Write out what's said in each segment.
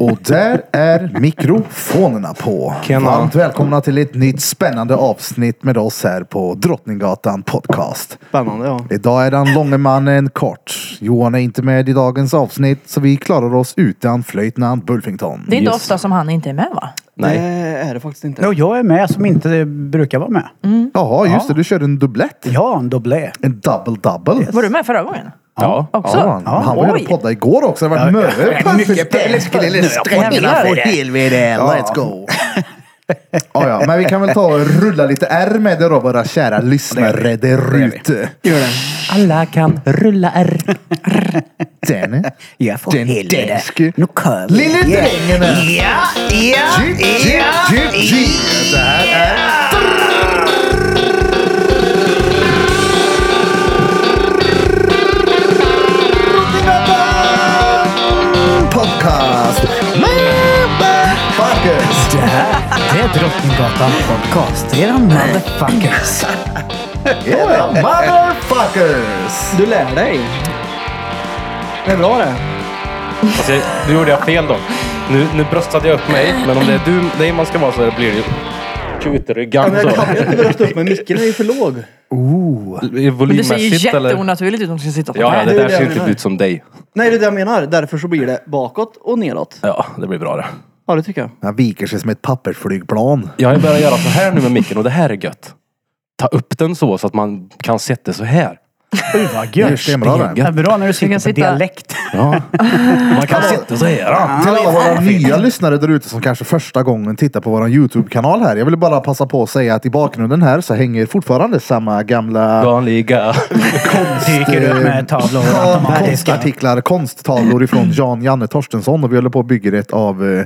Och där är mikrofonerna på. Tjena. Varmt välkomna till ett nytt spännande avsnitt med oss här på Drottninggatan Podcast. Spännande ja. Idag är den långe mannen kort. Johan är inte med i dagens avsnitt så vi klarar oss utan flöjtnant Bulfington. Det är inte ofta som han inte är med va? Nej. Det är det faktiskt inte. Och jag är med som inte brukar vara med. Jaha, just det. Du körde en dubblett. Ja, en dubblé. En double double. Var du med förra gången? Ja. Också? Ja, han, han var ju och Oj! poddade igår också. Det var mycket helvete. Ja. Let's go. ja, ja, men vi kan väl ta och rulla lite R med det då, våra kära lyssnare där ute. Alla kan rulla R. Den Jag får Den danske. Nu kommer lille drängen är... Ja, ja, Jip, jip, jip, jip. Det här är... Drottninggatan Podcast. Motherfuckers. Det här det är Drottninggatan Podcast. Era motherfuckers. Oh, Era motherfuckers. Du lär dig. Det är bra det. Alltså, nu gjorde jag fel då. Nu, nu bröstade jag upp mig, men om det är du, dig man ska vara så blir det ju Ja, kutryggan men jag så. kan inte brösta upp mig. Micken är ju för låg. I- Men det ser ju Volymmässigt eller? jätteonaturligt ut om du ska sitta på Ja, knä. det det är där det jag ser inte menar. ut som dig. Nej, det är det jag menar. Därför så blir det bakåt och neråt. Ja, det blir bra det. Ja, det tycker jag. Han viker sig som ett pappersflygplan. Jag har börjat göra så här nu med micken och det här är gött. Ta upp den så, så att man kan sätta så här. Oj, vad Det är gött. stenbra det. Det är bra när du sitter kan på sitta- dialekt. Ja. Man kan sitta så här. ja. Till alla våra nya lyssnare där ute som kanske första gången tittar på vår YouTube-kanal här. Jag vill bara passa på att säga att i bakgrunden här så hänger fortfarande samma gamla Vanliga. Dyker upp med tavlor och Ja, automatiska. konstartiklar, konsttavlor ifrån Jan Janne Torstensson och vi håller på och bygger ett av, eh,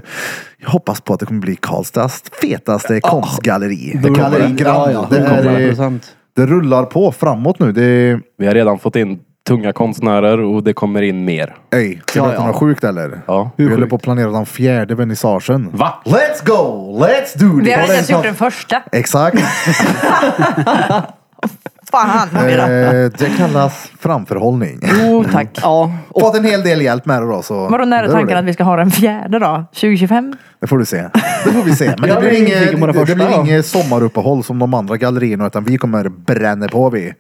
jag hoppas på att det kommer bli Karlstads fetaste konstgalleri. Det kallar jag Grand. Ja, ja. Det, är, eh, 100%. det rullar på framåt nu. Det är, Vi har redan fått in tunga konstnärer och det kommer in mer. ej, ska jag Ja, berätta ja. något sjukt eller? Ja. Vi håller på att planera den fjärde vernissagen. Va? Let's go! Let's do this! Vi har inte ens gjort den första. Exakt. Fan! Eh, det kallas framförhållning. Jo tack. Ja, och Fått en hel del hjälp med det då. Så Vadå Mm. det nära är tanken att roligt. vi ska ha den fjärde då? 2025? Det får du se. Det får vi se. Men det Jag blir, är nyfiken på inget, det det första, blir ja. inget sommaruppehåll som de andra gallerierna utan vi kommer bränna på vi.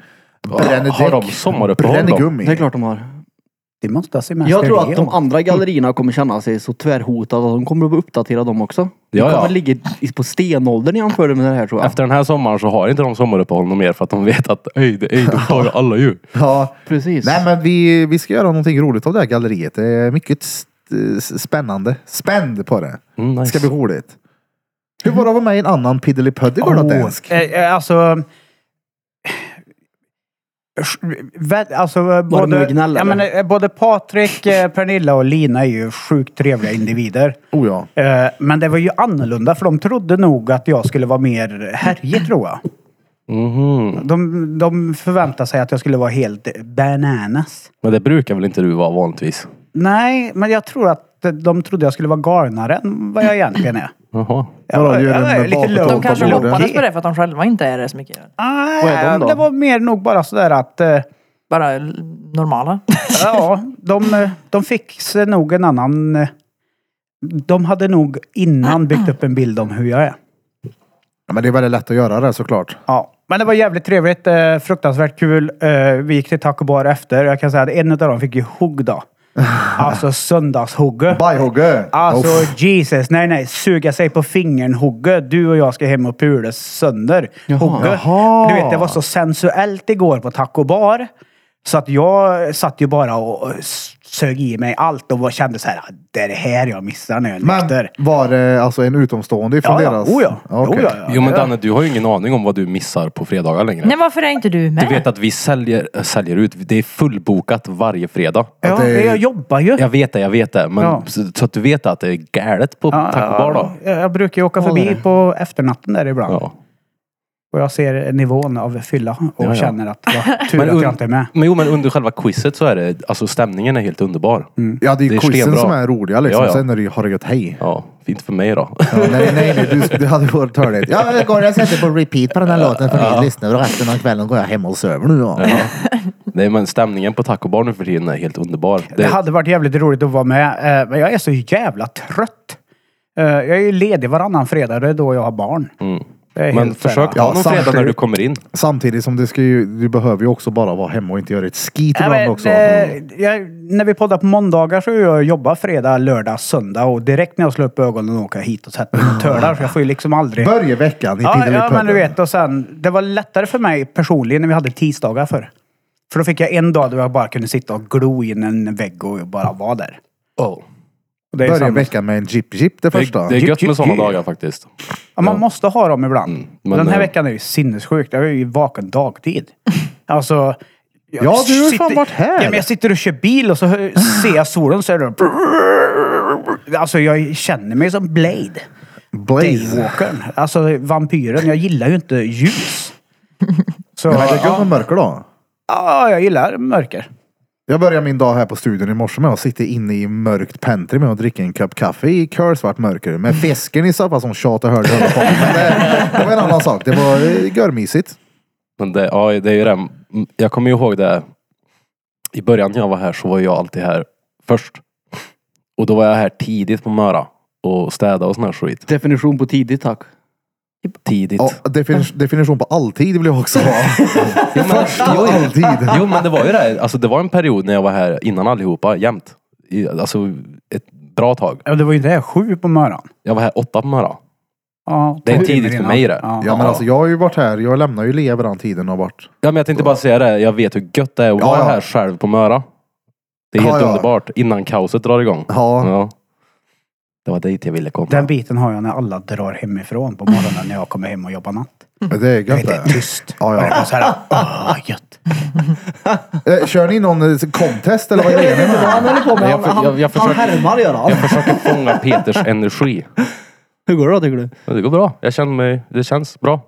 Bränner däck. Har de sommaruppehåll bränner då? gummi. det är klart de har. Det måste ha semester. Jag tror att de igen. andra gallerierna kommer känna sig så tvärhotade att de kommer att vara uppdaterade de också. De Ja, ja. kommer ligga i- på stenåldern jämfört med det här tror jag. Efter den här sommaren så har inte de sommaruppehåll något mer för att de vet att ej, det ej, de tar ju alla ju. Ja. Precis. Nej men vi, vi ska göra någonting roligt av det här galleriet. Det är mycket st- s- spännande. Spänd på det. Mm, Det nice. ska bli roligt. Hur var det att vara med i en annan Piddelipödd igår då Oh, Dansk? eh, eh, Alltså... Vä- Alltså, eh, Var de både, originella, ja, eller? men, eh, både Patrik, eh, Pernilla och Lina är ju sjukt trevliga individer. Oh ja. Eh, Men det var ju annorlunda för de trodde nog att jag skulle vara mer härjig tror jag. Mhm. De, de förväntade sig att jag skulle vara helt bananas. Men det brukar väl inte du vara vanligtvis? Nej, men jag tror att de trodde jag skulle vara galnare än vad jag egentligen är. Jaha. Jag Vadå, gör en bakåt- low De kanske på low båda. hoppades key. på det för att de själva inte är det så mycket. Vad är Nej, de då? Ah, det var mer nog bara sådär att... eh, Bara l- normala. Ja, de, eh, de fick sig nog en annan... eh, De hade nog innan byggt upp en bild om hur jag är. Ja, men det är väldigt lätt att göra det såklart. Ja, men det var jävligt trevligt. Eh, fruktansvärt kul. Eh, vi gick till Taco Bar efter. Jag kan säga att en av dem fick ju hugg då. Alltså söndagshugge. Bajhugge! Alltså Uff. Jesus, nej nej. Suga sig på fingern hugge. Du och jag ska hem och pula sönder hugge. Jaha. Du vet, det var så sensuellt igår på Taco Bar. Så att jag satt ju bara och och sög i mig allt och var- kände så här, "Ah, det är det här jag missar när jag är Men nykter. var det alltså en utomstående ifrån Ja, ja. deras? Oh, ja. Okej. Oh, ja, ja. Jo men Danne, du har ju ingen aning om vad du missar på fredagar längre. Nej varför är inte du med? Du vet att vi säljer, äh, säljer ut, det är fullbokat varje fredag. Ja, det- men jag jobbar ju. Jag vet det, jag vet det. Men Ja. så, så att du vet att det är galet på Ja, Taco Bar då. Jag, jag brukar ju åka Ja, förbi det. på efternatten där ibland. Ja. Och jag ser nivån av fylla och Ja, ja. känner att jag, tur Men att un- jag inte är med. Men jo men under själva quizet så är det, alltså stämningen är helt underbar. Mm. Ja, det är Det ju är quizen stenbra. som är roliga liksom. Ja, ja. Sen är det ju har det gått hej. Ja, fint för mig då. Ja, nej, nej, nej, du, du hade varit hörligt. Ja, det går jag sätter på repeat på den här låten för ni lyssnar och resten av kvällen går jag hem och söver nu. Ja. Nej men stämningen på tacobar nu för tiden är helt underbar. Det Det, hade varit jävligt roligt att vara med, eh, men jag är så jävla trött. Eh, Jag är ju ledig varannan fredag, det är då jag har barn. Mm. Det är men helt så här, försök Ja, ta någon fredag när samtidigt- du kommer in. Samtidigt som det ska ju, du behöver ju också bara vara hemma och inte göra ett skit Nej, ibland men, också. eh, jag, när vi poddar på måndagar så är jag jobbar fredag, lördag, söndag och direkt när jag slår upp ögonen åker jag hit och sätter mig och tölar. Så jag får ju liksom aldrig... Börja veckan i Ja, Piddly ja men du Pudden. vet. Och sen, det var lättare för mig personligen när vi hade tisdagar förr. För då fick jag en dag där jag bara kunde sitta och glo in en vägg och bara vara där. Oh. Och det är Börja samma- veckan med en jip jip det Det, första. det är gött med sådana Jip, jip. dagar faktiskt. Ja, man måste ha dem ibland. Mm, men, Den här eh, veckan är ju sinnessjukt. Jag är ju vaken dagtid. Alltså... jag Ja, du har ju fan varit här. Ja, men jag sitter och kör bil och så hör- ser jag solen så är det... Alltså jag känner mig som Blade. Blaze. Daywalkern. Alltså vampyren. Jag gillar ju inte ljus. Så, Men det är gött ja, med mörker då. ja, jag gillar mörker. Jag började min dag här på studion i morse med att sitta inne i mörkt pentry med att dricka en kopp kaffe i körsvart mörker. Med fisken i soppan som tjat och hörde i alla fall. Men det, det var en annan sak. Det var eh, görmysigt. Men det, ja, det är ju det. Jag kommer ju ihåg det. I början när jag var här så var jag alltid här först. Och då var jag här tidigt på Möra och städa och sån här skit. Definition på tidigt tack. Tidigt. Ja, defini- definition på alltid vill jag också ha. Jo, men, Ja, alltid. jo men det var ju det. Alltså det var en period när jag var här innan allihopa, jämt. I, alltså ett bra tag. Ja, det var ju det, sju på morgonen. Jag var här åtta på Möra. Ja, Det är två timmar tidigt för innan. mig det. Ja. Ja men alltså jag har ju varit här. Jag lämnar ju Lea vid den tiden och har varit. Ja men jag tänkte bara säga det. Jag vet hur gött det är att Ja, vara ja. här själv på Möra. Det är Ja, helt ja. underbart. Innan kaoset drar igång. Ja. Det var dit jag ville komma. Den biten har jag när alla drar hemifrån på morgonen när jag kommer hem och jobbar natt. Det är Jag gött vet, det är det. tyst. Ja, ja. Och det är så här, åh, gött. Eh, Kör ni någon eh, contest eller vad Jag grejen vet är inte vad han med? håller på med. Nej, jag Han, för- han, jag- jag han försöker- härmar gör han. Jag försöker fånga Peters energi. Hur går det då tycker du? Men det går bra. Jag känner mig, det känns bra.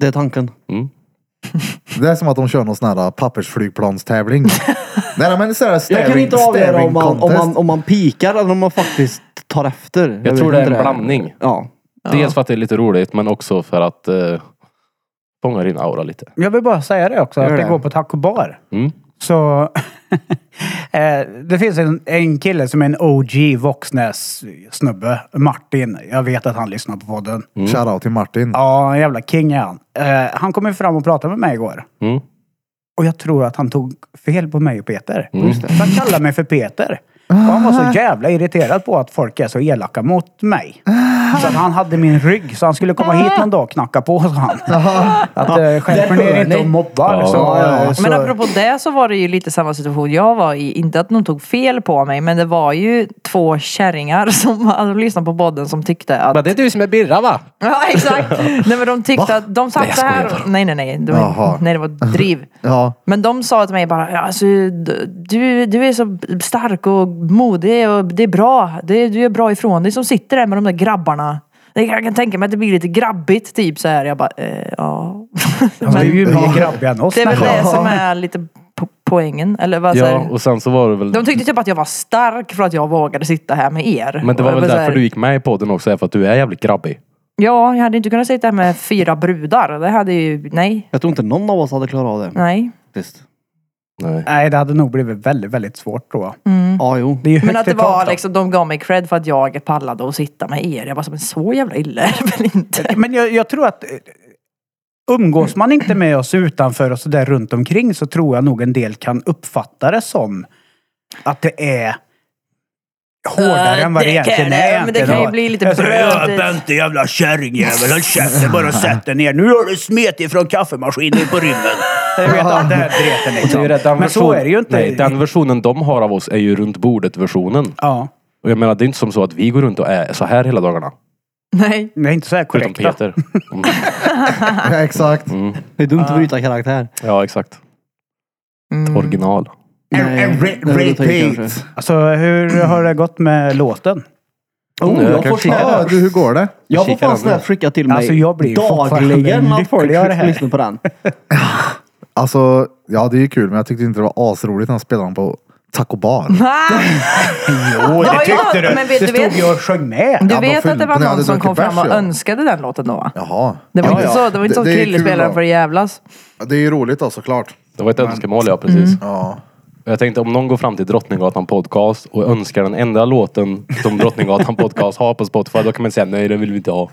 Det är tanken. Det är som att de kör någon sån här äh, pappersflygplanstävling. Nej men sån här Jag kan staring, inte avgöra staring om man, om, contest. man, om man pikar eller om man faktiskt tar efter. Jag, vet tror det är inte en blandning. Ja. Dels för att det är lite roligt men också för att eh, fånga din aura lite. Jag vill bara säga det också, Gör att det det. går på taco bar. Mm. Så... eh, det finns en, en kille som är en OG Voxnäs-snubbe. Martin. Jag vet att han lyssnar på podden. Shoutout Mm. till Martin. Ja, en jävla king är han. Eh, han kom ju fram och pratade med mig igår. Mm. Och jag tror att han tog fel på mig och Peter. Mm. Så han kallade mig för Peter. Och han var så jävla irriterad på att folk är så elaka mot mig. Så att han hade min rygg. Så han skulle komma hit någon dag och knacka på, sa han. Att eh, skärper ni er inte och mobbar Ja. så... eh, så Men apropå det så var det ju lite samma situation jag var i. Inte att någon tog fel på mig men det var ju två kärringar som hade lyssnat på podden som tyckte att... det är du som är Birra va? Ja exakt! Nej men de tyckte att de satt Nej, jag så här... skojar Nej nej nej. Det var, Jaha. nej det var driv. Ja. Men de sa till mig bara, "Ja, alltså, du, du är så stark och modig och det är bra. Det, du är bra ifrån dig som sitter där med de där grabbarna. Jag kan tänka mig att det blir lite grabbigt typ så här. Jag bara, eh, ja. Alltså, det är ju Men mer grabbiga än oss. det är väl nästan. det som är lite po- poängen. Eller vad säger Ja och sen så var det väl De tyckte typ att jag var stark för att jag vågade sitta här med er. Men det var Och jag väl bara så här, därför du gick med i podden också, är för att du är jävligt grabbig. Ja, jag hade inte kunnat sitta här med fyra brudar. Det hade ju, nej, Jag tror inte någon av oss hade klarat av det. nej. Faktiskt. Nej. Nej, det hade nog blivit väldigt, väldigt svårt tror jag. Ja, jo. Det är ju högt Men att i det var tak då. liksom, de gav mig cred för att jag pallade att sitta med er. Jag bara, men så jävla illa är det väl inte? Men jag, jag tror att eh, umgås man inte med oss utanför och sådär runt omkring så tror jag nog en del kan uppfatta det som att det är hårdare Ja, än vad det det kan egentligen det, är. men det kan ju egentligen. bli lite Jag säger, "Ja, brötigt." Bente jävla kärringjävel, håll käften bara och sätt dig ner. Nu har du smetit från kaffemaskinen på rymmen. Jag vet att det här dreten Det är ju liksom. det, den Men så version- är det ju inte. Nej, den versionen de har av oss är ju runt bordet-versionen. Ja, Och jag menar, det är inte som så att vi går runt och är så här hela dagarna. Nej. det är inte så här Förutom korrekt. då. Peter. Mm. Ja, exakt. Det är dumt Ah. att bryta karaktär. Ja, exakt. Mm. Original. Nej, re- det hade du tagit repeat. kanske. Alltså hur har det gått med låten? Oh, jag jag, kan får kika snart- Ja, du, hur går det? jag får kika fan den snälla nu. skicka till mig Alltså, jag blir dagligen fortfarande att folk lyckligare här. lyssnar på den. Alltså, ja det är ju kul men jag tyckte inte det var asroligt när han spelade den på Taco Bar. Ah! Jo, Ja, det ja, tyckte du. men vet- du du stod vet- ju och sjöng med. Ja, Du de vet att fyllde- det var ni hade någon som kom druckit fram och bärs, ja. önskade den låten då va? Jaha. Det var Ja, inte ja. så, det var inte så att är Krille kul spelade då. för att jävlas. Det är ju roligt då såklart. Det var ett önskemål ja, precis. Ja. Jag tänkte om någon går fram till Drottninggatan podcast och önskar den enda låten som Drottninggatan podcast har på Spotify, då kan man säga nej, det vill vi inte ha.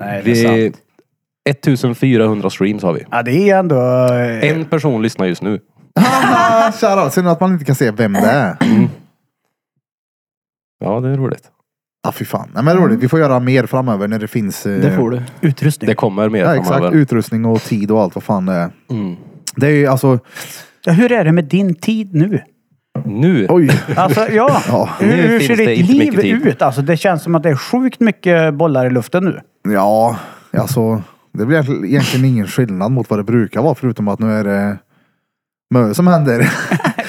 Nej, det är Vi, sant. 1400 streams har vi. Ja, det är ändå... eh, En person lyssnar just nu. Ah, Shoutout. Synd att man inte kan se vem det är. Mm. Ja, det är roligt. Ah, fy fan. Nej, men Mm. roligt. Vi får göra mer framöver när det finns... eh, Det får du. utrustning. Det kommer mer Ja, exakt. framöver. Utrustning och tid och allt vad fan det är. Mm. Det är ju alltså... Ja, hur är det med din tid nu? Nu, Oj. Alltså ja, Ja, hur, nu hur finns ser det ditt inte mycket liv tid. ut? Alltså, det känns som att det är sjukt mycket bollar i luften nu. Ja, alltså. Det blir egentligen- egentligen ingen skillnad mot vad det brukar vara förutom att nu är det mö som händer.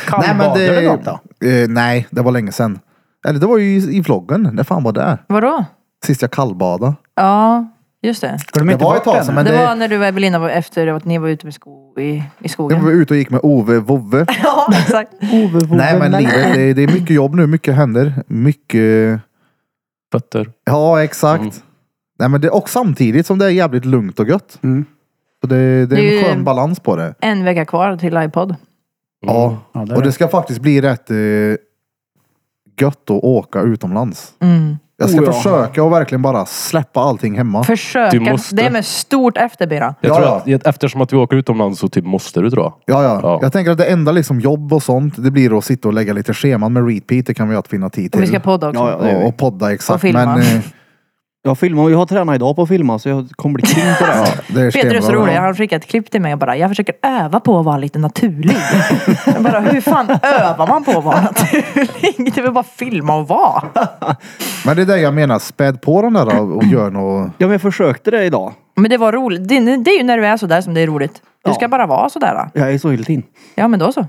Kan nej, men det... du något då? eh, nej, det var länge sedan. Eller det var ju i, i vloggen. När fan var det? Vadå? Sist jag kallbada. Ja, just det. Ska de Det inte var bort ett tag den? sedan men det, det, var när du och Evelina var efter att ni var ute med sko, i, i jag var skogen. ute och gick med Ove Vove. Ja, exakt. nej men livet, det, det är mycket jobb nu. Mycket händer. Mycket... fötter. Ja, exakt. Mm. Nej men det, och samtidigt som det är jävligt lugnt och gött. Mm. Så det, det Det är är en ju- skön balans på det. En vecka kvar till iPod. Ja, Ja, det är och det det. ska faktiskt bli rätt eh, gött att åka utomlands. Mm. Jag ska Oh, ja. försöka och verkligen bara släppa allting hemma. Försöka. Du måste. Det är med stort efterbyrån. Jag Ja, tror ja. att, att eftersom att vi åker utomlands så typ måste du tror jag. Ja, ja. Ja. Jag tänker att det enda liksom jobb och sånt, det blir att sitta och lägga lite scheman med repeat. Det kan vi att finna tid Och till. vi ska podda också. Ja, ja, det gör och, vi. och podda exakt. filma. Men eh, Jag filmar, jag har tränat idag på att filma så jag kommer bli kring på det. ja, det är Peter är så stenbra. rolig, han skickade ett klipp till mig och bara, jag försöker öva på att vara lite naturlig. Jag bara, hur fan övar man på att vara naturlig? Det är väl bara filma och vara. Men det är det jag menar, späd på den där och, och gör något. Ja men jag försökte det idag. Men det var roligt, det, det är ju när du är sådär som det är roligt. Du Ja. ska bara vara sådär. då. Jag är så helt in. Ja men då så.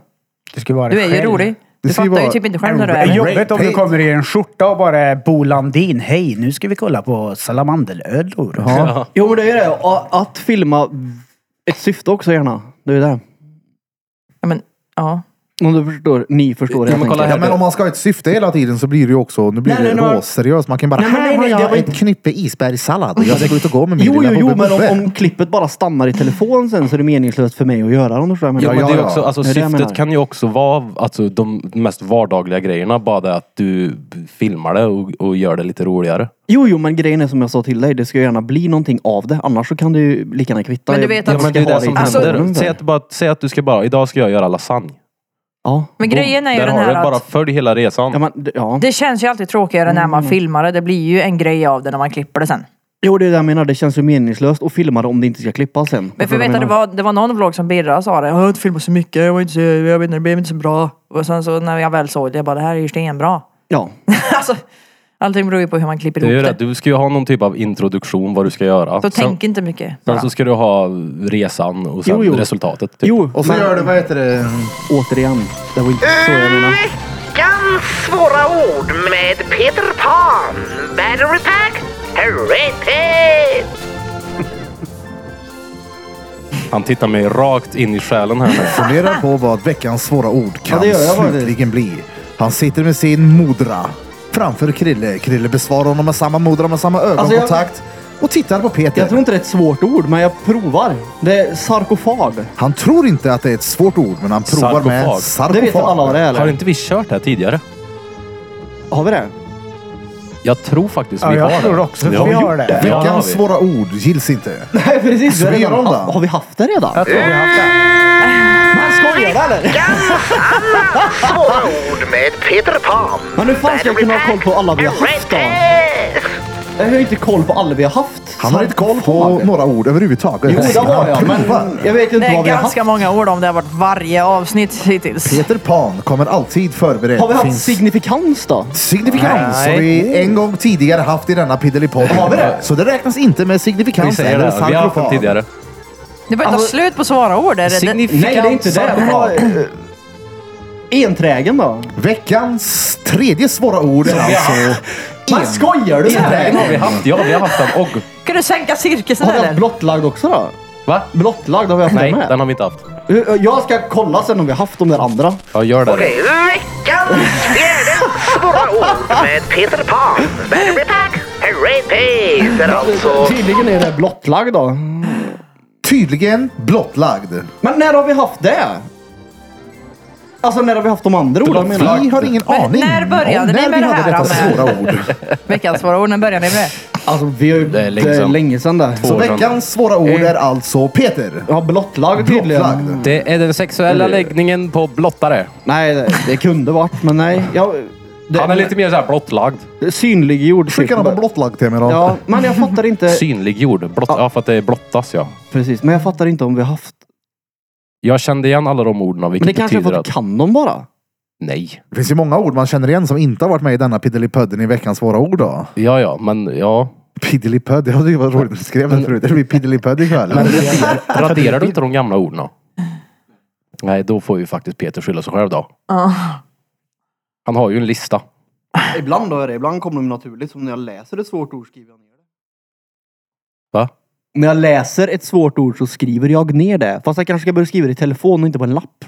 Du ska vara Du är ju själv. rolig. Du Det ska ju fattar ju vara- typ inte själv när du Det är är det. jobbigt om du kommer i en skjorta och bara är Bo Landin. Hej, nu ska vi kolla på salamandelödlor. Ja. Jo men det är det. A- Att filma ett syfte också gärna. Det är det. Ja, men, ja. Om du förstår. Ni förstår Ja, men kolla Ja, här. men om man ska ha ett syfte hela tiden så blir det ju också, nu blir Nej, det nej, nej. råseriöst. Man kan bara, Nej, men nej, här har nej, det jag var ett knippe isbergssallad och jag ska ut och gå med min Jo, jo, lilla jo, Bobbe men om, Bobbe. om klippet bara stannar i telefon sen så är det meningslöst för mig att göra om du förstår vad jag Ja, menar. men ja, det är ja. också, alltså, Det är det jag syftet menar. kan ju också vara alltså, de mest vardagliga grejerna. Bara det att du filmar det och, och gör det lite roligare. Jo, jo, men grejen är som jag sa till dig, det ska ju gärna bli någonting av det. Annars så kan det ju lika gärna kvitta. Men du vet Jag Ja, att- men ska det är ha det som i Alltså, telefonen händer. Alltså, sen. Säg att, du bara, säg att du ska bara, idag ska jag göra lasagne. Ja. men grejen är ju Där den har här du, bara att följ hela resan. Ja, men, det- ja. det känns ju alltid tråkigare när Mm. man filmar det. Det blir ju en grej av det när man klipper det sen. Jo, det är det jag menar. Det känns ju meningslöst att filma det om det inte ska klippas sen. Men för Förstår vet du att det vad jag var, det var någon vlogg som Birra sa det. Jag har inte filmat så mycket, jag, var inte så, jag vet inte, det blev inte så bra. Och sen så när jag väl såg det, jag bara det här är ju stenbra. menar? Ja. alltså, allting beror ju på hur man klipper Det är ju ihop det. det. Du ska ju ha någon typ av introduktion vad du ska göra. Så sen, tänk inte mycket. sen så ska du ha resan och sen Jo, jo. resultatet. Typ. Jo, Och så men gör du, vad heter det? återigen. Det var inte så jag menade. Veckans svåra ord med Peter Pan. Battery pack, rated. Han tittar mig rakt in i själen här nu. Fundera på vad veckans svåra ord Ja, kan det gör jag faktiskt. slutligen bli. Han sitter med sin mudra framför Krille. Krille besvarar honom med samma mudra, med samma ögonkontakt. Och tittar på Peter. Alltså, Jag tror inte det är ett svårt ord, men jag provar. Det är sarkofag. Han tror inte att det är ett svårt ord, men han provar med Sarkofag. sarkofag. Det vet väl alla vad det är? Har Eller? inte vi kört det här tidigare? Har vi det? Jag tror faktiskt Ja, vi jag har tror det. också att vi har det. Ja, Veckans det har vi. svåra ord gills inte. Nej, precis. Så vi gör om det. har vi haft det redan? Jag tror vi har haft det. Men skojar du eller? Svåra ord med Peter Pan. Men hur fan ska jag kunna ha koll på alla vi har haft då? Rated. Jag har ju inte koll på alla vi har haft. Han har inte koll på Sarkofag. några ord överhuvudtaget. Jo, det har Han jag, men provar. jag vet Det inte är vad vi har haft. ganska många ord om det har varit varje avsnitt hittills. Peter Pan kommer alltid förberedd. Har vi haft Finns signifikans då? signifikans Nej. Oh. har vi en gång tidigare haft i denna Piddelipodden. Har vi det? Så det räknas inte med Vi signifikans säger eller det. Vi har haft den sarkofag. tidigare. Det börjar ta Alltså- slut på svåra ord. Är det, det, Signifikant Nej, det är inte det. Vi har, eh, Enträgen då? Veckans tredje svåra ord är alltså... Men skojar du Den har med? vi haft. Ja, vi har haft den. Och, kan du sänka cirkusen Har vi haft eller? blottlagd också då? va? Blottlagd har vi haft Nej, den med. den har vi inte haft. Eh, eh, Jag ska kolla sen om vi har haft de där andra. Ja, gör det. Veckans fjärde svåra ord med Peter Pan. Battery pack, rated. Alltså Tydligen är det blottlagd då. tydligen blottlagd. Men när har vi haft det? Alltså när har vi haft de andra orden menar Vi jag? har ingen Men aning när började om ni när vi med det hade här, detta Amel? svåra ord. Veckans svåra ord, när börjar ni med det? Alltså vi har ju... Det är länge det är sedan. länge sedan det. Så År sedan. veckans svåra ord Eh, är alltså Peter. Ja, blottlagd tydligen. Blottlagd. Det är den sexuella läggningen på blottare. Nej, det, det kunde varit, men nej. Jag, det, Han är lite mer såhär blottlagd. Synliggjord. Skicka någon på blottlagd till mig då. Ja, men jag fattar inte. Synliggjord. Blott, ja. för att det blottas ja. Precis, men jag fattar inte om vi har haft. Jag kände igen alla de orden Men vilket det kanske är betyder för att... att vi kan dem bara. Nej. Det finns ju många ord man känner igen som inte har varit med i denna Piddelipödden i veckans svåra ord då. Ja, ja, men ja. Piddelipödd, ja det var roligt att du skrev det förut. Det blir Piddelipödd ikväll. Raderar du inte de gamla orden då? Nej, då får ju faktiskt Peter skylla sig själv då. Ja. Han har ju en lista. Ibland då är det. Ibland kommer de naturligt. Som när jag läser ett svårt ord skriver jag ner det. Va? När jag läser ett svårt ord så skriver jag ner det. Fast jag kanske ska börja skriva det i telefon och inte på en lapp.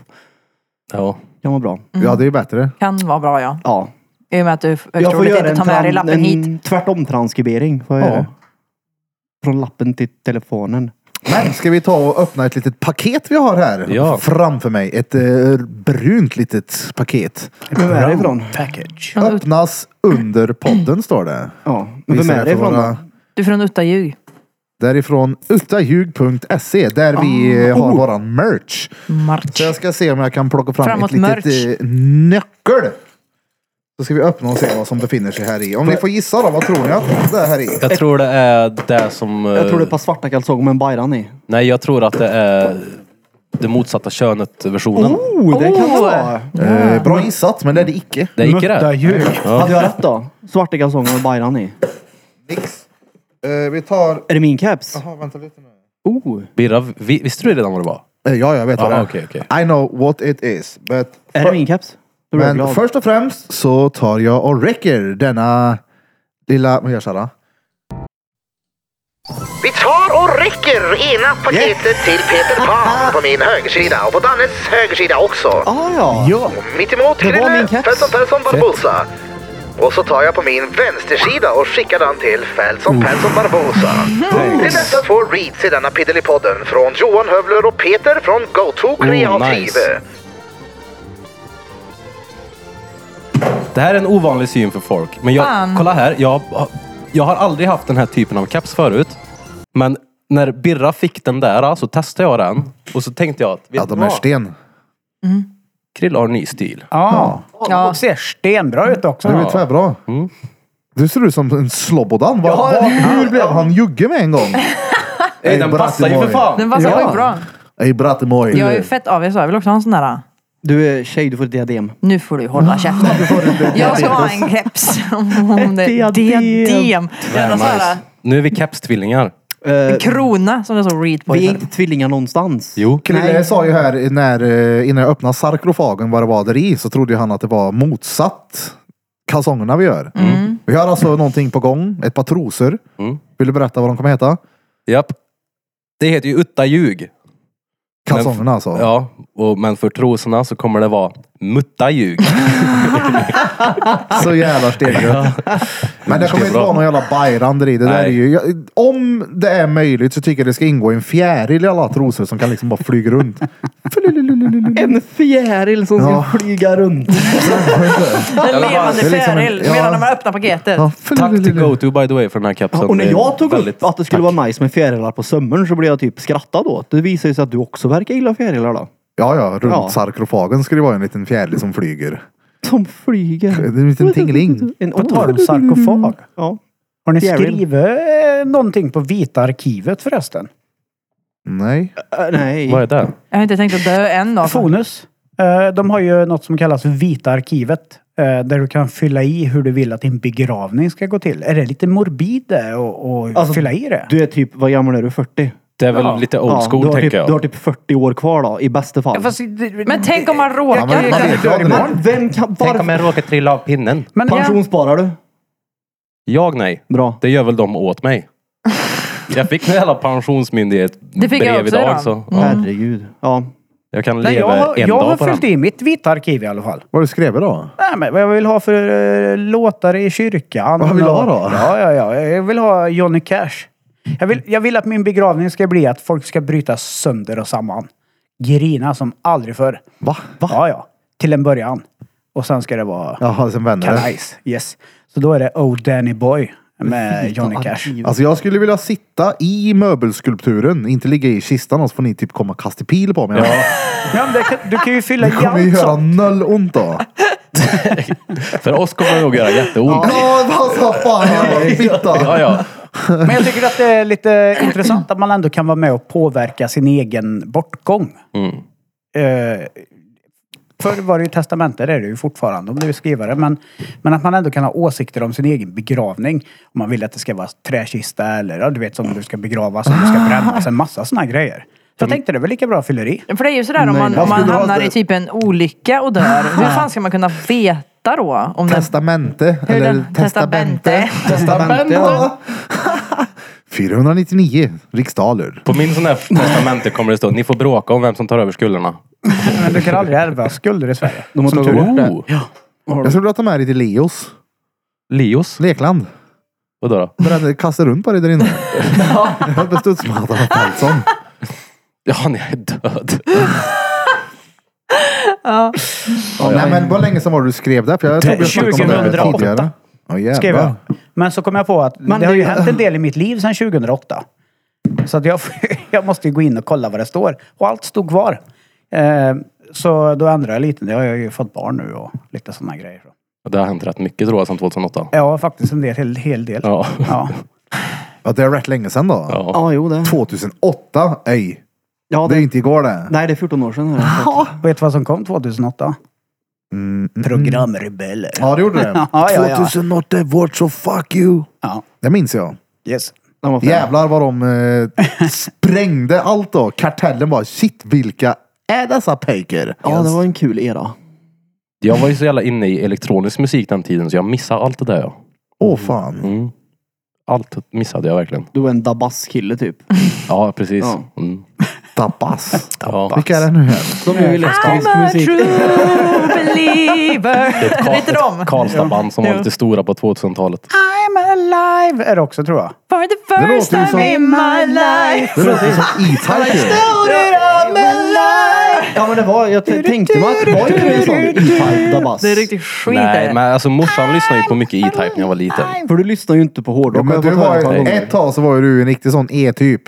Ja. Kan vara bra. Ja, det är ju bättre. Kan vara bra ja. Ja. I och med att du förtroligt inte tar med dig lappen hit. tvärtom transkribering. Får jag Ja. göra. Från lappen till telefonen. Men ska vi ta och öppna ett litet paket vi har här Ja. framför mig. Ett eh, brunt litet paket. Vem är det ifrån? Package. Öppnas under podden står det. Ja. Men vem Visar är det för ifrån våra- då? Du är från Utaljug. Därifrån uttaljug.se där vi Ah. eh, Oh. har våran merch. March. Så jag ska se om jag kan plocka fram Framåt ett litet merch. eh, nyckel. Så ska vi öppna och se vad som befinner sig här i. Om ni får gissa då, vad tror ni att det är här i? Jag tror det är det som... eh, Jag tror det är ett par svarta kalsonger med en bajran i. Nej, jag tror att det är det motsatta könet-versionen. Oh, det kan det vara. Eh, bra gissat, men det är det icke. Det gick Mutta det. djur. Hade jag rätt då? Svarta kalsonger med bajran i. Nix. Eh, vi tar... Är det min caps? Jaha, vänta lite nu. Oh. Birra, vi, visste du redan vad det var? Eh, ja, jag vet vad Ah, det är. okej, okej. I know what it is. But Är det min caps? Då blir jag men glad. först och främst så tar jag och räcker denna lilla... Vad gör Sara? Vi tar och räcker ena paketet till Peter Pan på min högersida och på Dannes högersida också. Ah, ja. Ja. Mitt emot Det var min Krille, keps. Feltson Peltson Barbosa. Och så tar jag på min vänstersida och skickar den till Feltson Peltson Barbosa. Det är dessa två reads i denna Piddelipodden från Johan Hövler och Peter från GoTo Kreativ. nice. Det här är en ovanlig syn för folk. Men jag, Fan. kolla här. Jag, jag har aldrig haft den här typen av caps förut. Men när Birra fick den där så testade jag den. Och så tänkte jag att, vet Ja, du de är vad? sten. Krill har ny stil. Ja. Ja. Och ser stenbra ut också. Det är tvärbra. Mm. Du ser ut som en Slobodan. Var, Ja, var, hur blev han jugge med en gång? Nej, den Ey, passar ju för Bratimoj. fan! Den passar Ja. skitbra. Ey Bratimoj. Jag är ju fett av så jag vill också ha en sån där. Du är tjej, du får ett diadem. Nu får du Ah. hålla käften. Jag ska ha en keps. Om det är Ett diadem. diadem. Det är en sån här Nu är vi capstvillingar. Eh, krona som jag såg read på. Liksom. vi är inte tvillingar någonstans. Jo. Krille Nej. sa ju här när, eh, innan jag öppnade sarkofagen vad det var där i så trodde ju han att det var motsatt kalsongerna vi gör. Mm. Vi har alltså någonting på gång, ett par trosor. Mm. Vill du berätta vad de kommer heta? Japp. Det heter ju utta ljug. Kalsongerna alltså. Ja, och, men för trosorna så kommer det vara mutta ljug. Så jävla stengött. Men det kommer inte bra. vara någon jävla bajran där i. Det där Nej. är ju, jag- om det är möjligt så tycker jag det ska ingå i en fjäril i alla trosor som kan liksom bara flyga runt. En fjäril som Ja. ska flyga runt. En levande det är liksom en- fjäril ja. medan man öppnar paketet. Ja. Tack till GoTo by the way för den här kapseln. Och när jag tog Väldigt- upp att det skulle vara nice med fjärilar på sömmern så blev jag typ skrattad åt. Det visar ju sig att du också verkar gilla fjärilar då. Ja, ja. Runt Ja. sarkofagen ska det vara en liten fjäril som flyger. Som flyger. Det är en liten tingling. En På tal om sarkofag. Ja. Har ni Fjäril. skrivit eh, någonting på Vita arkivet förresten? Nej. Äh, nej. Vad är det? Jag har inte tänkt att dö än då. Fonus. Eh, De har ju något som kallas för Vita arkivet. eh, Där du kan fylla i hur du vill att din begravning ska gå till. Är det lite morbid det och, och Alltså, fylla i det? Du är typ, vad gammal är du? 40? Det är väl lite old du school har tänker typ, jag. Du har typ 40 år kvar då, i bästa fall. Alltså, Men tänk om man Ja, men råkar... man vet ju aldrig. Men vem kan... Varför? råkar trilla av pinnen? Men, Pensionssparar du? Jag nej. Bra. Det gör väl de åt mig. Jag fick en jävla pensionsmyndighet Det fick jag brev också idag idag. så ja. Herregud. Ja. jag kan Nej, jag har, leva en jag har dag på den. fyllt i mitt Vita arkiv i alla fall. Vad har du skrev då? Nej, men vad jag vill ha för eh, låtar i kyrkan. Vad vill du ha och- då? Ja, ja, ja. Jag vill ha Johnny Cash. Jag vill, jag vill att min begravning ska bli att folk ska bryta sönder och samman. Grina som aldrig förr. Va? Va? Ja, ja. Till en början. Och sen ska det vara Jaha, sen vänder det. kanajs. Yes. Så då är det Oh Danny Boy med Johnny Cash. Alltså jag skulle vilja sitta i möbelskulpturen, inte ligga i kistan och så får ni typ komma och kasta pil på mig. Ja, men det kan, du kan ju fylla Det kommer ju igen göra så. noll ont då. För oss kommer det nog göra jätteont. Ja, vad så fan jävla fitta. Ja, ja. Men jag tycker att det är lite intressant att man ändå kan vara med och påverka sin egen bortgång. Mm. Eh, förr var det ju testamente, det är det ju fortfarande om du är skrivare. Men, men att man ändå kan ha åsikter om sin egen begravning. Om man vill att det ska vara träkista eller ja, du vet som du ska begravas, om du Ah. ska brännas. En massa sådana grejer. Så Mm. jag tänkte det var lika bra att fylla i. För det är ju sådär om Nej, man, nej. om man Vad skulle du hamnar ha- i typ en olycka och dör. Hur fan ska man kunna veta då? Om den... Testamente. Hur Eller den- testamente. testamente. Testamente. ja. 499 riksdaler. På min sån här testamente kommer det stå, ni får bråka om vem som tar över skulderna. Men du kan aldrig ärva skulder i Sverige. De har Som tagit tur är. bort det. Oh, ja. Jag skulle vilja ta med dig till Leos Leos. lekland. Vadå då? Brände, kasta runt på dig där inne. Jag höll på att studsmatta Paltsson. Ja, han är död. Nej men vad länge sedan var det du skrev det? För jag tror vi har snackat om det här 2008. tidigare. Ja skrev jag. jävlar. Men så kom jag på att Men det har det- ju hänt en del i mitt liv sedan 2008. Så att jag, jag måste ju gå in och kolla vad det står. Och allt stod kvar. Eh, så då ändrade jag lite. Jag har ju fått barn nu och lite sådana grejer. Det har hänt rätt mycket tror jag sedan 2008. Ja, faktiskt en del, hel, hel del. Ja. Ja. Ja det är rätt länge sedan då. ja. Ja, jo det. 2008? Ej. Ja, Det är det... inte igår det. Nej, det är 14 år sedan. är det. Vet du vad som kom 2008? Mm, mm. Programrebeller. Ja det gjorde det. Ja, ja, ja. 2008 är vårt så fuck you. Ja. Det minns jag. Yes. Den var fin. Jävlar vad de eh, sprängde allt då. Kartellen bara shit vilka är dessa pejker? Ja, det var en kul era. Jag var ju så jävla inne i elektronisk musik den tiden så jag missade allt det där. ja. Åh fan. Mm. Allt missade jag verkligen. Du var en dabaskille typ. Ja, precis. Ja. Mm. Tapas. Ja. Vilka är det nu här? De gör ju elektrisk I'm a musik. true believer. Ka- Vet du dem? ett Karlstadband som var lite stora på 2000-talet. Ah, I'm alive är det också tror jag. For the Det låter first ju som- time in my life. Det låter som E-Type. ju. Ja men det var, jag t- tänkte mig att det var ju en sån E-Type dabas. Det är riktigt skit Nej, men det. Ah, alltså morsan lyssnade ju på mycket E-Type när jag var liten. För du lyssnar ju inte på hårdrock. Ja, men har jag du fått höra var, ett par ju- gånger. ett tag så var ju du en riktig sån E, typ.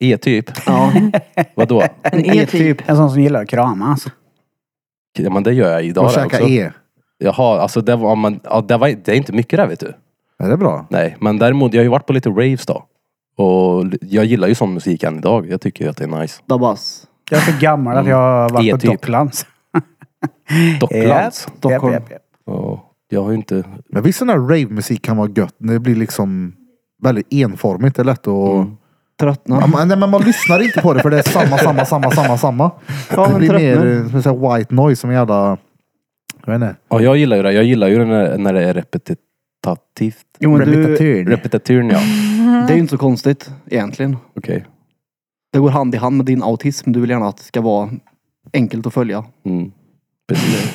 E-typ. E-typ? Ja, E, typ. Vadå? En E-typ. Typ. En sån som gillar att kramas. Ja, men det gör jag idag Och också. käka E. Jaha, alltså det var, man, ja, det var det är inte mycket där vet du. Är det bra? Nej, men däremot, jag har ju varit på lite raves då. Och l- jag gillar ju sån musik än idag. Jag tycker ju att det är nice. dabas. Jag är så gammal att jag har varit Mm. på E-typ. Docklands. Docklands. Japp, Stockholm. japp, japp, japp. Ja, jag har ju inte... Men viss sån här rave-musik kan vara gött. Det blir liksom väldigt enformigt. Det är lätt att... Ja, Tröttna. man, nej, men man lyssnar inte på det för det är samma, samma, samma, samma, samma. Ja, Det men blir mer tröttnar. eh, som en sån här white noise som en jävla... Jag vet inte. Ja, jag gillar ju det. Jag gillar ju när, när det är repetitivt. Jo men du, Repetition. Repetiturn ja. typ- det är ju inte så konstigt egentligen. Okej. Det går hand i hand med din autism. Du vill gärna att det ska vara enkelt att följa. Mm. Precis.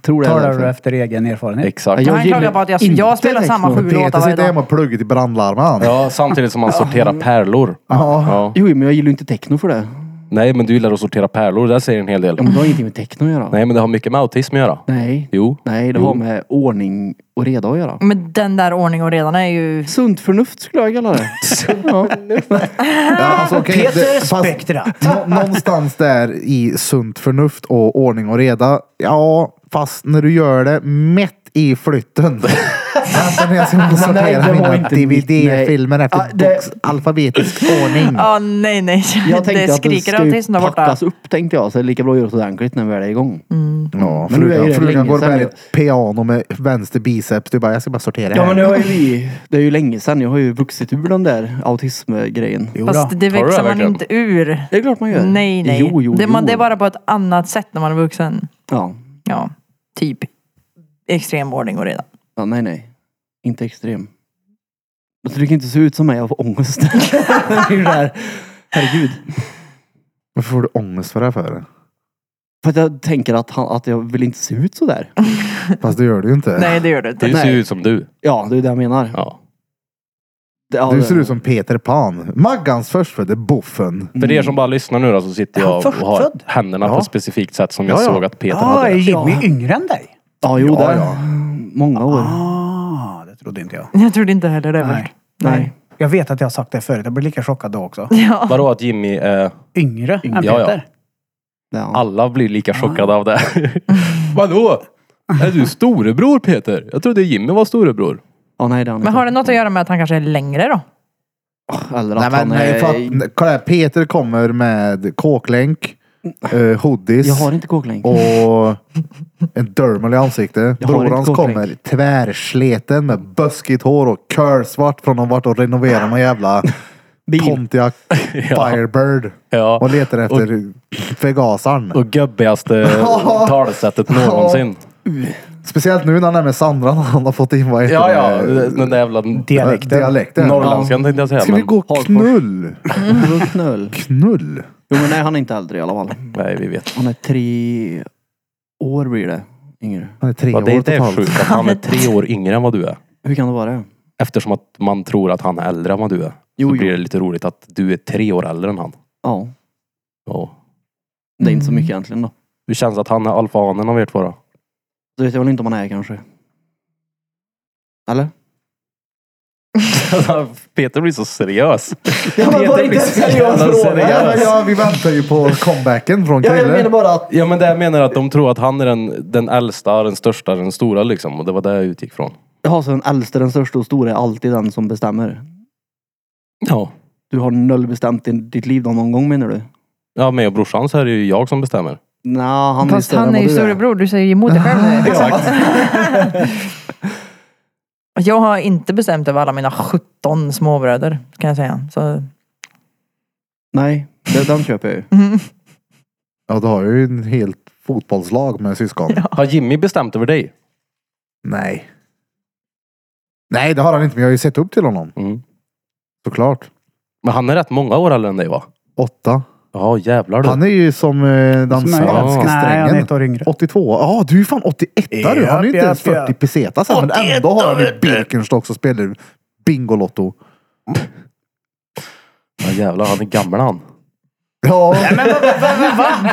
Tror det är Talar du därför. efter egen erfarenhet? Exakt. Jag Han klagar på att jag, gillar jag spelar inte samma techno. sju Peter låtar varje sitter dag. hemma och pluggar till brandlarmen. Ja. Ja, samtidigt som man sorterar pärlor. Ja. Jo men jag gillar ju inte techno för det. Nej, men du gillar att sortera pärlor. Det där säger en hel del. Ja, men det har ingenting med techno att göra. Nej, men det har mycket med autism att göra. Nej. Jo. Nej, det har med ordning och reda att göra. Men den där ordning och redan är ju... Sunt förnuft skulle jag kalla det. alltså, okej, Peter det- fast Spektra. nå- Någonstans där i sunt förnuft och ordning och reda. Ja, fast när du gör det mätt i flytten. Alltså när jag ska nej, det sortera var mina inte mitt, DVD-filmer nej. efter Ah, det- box, alfabetisk ordning. Ja, nej, nej. Jag tänkte det att det skriker ska ju autism där borta. packas upp tänkte jag. Så det är lika bra att göra det ordentligt när vi väl är igång. Mm. Ja, Men nu är ju frugan, det frugan länge går sedan med ju. ett piano med vänster biceps. Du bara, jag ska bara sortera Ja här. men nu har ju vi, det är ju länge sedan. Jag har ju vuxit ur den där autismgrejen. Jo då. Fast det Har du växer det man verkligen? inte ur. Det är klart man gör. Nej, nej. Jo, jo, det, man, jo. det är bara på ett annat sätt när man är vuxen. Ja. Ja, typ extrem ordning och redan. ja nej, nej. Inte extrem. Jag tycker inte se ut som mig. Jag får ångest. det är ju det här. Herregud. Varför får du ångest för det här för? För att jag tänker att, han, att jag vill inte se ut så där. Fast Äh. det gör du ju inte. Nej, det gör det inte. Du ser Nej. ju ut som du. Ja, det är det jag menar. Ja. Ja, Du det- ser ut som Peter Pan. Maggans förstfödde Boffen. Mm. För er som bara lyssnar nu då, så sitter Är han jag och har förstfödd? händerna på Ja. ett specifikt sätt som jag Ja, ja. såg att Peter Ah, Ja, är hade. Jimmy yngre än dig? Ja, jo, Ja, där. ja. Många år. Ah, det trodde inte jag. Jag trodde inte heller det. Nej. Nej. Nej. Jag vet att jag har sagt det förut. Jag blir lika chockad då också. Vadå att Jimmy, eh, Yngre än Ja, ja. Peter? Ja. alla blir lika chockade av det. Vadå? Är du storebror Peter? Jag trodde Jimmy var storebror. ja, nej det är han Men inte. har det något att göra med att han kanske är längre då? Eller att Nej, men, han nej, är... för att, kolla här, Peter kommer med kåklänk, eh, hoodies Mm. Jag har inte kåklänk. och en dermal i ansiktet. Jag har Bror inte hans kåklänk. kommer tvärsleten med buskigt hår och curlsvart från de varit och renoverat någon jävla Pontiac Firebird. Ja. Och letar efter förgasaren. Och gubbigaste talsättet någonsin. Speciellt nu när han är med Sandra när han har fått in vad heter Ja, ja. det? Den där jävla Dialekten. Dialekten. norrländskan tänkte jag säga. Ska vi Men, gå Hagfors. knull? Knull. Knull? Jo men nej han är inte äldre i alla fall. nej, vi vet. Han är tre år blir det. Yngre. Han är tre Ja, det är år inte totalt. sjukt att han är tre år yngre än vad du är. Hur kan det vara? Eftersom att man tror att han är äldre än vad du är. Jo, så jo. blir det lite roligt att du är tre år äldre än han. Ja. Ja. Det är inte så mycket egentligen då. Hur känns det att han är alfahanen av er två då? Det vet jag väl inte om han är kanske. Eller? Peter blir så seriös. Ja, men var det Peter inte blir en så seriös jävla fråga? Ja, men seriös. ja, vi väntar ju på comebacken från Ja, Krille. jag menar bara att... Ja men det jag menar att de tror att han är den, den äldsta, den största, den stora liksom. Och det var det jag utgick från. Jaha, så den äldste, den största och stora är alltid den som bestämmer. Ja. Du har noll bestämt i ditt liv då någon gång menar du? Ja men jag och brorsan så är det ju jag som bestämmer. Nej, han är Fast större han än är vad ju du storebror. Du säger ju emot dig själv nu. Jag har inte bestämt över alla mina 17 småbröder kan jag säga. Så, Nej, det, den köper jag ju. Ja, du har ju en helt fotbollslag med syskon. Har Jimmy bestämt över dig? Nej. Nej, det har han inte, men jag har ju sett upp till honom. Mm. Såklart. Men han är rätt många år äldre än dig va? Åtta. Ja jävlar du. Han är ju som eh, den Som är- svenske Nej, han är strängen. ett år yngre. 82. Ja, du är ju fan 81 du. Han är ju inte Japp, ens japp, 40 japp. pesetas än, men ändå har han ju Birkenstock som spelar Bingolotto. Ja jävlar, han är gammal han. Ja. Men va, va, va, va,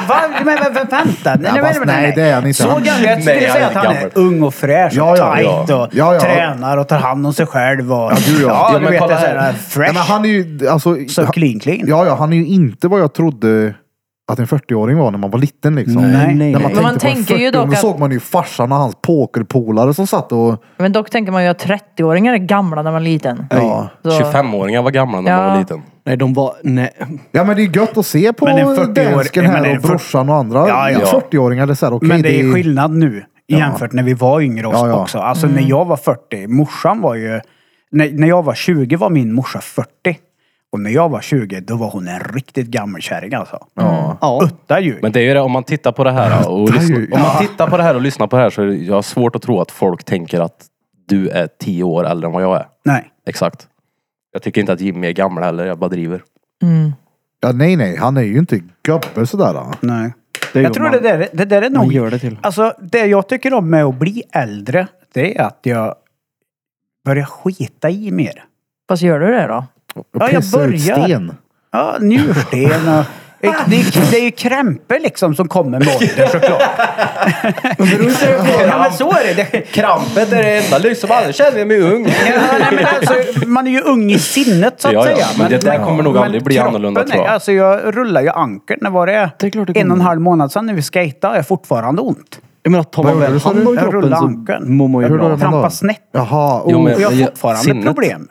va, men, va, va, vänta! Nej, Ja, fast nej, det är han inte. Så Han- gammal, jag Nej, skulle han säga är att han är gammal. ung och fräsch och Ja, ja, tight ja. och Ja, ja. tränar och tar hand om sig själv. Och, ja, gud, ja. Ja, du men vet, kolla det är så här. här Nej, fresh. men han är ju, alltså, så clean, clean. ja, ja, han är ju inte vad jag trodde att en 40-åring var när man var liten liksom. Mm. Nej. Nej, När man nej. tänkte man på en tänker ju 40-åring, dock Då att- såg man ju farsan och hans pokerpolare som satt och... men dock tänker man ju att 30-åringar är gamla när man är liten. Ja. Så, 25-åringar var gamla när man var Ja. liten. Nej, de var... Nej. ja men det är gött att se på Men en 40-åring dansken men här en och 40 brorsan och andra Ja, ja. 40-åringar. Det är så här, okej, Men det är skillnad nu jämfört när vi var yngre Ja, ja. också. Alltså när jag var 40, morsan var ju... När, när jag var 20 var min morsa 40. Och när jag var 20, då var hon en riktigt gammal kärring alltså. Ja. Ja. Utta ju. Men det är ju det, om man tittar på det här och, Det är ju- lyssnar, om man tittar på det här och lyssnar på det här så är det, jag har svårt att tro att folk tänker att du är 10 år äldre än vad jag är. Nej. Exakt. Jag tycker inte att Jimmy är gammal heller, jag bara driver. mm. Ja, nej, nej. Han är ju inte gubbe sådär. Då. Nej. Det Jag tror det där, det där är nog... Man gör det till. Alltså, det jag tycker om med att bli äldre, det är att jag börjar skita i mer. fast gör du det då? Och Ja, jag pissa ut börjar. sten. Ja, njursten och... Det är, det är ju krämpor liksom som kommer med åldern såklart. ja, men så är det. det Krampet är det enda lyx som aldrig känner mig ung. Ja, nej, men alltså, man är ju ung i sinnet så att Ja, ja, säga. men det där kommer nog men aldrig bli kroppen annorlunda, tror jag. är- Alltså jag rullar ju ankeln. När var det? Det är klart det en och en kommer. halv månad sedan när vi skejtade har jag fortfarande ont. Jag menar, tar Vad man gjorde väl du, sa hand du? om Jag kroppen rullade så ankeln. mår man ju Hur då? bra. Vadå? Trampar snett. Jaha. Jo, oh. men- Och jag Ja, har fortfarande sinnet. problem.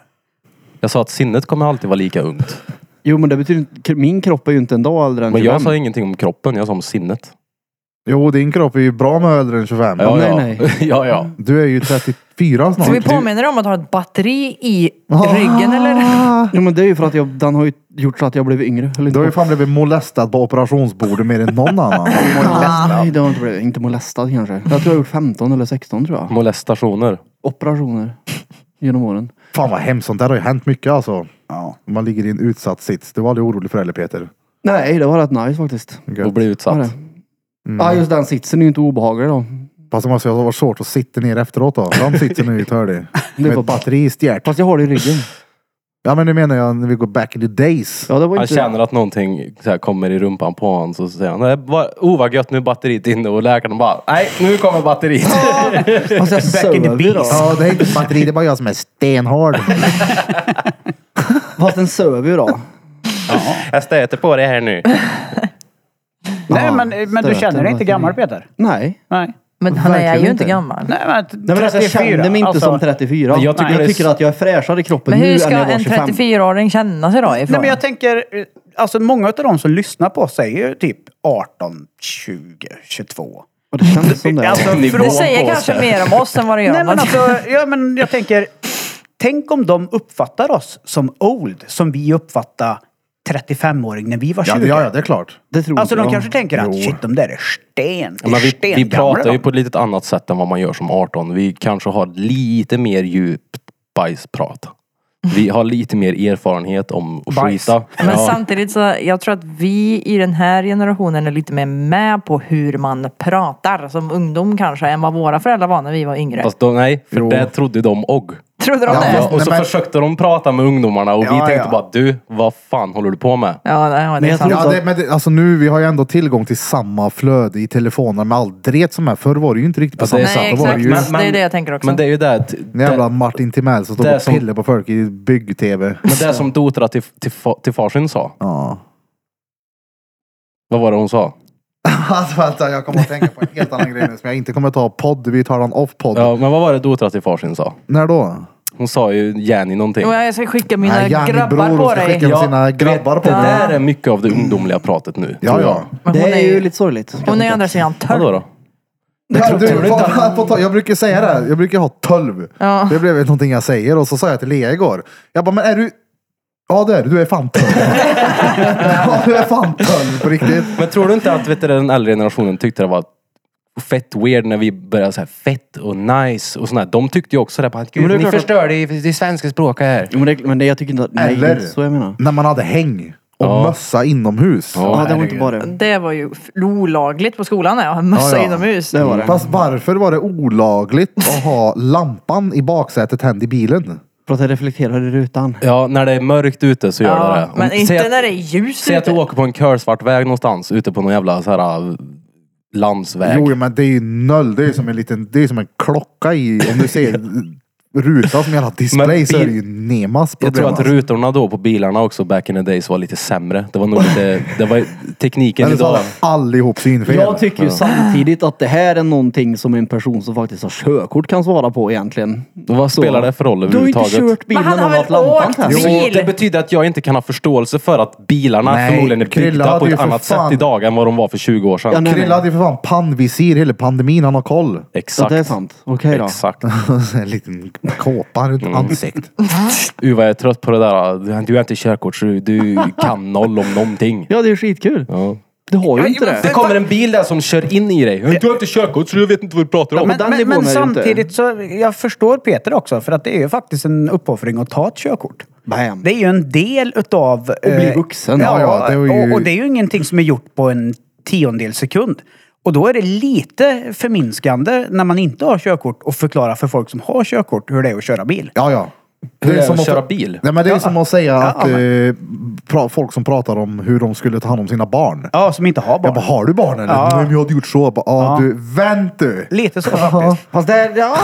Jag sa att sinnet kommer alltid vara lika ungt. Jo men det betyder inte... Min kropp är ju inte en dag äldre än Men jag 25. sa ingenting om kroppen, jag sa om sinnet. Jo, din kropp är ju bra med äldre än 25. Ja, nej, ja. nej. ja, ja. Du är ju 34 snart. Så vi påminner om att ha ett batteri i ryggen eller? Jo men det är ju för att jag, den har ju gjort så att jag blev yngre. Eller Du inte har ju fan blivit molestad på operationsbordet mer än någon annan. Nej det har jag inte blivit. Inte molestad kanske. Jag tror jag har gjort 15 eller 16 tror Mm. jag. Molestationer. Operationer. Genom åren. Fan vad hemskt, sånt där har ju hänt mycket alltså. Ja. Man ligger i en utsatt sits. Du var aldrig orolig för det Peter? Nej det var rätt nice faktiskt. Och Gött. bli Var det? utsatt. Mm. Ja just den sitsen är ju inte obehaglig då. Fast det måste ju ha varit svårt att sitta ner efteråt då. Den sitsen är ju tördig. Med var- ett batteri i stjärt. Fast jag har det i ryggen. Ja men nu menar jag när vi går back in the days. Ja, det var Han inte... känner att någonting så här, kommer i rumpan på honom så säger han "Nej, vad- oh vad gött nu är batteriet inne och läkaren bara nej nu kommer batteriet. Fast jag Back in the söv ju då. beast. Ja det är inte batteri, det är bara jag som är stenhård. Fast den söv ju då. jag stöter på det här nu. Nej, Ja, men, men du stöten känner dig inte var gammal fin. Peter? Nej. Nej. Men han är Verkligen ju inte. inte gammal. Nej, men, 34. Nej men alltså, jag känner mig inte alltså. som 34. Jag tycker jag det är- tycker att jag är fräschare i kroppen Men nu hur än ska när jag var en 25. 34-åring känna sig då? Nej, Ifrån? men jag tänker, eh, alltså många av de som lyssnar på oss är ju typ 18, 20, 22. Och det kändes som det. Alltså, Nivå. det från- på säger sig. kanske mer om oss än vad det gör Nej, om men någon. alltså, ja, men jag tänker, tänk om de uppfattar oss som old, som vi uppfattade 35-åring när vi var 20. Ja, det- ja, ja det är klart. Det tror Alltså inte de jag. kanske tänker att Jo. shit, de där är sten. Ja, men vi, stengamla vi pratar ju de. på ett litet annat sätt än vad man gör som 18. Vi kanske har lite mer djupt bajsprat. Vi har lite mer erfarenhet om att Bajs. skita. Men Ja. samtidigt så, jag tror att vi i den här generationen är lite mer med på hur man pratar som ungdom kanske än vad våra föräldrar var när vi var yngre. Fast de, nej, för Jo. det trodde de och. Trodde de Ja, det? Ja, Ja, och så men- försökte de prata med ungdomarna och vi Ja, tänkte ja. bara du, vad fan håller du på med? nej, ja, det Men är jag sant. tror- Ja, det, men det, alltså nu, vi har ju ändå tillgång till samma flöde i telefonerna med all dret som är. Förr var det ju inte riktigt på Alltså, samma det är sätt. Nej, Då var det exakt. ju Men- det är det jag tänker också. Men det är ju det, att- en jävla Martin Timell som det står och som- pillar på folk i bygg-tv. Men det som Dora till, till, fa- till farsin sa. Ja. Vad var det hon sa? Alltså, vänta, jag kommer att tänka på en helt annan grej nu som jag inte kommer att ta podd. Vi tar den off-podd. Ja, men vad var det Dora till farsin sa? När då? Hon sa ju Jenny någonting. Jo, jag ska skicka mina Nej, Janni grabbar Bror på ska dig. skicka- sina du grabbar vet, på Det det. där är mycket av det ungdomliga pratet nu. Ja, tror ja. jag. Men Det är ju lite sorgligt. hon är ju å andra sidan Vadå törr. då? Ja, du, på, på, tal- jag brukar säga det, här, jag brukar ha 12. Ja. Det blev någonting jag säger och så sa jag till Lea igår. Jag bara, men är du... Ja det är du, du är fan 12. ja, du är fan 12 på riktigt. Men tror du inte att vet du, den äldre generationen tyckte det var fett weird när vi började säga fett och nice och sånt där. De tyckte ju också det. Bara, Gud, Men det är ni klart att- förstör det, det svenska språket här. Jo, Men, det, men det, jag tycker inte att... Nej, Eller- inte så jag menar. När man hade häng och Ja. mössa inomhus. Ja, det var inte bara det. Det var ju f- olagligt på skolan när jag hade Ja, mössa ja. inomhus. Det var det. Fast varför var det olagligt att ha lampan i baksätet tänd i bilen? För att jag reflekterar i rutan. Ja, när det är mörkt ute så gör Ja, det det. Om- men säg inte att- när det är ljus Säg att du ute. åker på en körsvart väg någonstans ute på någon jävla så här äh, landsväg. Jo men det är ju noll, det är ju som en liten, det är ju som en klocka i, om du ser ruta som jävla display Men så är det bil- ju Nemas problem. jag tror att alltså. rutorna då på bilarna också back in the days var lite sämre. Det var nog lite, det var tekniken Eller så idag. har allihop synfel. Jag tycker ju samtidigt att det här är någonting som en person som faktiskt har körkort kan svara på egentligen. Vad spelar det för roll Du har ju inte överhuvudtaget? kört bil Men när han någon har har väl haft lampan åkt tänd. bil? Jo, det betyder att jag inte kan ha förståelse för att bilarna Nej, förmodligen är Krilla byggda hade på ju ett för annat fan- sätt idag än vad de var för 20 år sedan. Ja, nej, Krilla hade ju för fan pannvisir hela pandemin, han har koll. Ja, Exakt. det är sant. Okej då. Exakt. en liten kåpa runt ansiktet. U, vad jag är trött på det där. Du har inte körkort så du kan noll om någonting. Ja, det är ju skitkul. Ja. Du har ju Ja, inte men det. Det kommer en bil där som kör in i dig. Du har inte körkort så du vet inte vad du pratar om. på den Men, men, nivån men är det ju inte. samtidigt så, jag förstår Peter också, för att det är ju faktiskt en uppoffring att ta ett körkort. Bam. Det är ju en del utav... Och bli vuxen. Ja, Ja, ja, det var ju- och, och det är ju ingenting som är gjort på en tiondels sekund. Och då är det lite förminskande när man inte har körkort och förklara för folk som har körkort hur det är att köra bil. Ja, ja. Hur är det att att- köra bil? Nej, men det är som att säga att Ja, eh, pra, folk som pratar om hur de skulle ta hand om sina barn. Ja, som inte har barn. Jag bara, har du barn eller? Ja. Nej, men jag hade gjort så. Jag Bara, ah, du, vänt du! Lite så faktiskt. Fast där ja,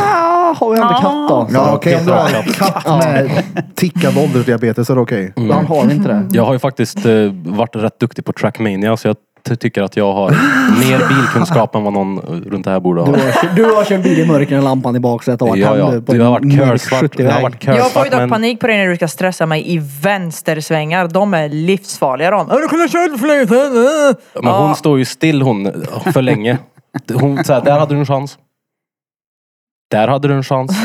har vi ändå katt då. Så. Ja, okej, om du har en katt med tickande åldersdiabetes så är det okej. Han har inte det. Jag har ju faktiskt eh, varit rätt duktig på Trackmania så jag ty- tycker att jag har mer bilkunskap än vad någon eh, runt det här borde Du ha. har, kört- du har kört bil i mörker när lampan i baksätet har Ja, ja. tänd på Det har varit en körsvart. Det har 70-väg. varit Jag får körsvart ju dock men panik på dig när du ska stressa mig i vänstersvängar. De är livsfarliga de. "Ja, Du kunde ha kört för länge sedan. äh." Men hon Ja. står ju still hon för länge. Hon säger, där hade du en chans. Där hade du en chans.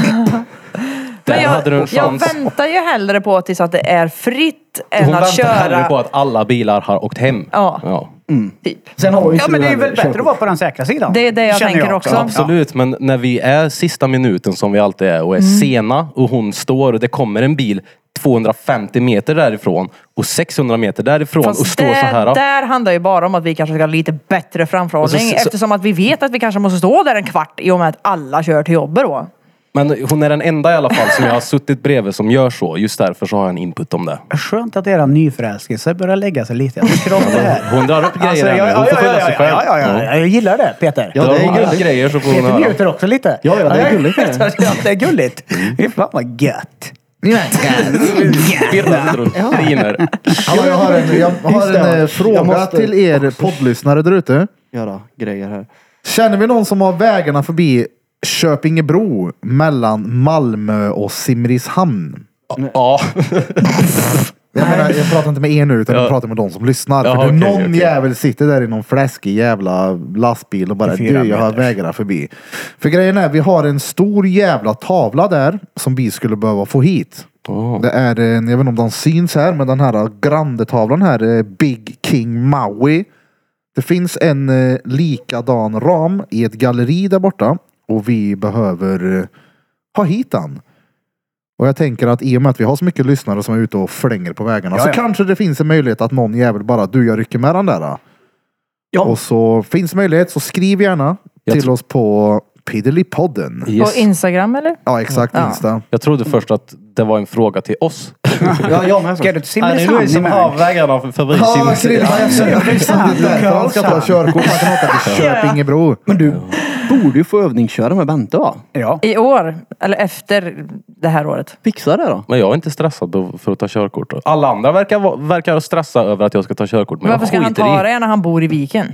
Där Men jag, hade du en jag chans. väntar ju hellre på tills att det är fritt än Hon att väntar hellre köra. på att alla bilar har åkt hem. Ja. Typ. Sen har ju Ja, inte men du det är heller väl bättre att vara på den säkra sidan. Det är det jag Känner tänker också. Absolut, men när vi är sista minuten som vi alltid är och Mm. är sena och hon står och det kommer en bil 250 meter därifrån och 600 meter därifrån och står där, så här. där handlar ju bara om att vi kanske ska ha lite bättre framförhållning Alltså, så- så- eftersom att vi vet att vi kanske måste stå där en kvart i och med att alla kör till jobbet då. Men hon är den enda i alla fall som jag har suttit bredvid som gör så. Just därför så har jag en input om det. Skönt att era nyförälskelse börjar lägga sig lite. Jag tycker om det här. Hon drar upp grejer Alltså, här jag, nu. Hon ja, får ja, skylla ja, sig ja, själv. ja, ja, ja, jag gillar det Peter. Ja, det är Drar upp gulligt. grejer så får hon Peter höra. njuter också lite. Ja, ja, det är gulligt. Mm. Ja, det är gulligt. Det är fan vad gött. Virrat runt. Griner. Hallå, jag har en, jag har det, en eh, jag fråga måste- till er poddlyssnare där ute. Göra grejer här. Känner vi någon som har vägarna förbi Köpingebro mellan Malmö och Simrishamn? Ja. Jag, menar, jag pratar inte med er nu utan jag pratar med de som lyssnar. Jaha, För det, okej, någon okej. jävel sitter där i någon fläskig jävla lastbil och bara Till fyra du jag har meter." vägarna förbi. För grejen är vi har en stor jävla tavla där som vi skulle behöva få hit. Det är en, jag vet inte om den syns här, men den här grandetavlan här, eh, Big King Maui. Det finns en eh, likadan ram i ett galleri där borta och vi behöver eh, ha hit den. Och jag tänker att i och med att vi har så mycket lyssnare som är ute och flänger på vägarna så ja. kanske det finns en möjlighet att någon jävel bara, du jag rycker med den där. då." Ja. Och så finns möjlighet så skriv gärna Jag till tro- oss på Piddelipodden. Yes. På Instagram eller? Ja exakt, Ja. Insta. Jag trodde först att det var en fråga till oss. Ja, jag med Ska du först. till Simrishamn? i Mälaren? vägarna förbi Ja, Krille, jag ser det. Det är därför Han ska ta körkort. Han kan åka till Köpingebro. Men du borde ju få övningsköra med Bente va? Ja. I år, eller efter det här året. Fixa det då. Men jag är inte stressad då för att ta körkort. Alla andra verkar, va- verkar stressa över att jag ska ta körkort. Men Varför ska jag han skiter ta i. det när han bor i Viken?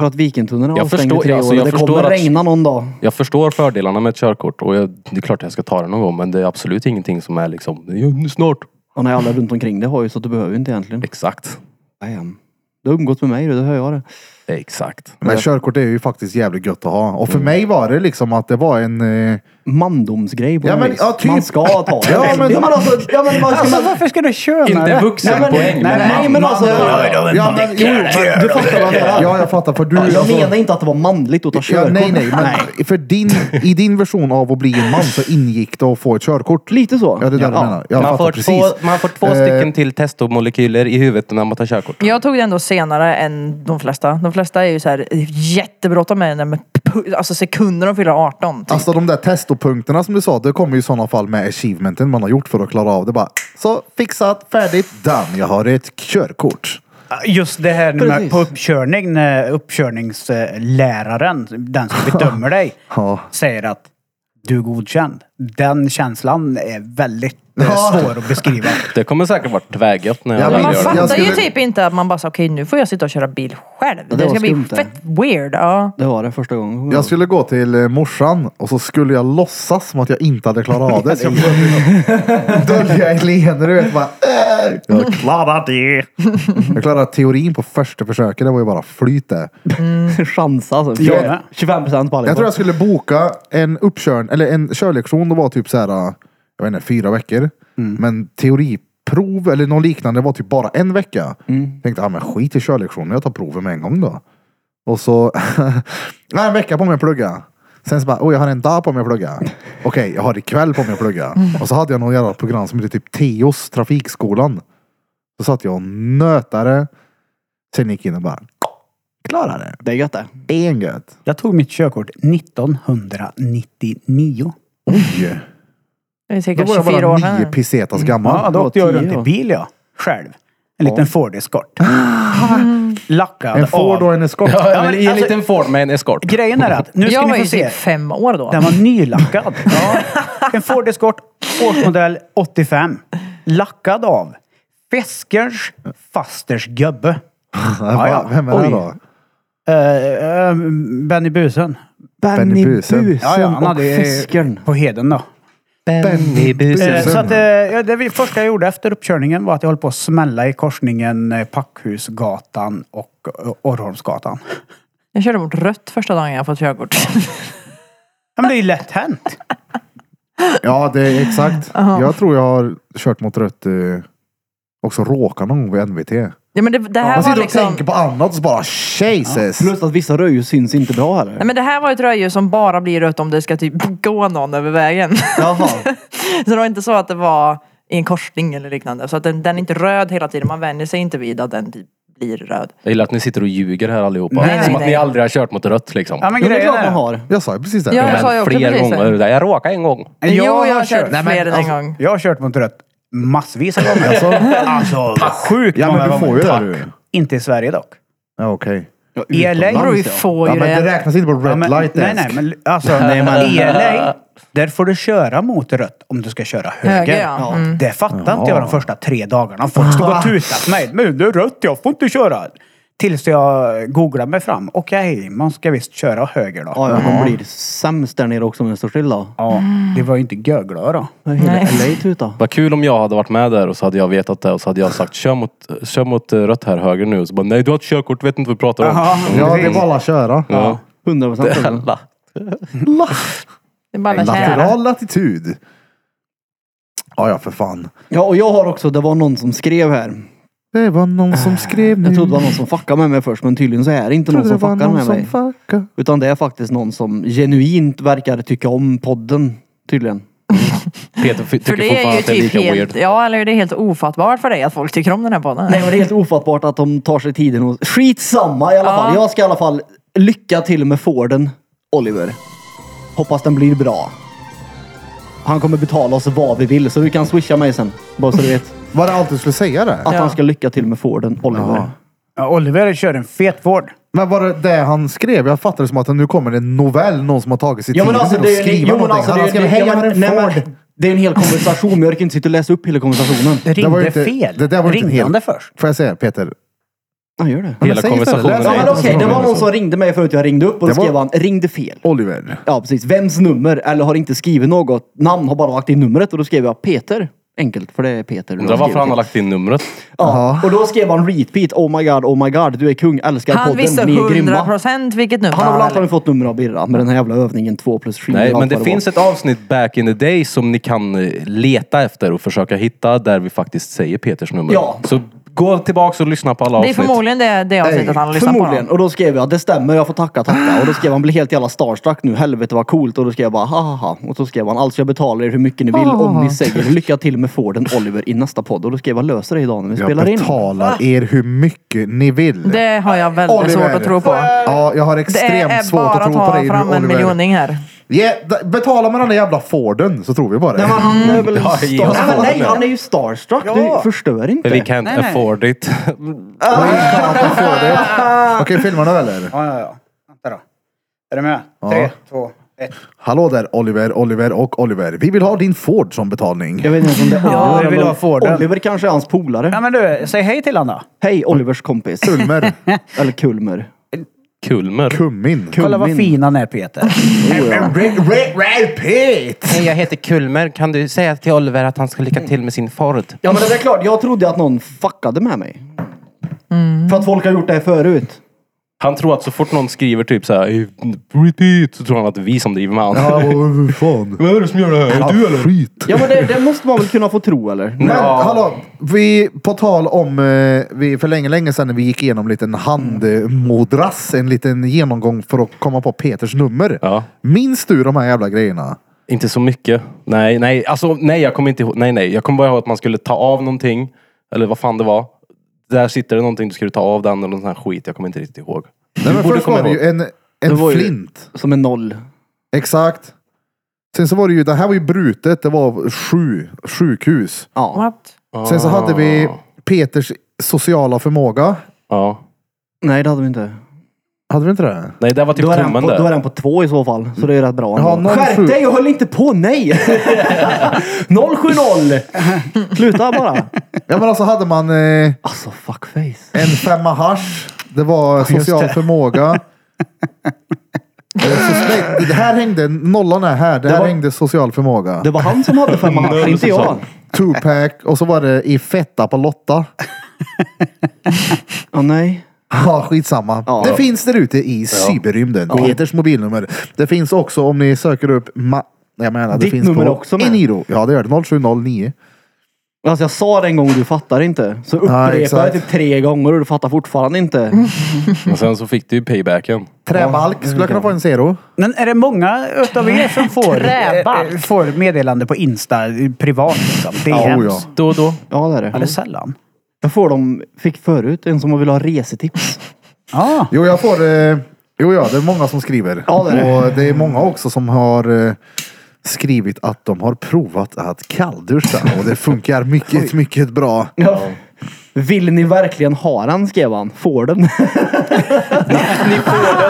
För att Vikentunneln är Jag avstängd i förstår- tre år. alltså, och jag det förstår kommer att- regna någon dag. Jag förstår fördelarna med ett körkort och jag, det är klart att jag ska ta det någon gång. Men det är absolut ingenting som är liksom, "Ja, nu snart. Och när alla runt omkring det har ju så du behöver ju inte egentligen. Exakt. Damn. Du har umgått med mig du, det hör jag det. Exakt. Men körkort är ju faktiskt jävligt gött att ha. Och Mm. för mig var det liksom att det var en... Eh, Mandomsgrej på Ja, något men, vis. ja, typ. Man ska ta det. Ja, men- alltså, ja, men vad ska Alltså man... varför ska du köra Inte vuxenpoäng. Nej, men- nej, men alltså... ja, men, jo, men, Du fattar vad jag menar. ja, jag fattar. För du... Jag alltså- menar inte att det var manligt att ta Ja, körkort. nej, nej, men för din, i din version av att bli en man så ingick det att få ett körkort. Lite så. Ja, det är det jag menar. Jag man, fattar får precis. två, man får två Eh, stycken till testomolekyler i huvudet när man tar körkort. Jag tog det ändå senare än de flesta. De flesta är ju så här jättebråttom med det, men pu- alltså sekunder de fyller 18. Typ. Alltså de där testopunkterna som du sa, det kommer ju i sådana fall med achievementen man har gjort för att klara av det. Bara, så fixat, färdigt, done. Jag har ett körkort. Just det här med Precis. på uppkörning, när uppkörningsläraren, den som bedömer dig, Ja. säger att du är godkänd. Den känslan är väldigt eh, Ja. svår att beskriva. Det kommer säkert vara tvärgött när Ja, men jag väl Man jag gör det. fattar ju skulle- typ inte att man bara sa okej nu får jag sitta och köra bil själv. det Det, var ska bli skumt det. fett weird. Ja. Det var det första gången. Jag skulle gå till eh, morsan och så skulle jag låtsas som att jag inte hade klarat av det. Så jag försökte dölja ett leende, du vet. Bara, "Äh, jag klarar det. Jag klarade teorin på första försöket. Det var ju bara flyt det. chansa alltså. Jag med. 25 procent på Jag allihopa. tror jag skulle boka en uppkörning, eller en körlektion. Det var typ så här, eh, jag vet inte, fyra veckor. Men teoriprov eller något liknande var typ bara en vecka. Tänkte, ja men skit i körlektionen. Jag tar proven med en gång då. Och så, jag har en vecka på mig att plugga. Sen så bara, oj jag har en dag på mig att plugga. Okej, jag har ikväll på mig att plugga. Och så hade jag något jävla program som hette typ Teos Trafikskolan. Så satt jag och nötade. Sen gick jag in och bara, klarade det. Det är gött det. Det är en gött. Jag tog mitt körkort 1999. Oj! Det är Då cirka var jag 24 år Mm. bara nio sedan. pesetas gammal. Ja, då åkte tio, jag runt i ja. bil jag. Själv. En liten Ford Escort. Lackad En Ford av. och en Escort. Ja, men men I en alltså- liten Ford med en eskort. Grejen är att, nu ska Jag var ni ju få se. typ fem år då. Den var nylackad. Ja. En Ford Escort, årsmodell 85. Lackad av Fiskers fasters gubbe. Va? ja. Vem är Oj. det då? Eh, eh, Benny Busen. Benny Busen. Ja, ja, han och hade eh, fiskaren. på heden då. Benny Eh, Busen. Så att, eh, ja, det vi- första jag gjorde efter uppkörningen var att jag höll på att smälla i korsningen eh, Packhusgatan och eh, Orrholmsgatan. Jag körde mot rött första dagen jag fått körkort. Ja, men det är ju lätt hänt. Ja, det är exakt. Jag tror jag har kört mot rött. Eh, också råkat någon gång vid NVT. Ja, men det, det här Man var sitter och liksom... tänker på annat och så bara Jesus. Plus att vissa rödljus syns inte bra heller. Nej men det här var ett rödljus som bara blir rött om det ska typ gå någon över vägen. Jaha. Så det var inte så att det var i en korsning eller liknande. Så att den, den är inte röd hela tiden. Man vänjer sig inte vid att den typ blir röd. Jag gillar att ni sitter och ljuger här allihopa. Nej, Som nej, att nej. ni aldrig har kört mot rött liksom. Ja, men Jo, det är grejen klart man är... har. Jag sa ju precis det. Ja, jag sa ju också fler precis gånger. det. Det. där. Jag råkade en gång. Jo, jag har kört Nej, men fler än en alltså, gång. Jag har kört mot rött massvis av gånger. Alltså, vad sjukt Ja, många men du får gånger. ju det. Tack. du. Inte i Sverige dock. Ja, okej. I E LA Utomlands, Bror, vi ja. får Ja, ju men det det. räknas inte på red Ja, men, light nej, nej, desk. men alltså i LA, där får du köra mot rött om du ska köra höger. Höger, ja. Mm. Det fattade inte jag de första tre dagarna. Folk stod och tutade på mig. Men det är rött, jag får inte köra. Tills jag googlade mig fram. Okej, man ska visst köra höger då. Ja, ja, de blir sämst där nere också om den står still då. Ja, det var ju inte göglö då. Hela typ Nej. LA tuta. Vad kul om jag hade varit med där och så hade jag vetat det och så hade jag sagt kör mot, kör mot eh, rött här höger nu. Så bara nej du har ett körkort, vet inte vad vi pratar om. Mm. Jaha. Ja, det är bara att köra. Ja. 100 procent. alltså. Jävla. Det är bara alla kära. Lateral latitud. Ja, ja, för fan. Ja, och jag har också, det var någon som skrev här. Det var någon Ah. som skrev nu. Jag trodde det var någon som fuckade med mig först, men tydligen så är det inte någon som fuckar med mig. fuckade. Utan det är faktiskt någon som genuint verkar tycka om podden. Tydligen. Peter f- tycker För det fortfarande är ju att det är typ lika helt, weird. ja, eller det är helt ofattbart för dig att folk tycker om den här podden. Nej, men det är helt ofattbart att de tar sig tiden och... Skitsamma i alla fall. Ja. Jag ska i alla fall lycka till med Forden, Oliver. Hoppas den blir bra. Han kommer betala oss vad vi vill, så du kan swisha mig sen. Bara så du vet. Var det allt du skulle säga det? Att Ja. han ska lycka till med Forden, Oliver. Ja. Ja, Oliver kör en fet vård. Men var det det han skrev? Jag fattar det som att nu kommer det en novell. Någon som har tagit sig Ja men tiden alltså till det att är ju skriva jo, men någonting. alltså, det, han har är- skrivit nej, jag har men- en nej, Ford. men, det är en hel konversation, men jag orkar inte sitta och läsa upp hela konversationen. Det ringde var ju inte- fel. det där var ju inte ringde helt- han det först? Får jag säga Peter? Ja, gör det. men Hela säg istället, konversationen. läs- Ja, Nej, men det okej, var det så var roligt någon som ringde mig förut, jag ringde upp och då Det var- skrev han ringde fel. Oliver. Ja precis, vems nummer? Eller har inte skrivit något namn, har bara lagt in numret och då skrev jag Peter. Enkelt, för det är Peter. Undrar varför han har lagt in numret. Mm. ja. Och då skrev han repeat, oh my god, oh my god, du är kung, älskar Han podden, visste ni är grymma. 100% vilket nummer Han har väl hade. antagligen fått nummer av Birra med den här jävla övningen 2 plus 4. Nej, men det finns ett avsnitt back in the day som ni kan eh, leta efter och försöka hitta där vi faktiskt säger Peters nummer. Ja. Så gå tillbaks och lyssna på alla Det är avsnitt. förmodligen det, det avsnittet han har lyssnat på. Förmodligen. Och då skrev jag, det stämmer, jag får tacka, tacka. Och då skrev han, blir helt jävla starstruck nu, helvete vad coolt. Och då skrev jag bara, hahaha. Och så skrev han, alltså jag betalar er hur mycket ni vill om ni säger lycka till med Forden Oliver i nästa podd. Och då skrev jag, löser det idag när vi Jag spelar in. betalar er hur mycket ni vill. Det har jag väldigt Oliver. svårt att tro på. Ja, jag har Det extremt är svårt bara att att tro på dig ta nu fram en Oliver. miljoning här. Yeah, d- betala med den där jävla Forden så tror vi bara Nej, men det. han är väl Ja, starstruck. ja. Mm. Nej, men nej, han är ju starstruck. Ja. Du förstör inte. Men vi can't Nej, nej. afford it. Okej, filma nu eller? Ja, ja, ja. Vänta då. Är du med? Tre, två, ett. Hallå där Oliver, Oliver och Oliver. Vi vill ha din Ford som betalning. Jag vet inte om det är Ja, Oliver. jag vill eller- ha Forden. Oliver kanske är hans polare. Ja, men du, säg hej till honom då. Hej Olivers kompis. Ulmer, Eller Kulmer. Kulmer. Kummin. Kolla vad fin han är Peter. Repeat! Hej, jag heter Kulmer. Kan du säga till Oliver att han ska lycka till med sin Ford? Ja men det är klart, jag trodde att någon fuckade med mig. För att folk har gjort det här förut. Han tror att så fort någon skriver typ såhär repeat så tror han att det är vi som driver med honom. Ja, vad fan. Vem är det som gör det här? Du eller? Skit. Ja men det, det måste man väl kunna få tro eller? Men hallå, vi, på tal om, eh, vi, för länge, länge sedan när vi gick igenom en liten handmodrass, en liten genomgång för att komma på Peters nummer. Ja. Minns du de här jävla grejerna? Inte så mycket. Nej, nej, alltså nej, jag kommer inte ihåg. Nej, nej, jag kommer bara ihåg att man skulle ta av någonting. Eller vad fan det var. Där sitter det någonting, du skulle ta av den eller någon sån här skit. Jag kommer inte riktigt ihåg. Nej, men borde först komma var det ju ihåg. en, Det en var ju- flint. Som en noll. Exakt. Sen så var det ju, det här var ju brutet, det var sju, sjukhus. Ja. What? Ah. Sen så hade vi Peters sociala förmåga. Ja. Nej det hade vi inte. Hade vi inte det? Nej, det var typ Då är, den tummen på, då är där. den på två i så fall. Så det är rätt bra. Ja, ändå. noll sju. Skärp dig och håll inte på, nej! 070! Sluta bara. Ja men alltså hade man eh, Alltså fuckface. en femma hasch. Det var social förmåga. Eh, so- nej, det här hängde, nollan är här, det, här var- hängde social förmåga. Det var han som hade fem matcher, inte jag. Tupac och så var det i fetta på Lotta. Ja, nej. Ja, skitsamma. Ja. Det finns där ute i cyberrymden. Peters mobilnummer. Det finns också om ni söker upp ma- jag menar, det Ditt finns nummer på också med? Eniro. Ja, det gör det. 0709. Alltså jag sa det en gång och du fattar inte. Så upprepade jag exakt. Mm. det typ tre gånger och du fattar fortfarande inte. Och sen så fick du ju paybacken. Träbalk skulle jag kunna få en zero. Men är det många utav er som får, Träbalk. eh, får meddelande på Insta eh, privat liksom? Ja, oh DMs? ja. Då och då. Ja det är det. Eller sällan? Jag får dem, fick förut en som ville ha resetips. Ah, Jo, jag får... Eh, jo, ja, det är många som skriver. Ja, det är det. Och det är många också som har eh, skrivit att de har provat att kallduscha och det funkar mycket, mycket bra. Vill ni verkligen ha den skrev han. Får den. ni, ni får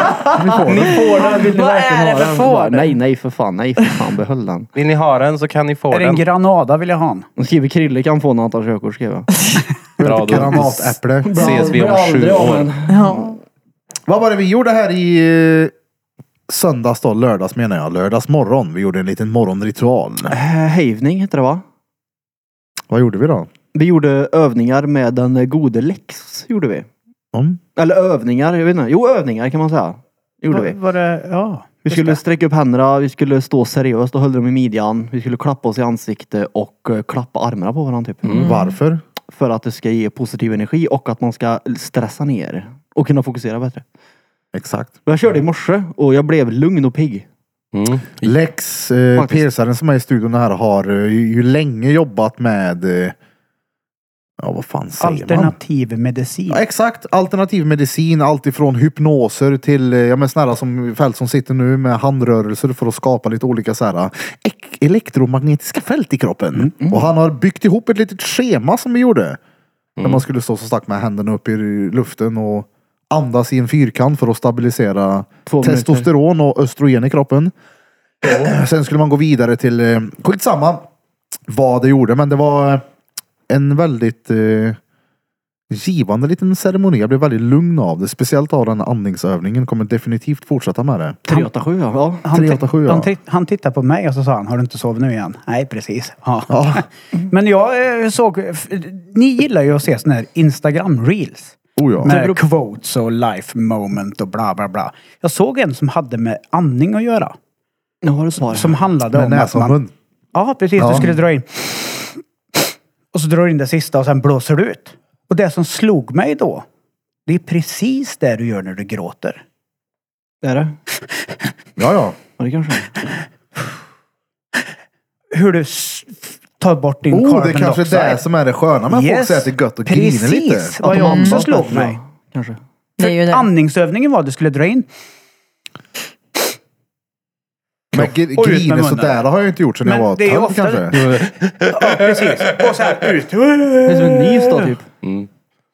den. Ni får den. Vill ni Vad verkligen är det ha för den? får Bara, den? Nej, nej för fan. Nej för fan. Behåll den. Vill ni ha den så kan ni få är det en den. Granada vill jag ha en. De skriver Krille kan få när han tar körkort skrev jag. Bra, då Granatäpple. ses vi om sju år. Mm. Ja. Vad var det vi gjorde här i eh, söndags då? Lördags menar jag. Lördags morgon. Vi gjorde en liten morgonritual. Eh, Hejvning heter det va? Vad gjorde vi då? Vi gjorde övningar med den gode Lex. Gjorde vi. Mm. Eller övningar. Jag vet inte. Jo övningar kan man säga. Gjorde vi. Var det, ja. Vi skulle sträcka upp händerna, vi skulle stå seriöst och höll dem i midjan. Vi skulle klappa oss i ansikte och eh, klappa armarna på varandra typ. Mm. Varför? För att det ska ge positiv energi och att man ska stressa ner. Och kunna fokusera bättre. Exakt. Jag körde i morse och jag blev lugn och pigg. Mm. Lex eh, Faktiskt. Persaren som är i studion här har eh, ju, ju länge jobbat med eh, Ja vad fan säger man? Alternativ medicin. Ja, exakt, alternativ medicin, allt ifrån hypnoser till, eh, ja men snälla som fält som sitter nu med handrörelser för att skapa lite olika så här eh, ek- elektromagnetiska fält i kroppen. Mm, Och han har byggt ihop ett litet schema som vi gjorde. Mm. Där man skulle stå så starkt med händerna upp i luften och andas i en fyrkant för att stabilisera Två minuter. testosteron och östrogen i kroppen. Sen skulle man gå vidare till, eh, skitsamma vad det gjorde, men det var eh, en väldigt eh, givande liten ceremoni. Jag blev väldigt lugn av det. Speciellt av den här andningsövningen. Kommer definitivt fortsätta med det. 387 ja. ja. Han, 387, ja. han, tri- han tittade på mig och så sa han, har du inte sovit nu igen? Nej, precis. Ja. Men jag eh, såg, f- ni gillar ju att se sådana här Instagram reels. Oh ja. Med quotes och life moment och bla bla bla. Jag såg en som hade med andning att göra. Nu har du svar. Som handlade Med om att näsa och man... mun. Ja, precis. Du skulle dra in. Och så drar du in det sista och sen blåser du ut. Och det som slog mig då, det är precis det du gör när du gråter. Är det? Ja, ja. Ja det kanske är. Hur du s- f- tar bort din Oh, det carbon är kanske dioxide. det som är det sköna med folk säger att det är gött att grina precis. lite. Vad Att de jag också andas slog bättre, mig. ja. Kanske. Det är ju det. Andningsövningen var att du skulle dra in. Men gr- Och ut med griner munnen. sådär har jag inte gjort sedan jag Men var det är tönt ofta- kanske. Ja, precis. Och så här ut. Det är som en nys då typ.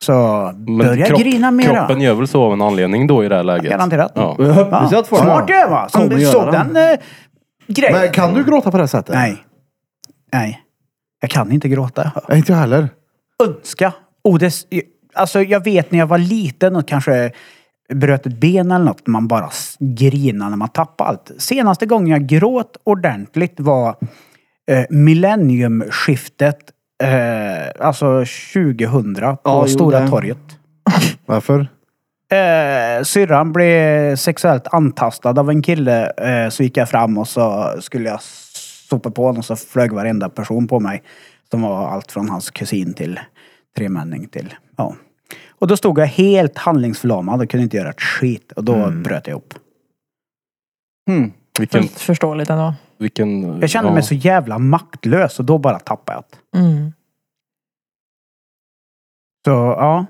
Så Men börja kropp- grina mera. Kroppen gör väl så av en anledning då i det här läget. Garanterat. Ja. Och jag hoppas ju att folk Smart det va? Som kommer du göra såg den. den eh, grejen. Men kan du gråta på det här sättet? Nej. Nej. Jag kan inte gråta. Nej, inte jag heller. Önska. Oh, det, s- alltså jag vet när jag var liten och kanske bröt ett ben eller något. Man bara s- grinade när man tappade allt. Senaste gången jag gråt ordentligt var eh, millenniumskiftet. Eh, alltså 2000 på Ja, jo, Stora det- torget. Varför? Eh, syrran blev sexuellt antastad av en kille. Eh, så gick jag fram och så skulle jag sopa på honom och så flög varenda person på mig. Som var allt från hans kusin till tremänning till, ja. Och då stod jag helt handlingsförlamad och kunde inte göra ett skit. Och då Mm. bröt jag ihop. Hmm. Vilken, Förståeligt ändå. vilken, Jag kände ja. mig så jävla maktlös och då bara tappade jag det. Mm. Så ja.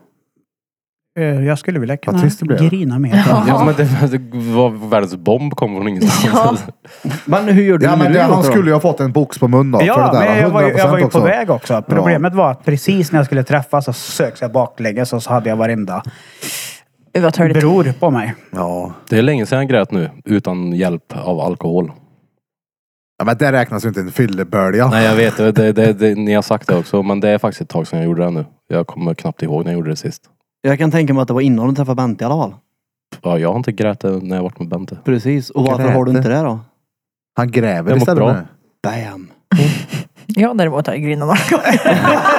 Eh, jag skulle vilja kunna trist det blev. grina mer. Ja, men det, det var världens bomb kom från ingenstans. Ja. Men hur gör du Ja, när men du det, han gråter då? skulle ju ha fått en box på munnen då. Ja, för det där, men jag var, ju, jag var ju 100% på också. väg också. Problemet var att precis när jag skulle träffas så söks jag baklänges och så hade jag varenda Gud, Vad törligt. bror på mig. Ja. Det är länge sedan jag grät nu, utan hjälp av alkohol. ja, men det räknas ju inte en fyllebölja. Nej jag vet, det, det, det, det, ni har sagt det också, men det är faktiskt ett tag sedan jag gjorde det nu. Jag kommer knappt ihåg när jag gjorde det sist. Jag kan tänka mig att det var innan du träffade Bente i alla fall. Ja, jag har inte grät det när jag varit med Bente. Precis. Och varför Grät har du det. inte det då? Han gräver Jag mår istället bra. nu. Bam. Jag däremot har jag grinat några gånger. Eh,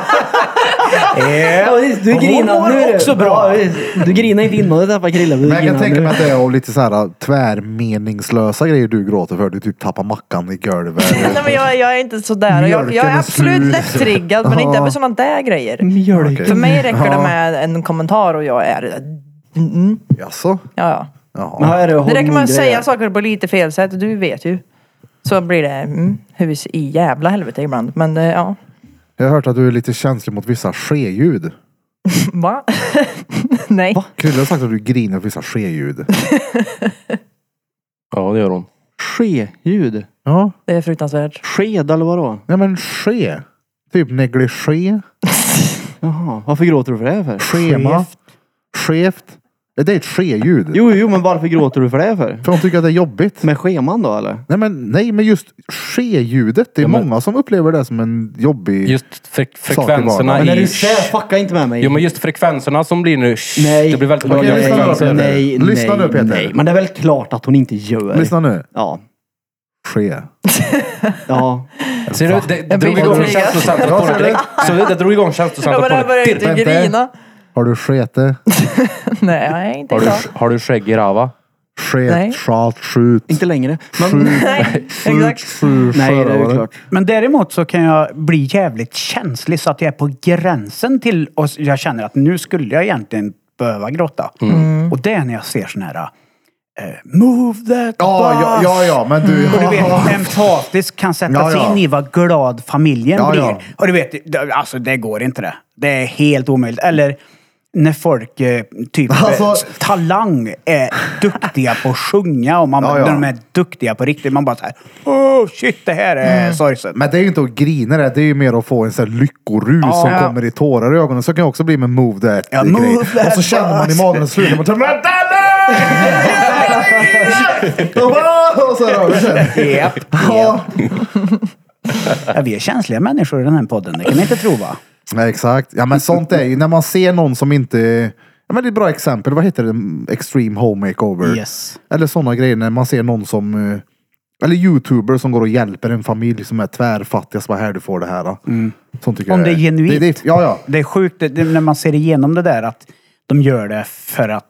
Ja, visst, du Hon mår du. också bra. Ja, visst. du grinar inte innan du träffar Krille. men du Men jag kan grinar tänka nu. mig att det är av lite så här äh, tvärmeningslösa grejer du gråter för. Du typ tappar mackan i golvet. Nej, men jag, jag är inte sådär. Jag, jag Mjölken är är absolut slut. lättriggad men inte över sådana där grejer. Mjölk. Okej. För mig räcker det med en kommentar och jag är... Mm, Jaså? ja, ja. Men Jaha. här är det Det räcker med att hormongrejer. säga saker på lite fel sätt. Du vet ju. Så blir det mm, hus i jävla helvete ibland. Men eh, ja. Jag har hört att du är lite känslig mot vissa skeljud. Va? Nej. Krille har sagt att du grinar för vissa skeljud. Ja, det gör hon. Ske-ljud. Ja, Det är fruktansvärt. Sked eller vadå? nej men ske. Typ negligé. Jaha, varför gråter du för det för? Schema. Skevt. Det är ett skeljud. Jo, jo, men varför gråter du för det för? För de tycker att det är jobbigt. Med scheman då eller? Nej men, nej, men just ske-ljudet. Det är Ja, men- många som upplever det som en jobbig... Just frek Saker bara. frekvenserna Men är i... du sär, fucka inte med mig. Jo men just frekvenserna som blir nu... nej. Det blir väldigt nej, höga lyssna nu, frekvenser. Peter. nej, Lyssna nej, nu, Peter. Nej, men det är väl klart att hon inte gör. Lyssna nu. Ja. Ske. ja. Ser du? Det, det Jag blir drog igång intrigad. känslocentret på dig direkt. Så det, det drog igång Ja, känslocentret men på jag dig. börjar inte Direkt. grina. Har du skete? Nej, jag är inte Har du, klar. har du skägg i rava? Sket, Nej. schalt, skjut. Inte längre. Men, Skjut, Nej, skjut, exakt. skjut. nej, det är ju förövare. klart. Men däremot så kan jag bli jävligt känslig så att jag är på gränsen till och jag känner att nu skulle jag egentligen behöva gråta. Mm. Och det är när jag ser sån här eh, Move that Ja, bus. ja, ja, ja, men du... Mm. Och du vet, empatisk kan sätta Ja, ja. sig in i vad glad familjen Ja, blir. ja. Och du vet, det- alltså det går inte det. Det är helt omöjligt. Eller när folk, eh, typ, eh, Alltså- s- talang är duktiga på att sjunga och man, Ja, ja. när de är duktiga på riktigt. Man bara såhär, oh shit det här är sorgset. Mm. Men det är ju inte att grina det, det är ju mer att få en sån här lyckorus Ja. som Ja. kommer i tårar i ögonen. Så kan jag också bli med move that Ja, grej. move that Och så känner man i bus. magen och slutar man tömma Och så rör det sig. Japp, Ja. Ja, vi är känsliga människor i den här podden, det kan ni inte tro va? Ja, exakt. Ja, men sånt är ju när man ser någon som inte... Ja, men det är ett bra exempel. Vad heter det? Extreme Home Makeover. Yes. Eller sådana grejer när man ser någon som... eh, Eller youtuber som går och hjälper en familj som är tvärfattig. Så bara, här du får det här. då." Sånt tycker Mm. Om jag det är genuint. ja, ja. Det är sjukt det, det, när man ser igenom det där att de gör det för att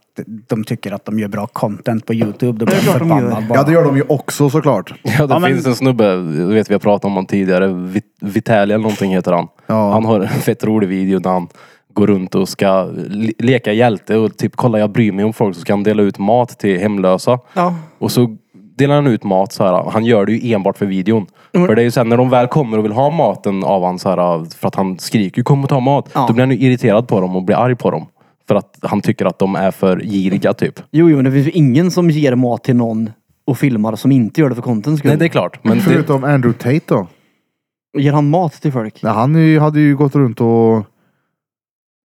de tycker att de gör bra content på Youtube. Då blir jag klart de förbannad bara. Ja, det gör de ju också såklart. Ja, det Ja, men- finns en snubbe, jag vet vi har pratat om honom tidigare, Vit- Vitali eller någonting heter han. Ja. Han har en fett rolig video där han går runt och ska le- leka hjälte och typ kolla jag bryr mig om folk så ska han dela ut mat till hemlösa. Ja. Och så delar han ut mat så här. Han gör det ju enbart för videon. För det är ju sen när de väl kommer och vill ha maten av han så här, för att han skriker ju kom och ta mat. Ja. Då blir han ju irriterad på dem och blir arg på dem. För att han tycker att de är för giriga typ. Jo, jo, men det finns ju ingen som ger mat till någon och filmar som inte gör det för contents skull. Nej det är klart. Men det, Förutom Andrew Tate då. Ger han mat till folk? Ja, han ju- hade ju gått runt och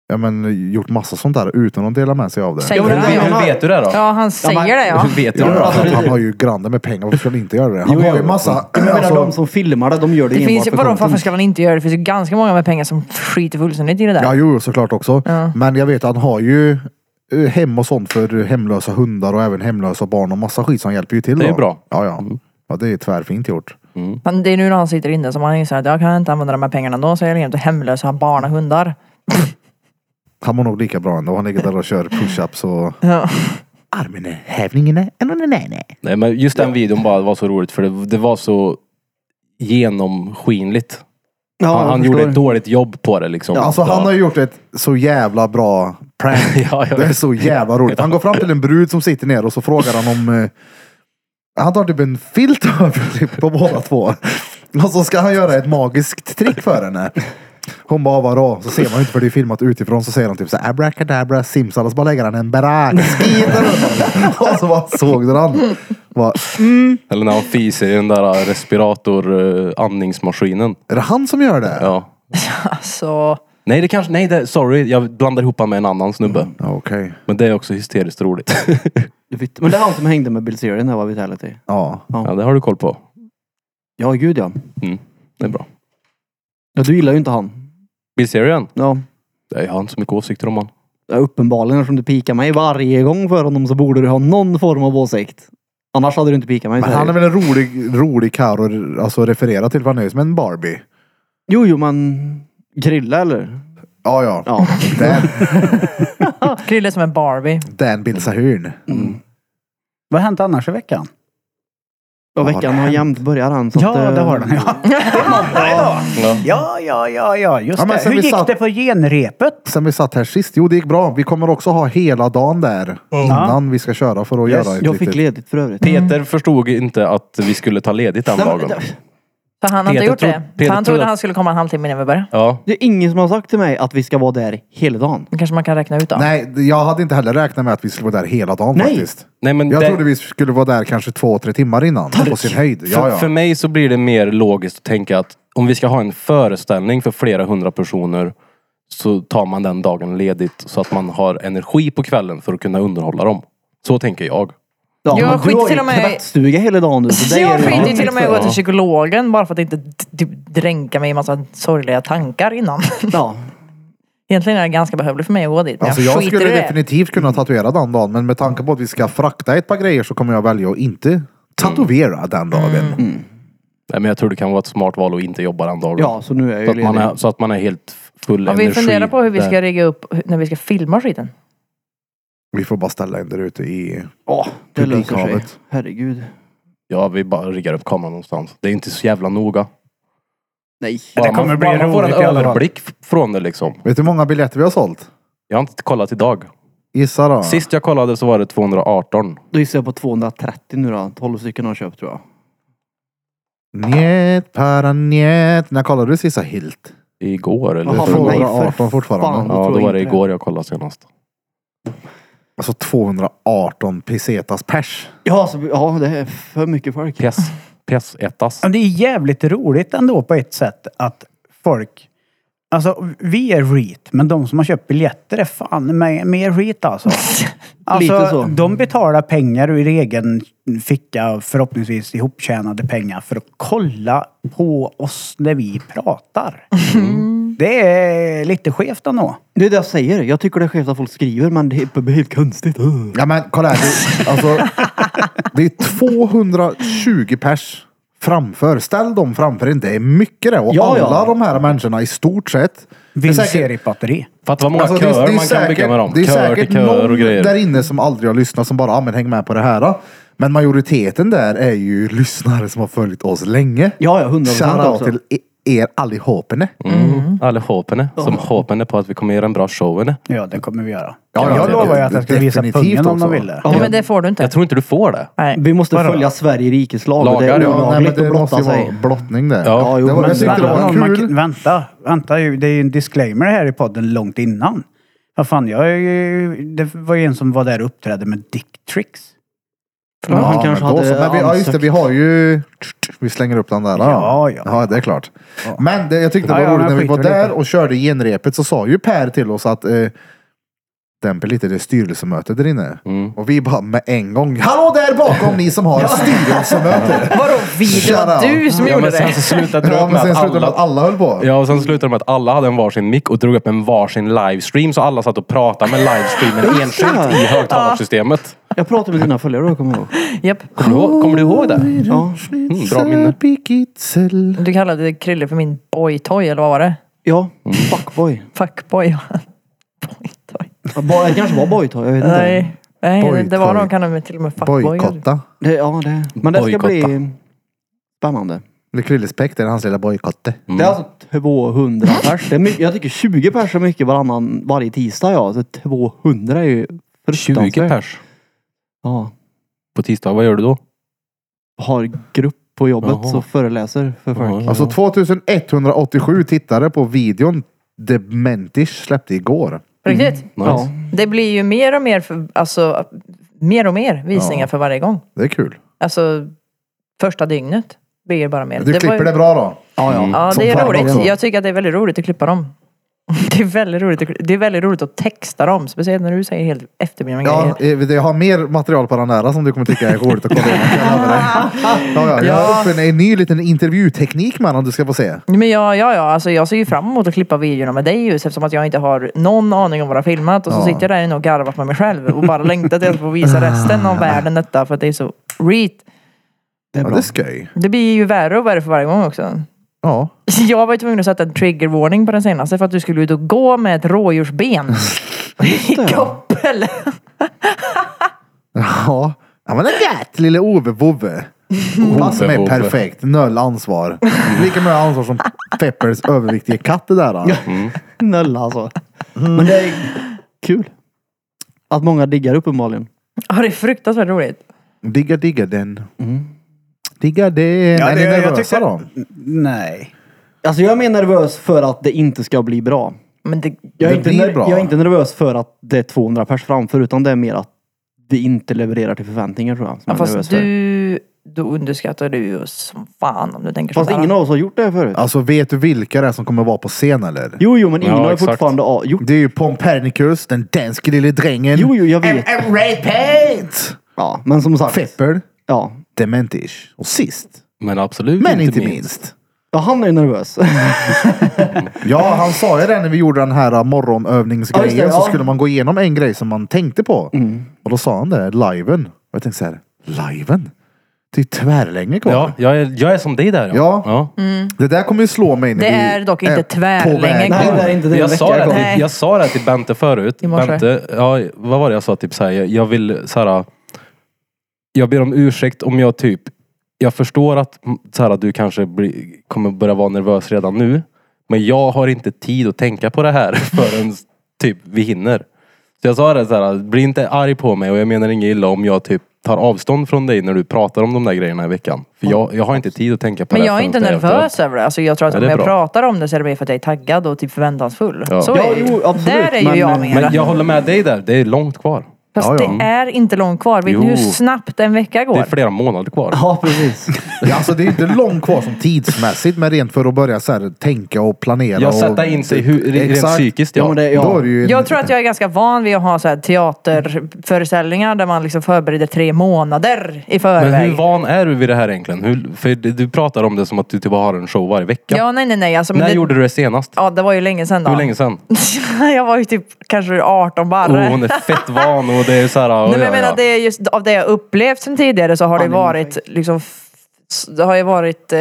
ja, men, gjort massa sånt där utan att dela med sig av det. Säger hur, det. hur vet du det då? Ja, han säger det ja. Hur vet du Ja, det då? alltså, han har ju grander med pengar, varför skulle han inte göra det? Han Jo, har ju jo. massa... Jag menar de Alltså, som filmar det, de gör det, Det enbart finns ju, för vadå, varför content. ska man inte göra det? Det finns ju ganska många med pengar som skiter fullständigt i det där. ja, jo, såklart också. Ja. Men jag vet att han har ju eh, hem och sånt för hemlösa hundar och även hemlösa barn och massa skit som hjälper ju till. Det är då. bra. Ja, ja. ja, det är tvärfint gjort. Men det är nu när han sitter inne som han inser att jag kan inte använda de här pengarna ändå så jag lägger dem till hemlösa barn och hundar. Han mår nog lika bra ändå. Han ligger där och kör push-ups och... Ja. Armen är hävningen är... Nej men just den videon bara var så roligt för det, det var så genomskinligt. Ja, han jag han förstår. gjorde ett dåligt jobb på det liksom. Alltså han har ju gjort ett så jävla bra prank. Ja, jag Det är vet. så jävla roligt. Han går fram till en brud som sitter ner och så frågar han om... Eh, han tar typ en filt över typ på båda två. Och så ska han göra ett magiskt trick för henne. Hon bara, vadå? Så ser man ju inte för det är filmat utifrån. Så säger han typ så här, abracadabra simsalas. Så bara lägger han en barackskit där uppe. Och så bara såg den han. Bara, Eller när han fiser i den där äh, respirator-andningsmaskinen. är det han som gör det? Ja. Alltså, Nej det kanske, nej det, sorry jag blandar ihop han med en annan snubbe. Ja, Okej. Men det är också hysteriskt roligt. Det fick- Men det är han som hängde med Bill Serien där var Vitality. Ja. ja det har du koll på. Ja, gud ja. Det är bra. Ja, du gillar ju inte han. Bill Serian? Ja. Nej, Jag har inte så mycket åsikter om han. Ja, uppenbarligen eftersom du pikar mig varje gång för honom så borde du ha någon form av åsikt. Annars hade du inte pikat mig. Men så här. han är väl en rolig, rolig karl att alltså, referera till. För han är ju som en Barbie. Jo, jo, men... Grilla eller? Ja, ja. Ja. Den, Krille är som en Barbie. den Bill Sahurn. Vad har hänt annars i veckan? Ja, har veckan har hänt? jämnt börjar han. Så ja, att, eh, det har den. Ja. Det är måndag idag. Ja, ja, ja, ja, just Ja, men det. sen Hur vi gick satt- det på genrepet? Sen vi satt här sist, jo det gick bra. Vi kommer också ha hela dagen där innan vi ska köra för att Yes, göra ett Jag fick litet... ledigt för övrigt. Peter förstod inte att vi skulle ta ledigt den Nej, men- dagen. För han hade Peter gjort tro- det. Peter För han trodde trodde- han skulle komma en halvtimme innan vi började. Ja. Det är ingen som har sagt till mig att vi ska vara där hela dagen. Det kanske man kan räkna ut då. Nej, jag hade inte heller räknat med att vi skulle vara där hela dagen Nej. faktiskt. Nej, men Jag det- trodde vi skulle vara där kanske två, tre timmar innan. På sin höjd. Ja, För, ja. för mig så blir det mer logiskt att tänka att om vi ska ha en föreställning för flera hundra personer så tar man den dagen ledigt så att man har energi på kvällen för att kunna underhålla dem. Så tänker jag. Ja, Jag men skiter du har ju till och med i- tvättstuga hela dagen nu. så Så alltså, det är jag ju- skiter ju till och med i att gå Ja. till psykologen bara för att inte d- typ dränka mig i massa sorgliga tankar innan. Ja. Egentligen är det ganska behövligt för mig att gå dit. Men Alltså jag, jag skiter skulle i det. definitivt kunna tatuera den dagen, men med tanke på att vi ska frakta ett par grejer så kommer jag välja att inte tatuera den dagen. Nej, men jag tror det kan vara ett smart val att inte jobba den dagen. ja, så nu är så, jag att ju man ledig. är, så att man är helt full Om energi. vi funderar på hur vi ska där. rigga upp hu- när vi ska filma skiten. Vi får bara ställa in där ute i... Ja, det löser sig. publikhavet. Herregud. Ja, vi bara riggar upp kameran någonstans. Det är inte så jävla noga. Nej. Bara kommer man, bli bara man får en roligt i alla fall. överblick f- från det liksom. Vet du hur många biljetter vi har sålt? Jag har inte kollat idag. Gissa då. Sist jag kollade så var det 218. Då gissar jag på 230 nu då. 12 stycken har jag köpt tror jag. Njet, para njet. När kollade du sista Hilt? Igår eller? Det är Jaha, Jaha, för mig, för 218 fortfarande. fan, ja, tror då jag var det inte igår jag kollade senast. Alltså 218 pesetas pers. Ja, så, ja, det är för mycket folk. PS, PS1. Alltså, Men det är jävligt roligt ändå på ett sätt att folk... Alltså, vi är reat, men de som har köpt biljetter är fan med, mer reat alltså. alltså Lite så. De betalar pengar ur egen ficka, förhoppningsvis ihoptjänade pengar, för att kolla på oss när vi pratar. Mm. Det är lite skevt ändå. Det är det jag säger. Jag tycker det är skevt att folk skriver men det är helt konstigt. Uh. Ja men kolla här. Det, alltså, det är 220 pers framför. Ställ dem framför en. Det är mycket det. Och Ja, alla ja. de här människorna i stort sett. det är Vill säkert- se ditt batteri. Fatta vad många Alltså, köer man kan bygga med dem. Det är köer säkert till köer någon och grejer. där inne som aldrig har lyssnat som bara, ja men häng med på det här då. Men majoriteten där är ju lyssnare som har följt oss länge. Ja, alltså. ja, 100% Shoutout också. till e- er allihopene. Mm. Alla hoppande, som hoppande på att vi kommer göra en bra show. eller? Ja, det kommer vi göra. Ja, ja, jag det- lovar ju att jag skulle visa definitivt pungen om också. de ville. Ja, men det får du inte. Jag tror inte du får det. Nej. Vi måste följa Sverige rikes lag. och Det Lagar, är ja. Ja, nej, men olagligt det att måste ju blotta vara sig. blottning där. Ja, jo, det var men- jag tyckte det var Vänta, man, kan- kul. vänta, vänta. ju, Det är ju en disclaimer här i podden långt innan. Vad fan, jag är ju, det var ju en som var där och uppträdde med Dick Tricks. Men han Ja, kanske men då hade så. men vi, ja, just det, ansökt. vi har ju... Vi slänger upp den där. Ja, ja. det är klart. Men det, jag tyckte det var Ja, ja, roligt men när vi var skit i det. där och körde genrepet så sa ju Per till oss att eh, dämpa lite det styrelsemöte där inne. Mm. Och vi bara med en gång. Hallå där bakom ni som har styrelsemöte! Vadå vi? Det var Shoutout. du som Ja, gjorde men sen det. så slutade det Ja, men med sen att slutade det med att alla alla... höll på. Ja, och sen slutade det med att alla hade en varsin mick och drog upp en varsin livestream så alla satt och pratade med livestreamen enskilt i högtalarsystemet. Jag pratade med dina följare då, kommer jag ihåg. Japp. Kommer du, ihåg- kommer du ihåg det? Ja. Mm, bra minne. Pikitzel. Du kallade Krille för min boytoy eller vad var det? ja. Fuckboy. Fuckboy. boytoy. Ja, boy- Det kanske var boytoy, jag vet inte. Nej. Nej, det- det var Boytoy. någon kallade mig till och med fuckboy. Bojkotta. Det, ja, det. Men det ska Bojkotta. bli spännande. Det är Krilles Peck, det är hans lilla bojkotte. Mm. Det är alltså 200 pers. Det är mycket, jag tycker 20 pers är mycket varannan, varje tisdag. Ja. Så 200 är ju 20 fruktansvärt. pers. Ja. På tisdag, vad gör du då? Har grupp på jobbet Jaha. så föreläser för folk. Ja, Alltså 2187 tittare på videon Dementish släppte igår. På riktigt? Ja. Det blir ju mer och mer, för, alltså, mer och mer visningar Ja. för varje gång. Det är kul. Alltså första dygnet blir det bara mer. Du var klipper ju- det bra då? Ja, Mm. ja. Ja, som det är fan roligt. också. Jag tycker att det är väldigt roligt att klippa dem. Det är väldigt roligt att, kli- det är väldigt roligt att texta dem. Speciellt när du säger helt efterblivna Ja, grejer. eh, jag har mer material på den där som du kommer tycka är roligt att kolla in. Jag lovar dig. Ja, ja, jag har uppfunnit en ny liten intervjuteknik med om du ska få se. Men ja, ja, ja, alltså jag ser ju fram emot att klippa videorna med dig just eftersom att jag inte har någon aning om vad jag har filmat och så Ja. sitter jag där inne och garvat med mig själv och bara längtar till att få visa resten av världen detta för att det är så reet. Det Ja, är bra. det är skoj. Det blir ju värre och värre för varje gång också. Ja. Jag var ju tvungen att sätta en triggervarning på den senaste för att du skulle ut och gå med ett rådjursben. I koppel! Ja. Ja men det är gött lille Ove Vove. Han som är Vove. perfekt. Noll ansvar. Lika mycket ansvar som Peppers överviktiga katt det där. då. Snälla alltså. Men det är kul. Att många diggar uppenbarligen. Ja, det är fruktansvärt roligt. Digga digga den. artiga. Det är, ja, är ni det- jag nervösa tycker- då? Nej. Alltså jag är mer nervös för att det inte ska bli bra. Men det, Jag är, Det inte blir ner- bra. jag är inte nervös för att det är 200 pers framför utan det är mer att vi inte levererar till förväntningar tror jag. Som ja, jag är nervös fast för. du, då underskattar du ju oss som fan om du tänker fast sådär. ingen av oss har gjort det här förut. Alltså vet du vilka det är som kommer vara på scen eller? Jo, jo, men ingen Ja, har ju exakt. fortfarande a- gjort Det är ju Pompernicus, den danske lille drängen. Jo, jo, jag vet. Ray Paint! Ja, men som sagt. Feppel, Ja. Dementish och sist, Men absolut men inte minst. ja, han är ju nervös. Ja, han sa ju det när vi gjorde den här äh, morgonövningsgrejen Ja, just det, så ja. skulle man gå igenom en grej som man tänkte på. Och då sa han det, liven. Och jag tänkte så här, liven? Det är ju tvärlänge kvar. Ja, jag är, jag är som dig där. Ja. ja. Det där kommer ju slå mig när Det vi är dock inte på tvärlänge väg. kvar. Nej, det är inte det. Jag Vecka sa, det, kom. Nej. till- jag sa det här till Bente förut. I morse. Bente, ja, vad var det jag sa? Typ så här, jag- jag vill så här, Jag ber om ursäkt om jag typ... Jag förstår att mm, så här, du kanske blir, kommer börja vara nervös redan nu. Men jag har inte tid att tänka på det här förrän typ vi hinner. Så jag sa det så här, bli inte arg på mig och jag menar inget illa om jag typ tar avstånd från dig när du pratar om de där grejerna i veckan. För jag, jag har inte tid att tänka på Men det. jag är förrän inte det efteråt. nervös över det. Alltså jag tror att Ja, om det är jag bra. pratar om det så är det mer för att jag är taggad och typ förväntansfull. Ja. Så Ja, är det ju. jo, absolut. Där är ju Men- jag mer. Men jag håller med dig där, det är långt kvar. Fast Ja, ja. det är inte långt kvar. Vet ni hur Jo. snabbt en vecka Det är går? flera månader kvar. Ja, precis. Ja, alltså, det är ju inte långt kvar som tidsmässigt, men rent för att börja så här, tänka och planera. Ja, och- typ- sätta in sig hu- re- rent Exakt. psykiskt. Ja. Ja, men det- Då är det ju en- Jag tror att jag är ganska van vid att ha så här teaterföreställningar där man liksom förbereder tre månader i förväg. Men hur van är du vid det här egentligen? Hur, för det- du pratar om det som att du typ har en show varje vecka. Ja, nej, nej, nej. Alltså, men När det, gjorde du det senast? Ja, det var ju länge sedan då. Hur länge sedan? jag var ju typ kanske 18 Oh, barre. hon är fett van och det är så här, ja, Nej, men jag ja, menar, ja. det är just av det jag upplevt sen tidigare så har det varit liksom f- det har ju varit eh,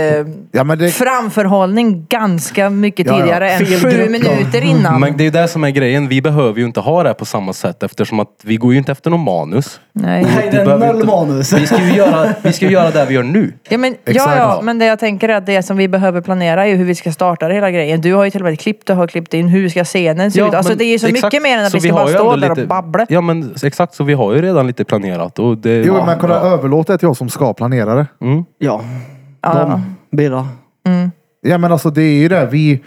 Ja, men det- framförhållning ganska mycket Ja, ja. tidigare än Fel sju grupp, ja. minuter innan. Men det är ju det som är grejen. Vi behöver ju inte ha det här på samma sätt eftersom att vi går ju inte efter någon manus. Nej. Nej, det är behöver noll inte- manus. Vi ska ju göra, vi ska ju göra det vi gör nu. Ja, men, ja, Exakt. ja, men det jag tänker är att det som vi behöver planera är ju hur vi ska starta det hela grejen. Du har ju till och med ett klipp du har klippt in. Hur ska scenen se ut? Alltså men det är ju så exakt. mycket mer än att Så vi ska har bara ju stå ändå där och lite- babbla. Ja men exakt, så vi har ju redan lite planerat. Och det, Jo, ja, men kolla, ja. Mm. överlåt det till jag som ska planera det. Ja. Ja. De, Birra. Ja, men alltså det är ju det vi,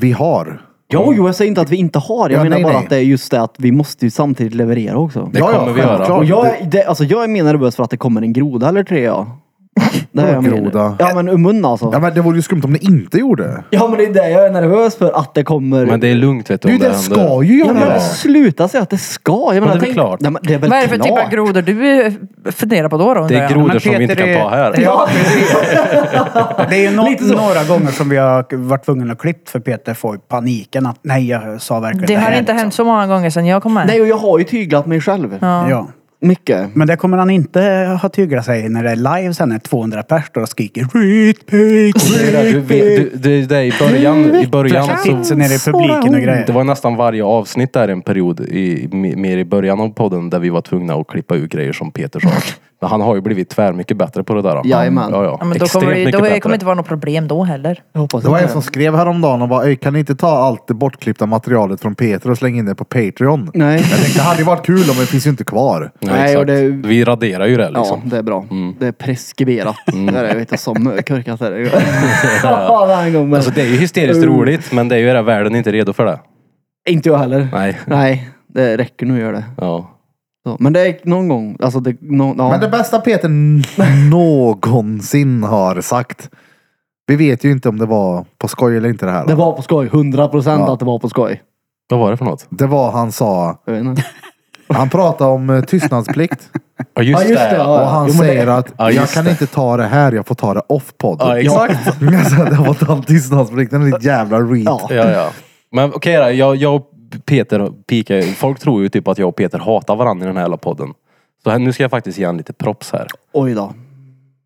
vi har. Jo, jo, jag säger inte att vi inte har. Jag Ja, menar nej, bara nej. att det är just det att vi måste ju samtidigt leverera också. Det Ja, ja, kommer vi göra. självklart. Och jag, är- det, alltså, jag är mer nervös för att det kommer en groda eller tre. Ja. Det är jag mer- Groda. Ja, men ur mun alltså. Ja, men det vore ju skumt om ni inte gjorde det. Ja, men det är det jag är nervös för. Att det kommer... Men det är lugnt vet du Det är ju om det, händer. ska ju Ja, göra men det. sluta säga att det ska. Jag menar, det är väl tänk- klart. Nej, men det är väl Vad är det för klart. typ av grodor du eh, funderar på då? då Det undrar är jag? grodor Men som vi inte Peter kan är- ta här. Ja, precis. Det är ju Lite no- så. några gånger som vi har varit tvungna att klippa för Peter får paniken att nej, jag sa verkligen Det har här, inte liksom. hänt så många gånger sedan jag kom med. Nej, och jag har ju tyglat mig själv. Ja. Mycket. Men det kommer han inte ha tyglat sig när det är live sen när 200 pers står och skriker Reet Pete, Det är där, du vet, du, det är där i början, i början så, Titsen nere i publiken och grejer. det var nästan varje avsnitt där en period, i, me- mer i början av podden, där vi var tvungna att klippa ut grejer som Peter sa. Men han har ju blivit tvär mycket bättre på det där. då. Jajamän. Ja, ja. Ja, men då Extremt kommer det, ju- mycket då bättre. kommer det inte vara något problem då heller. Jag hoppas Det var en inte. som skrev häromdagen och bara, "Ey, kan ni inte ta allt det bortklippta materialet från Peter och slänga in det på Patreon? Nej. Jag tänkte, det hade ju varit kul om det finns ju inte kvar. Nej, Nej, exakt. och det- Vi raderar ju det Ja, liksom. det är bra. Det är preskriberat. Det är det, jag vet inte, som korkat är det. Ja, den gången. Alltså det är ju hysteriskt Mm. roligt, men det är ju det världen inte är redo för det. Inte jag heller. Nej. Nej, det räcker nu gör det. Ja. Så. Men det är någon gång, alltså det, no, ja. Men det bästa Peter n- någonsin har sagt. Vi vet ju inte om det var på skoj eller inte det här. det var på skoj. 100 procent Ja. att det var på skoj. Vad var det för något? Det var han sa, Jag vet inte. han pratade om eh, tystnadsplikt. Ja just, Ja, just det. det, ja. Ja, Och han jo, men det- säger att Ja, jag just kan det. inte ta det här, jag får ta det off podd. ja exakt. alltså, det var tal tystnadsplikten, ditt jävla reet. Ja. Ja, ja. Men okej då, jag, jag och Peter pikar Folk tror ju typ att jag och Peter hatar varandra i den här jävla podden. Så här, nu ska jag faktiskt ge en lite props här. Oj då.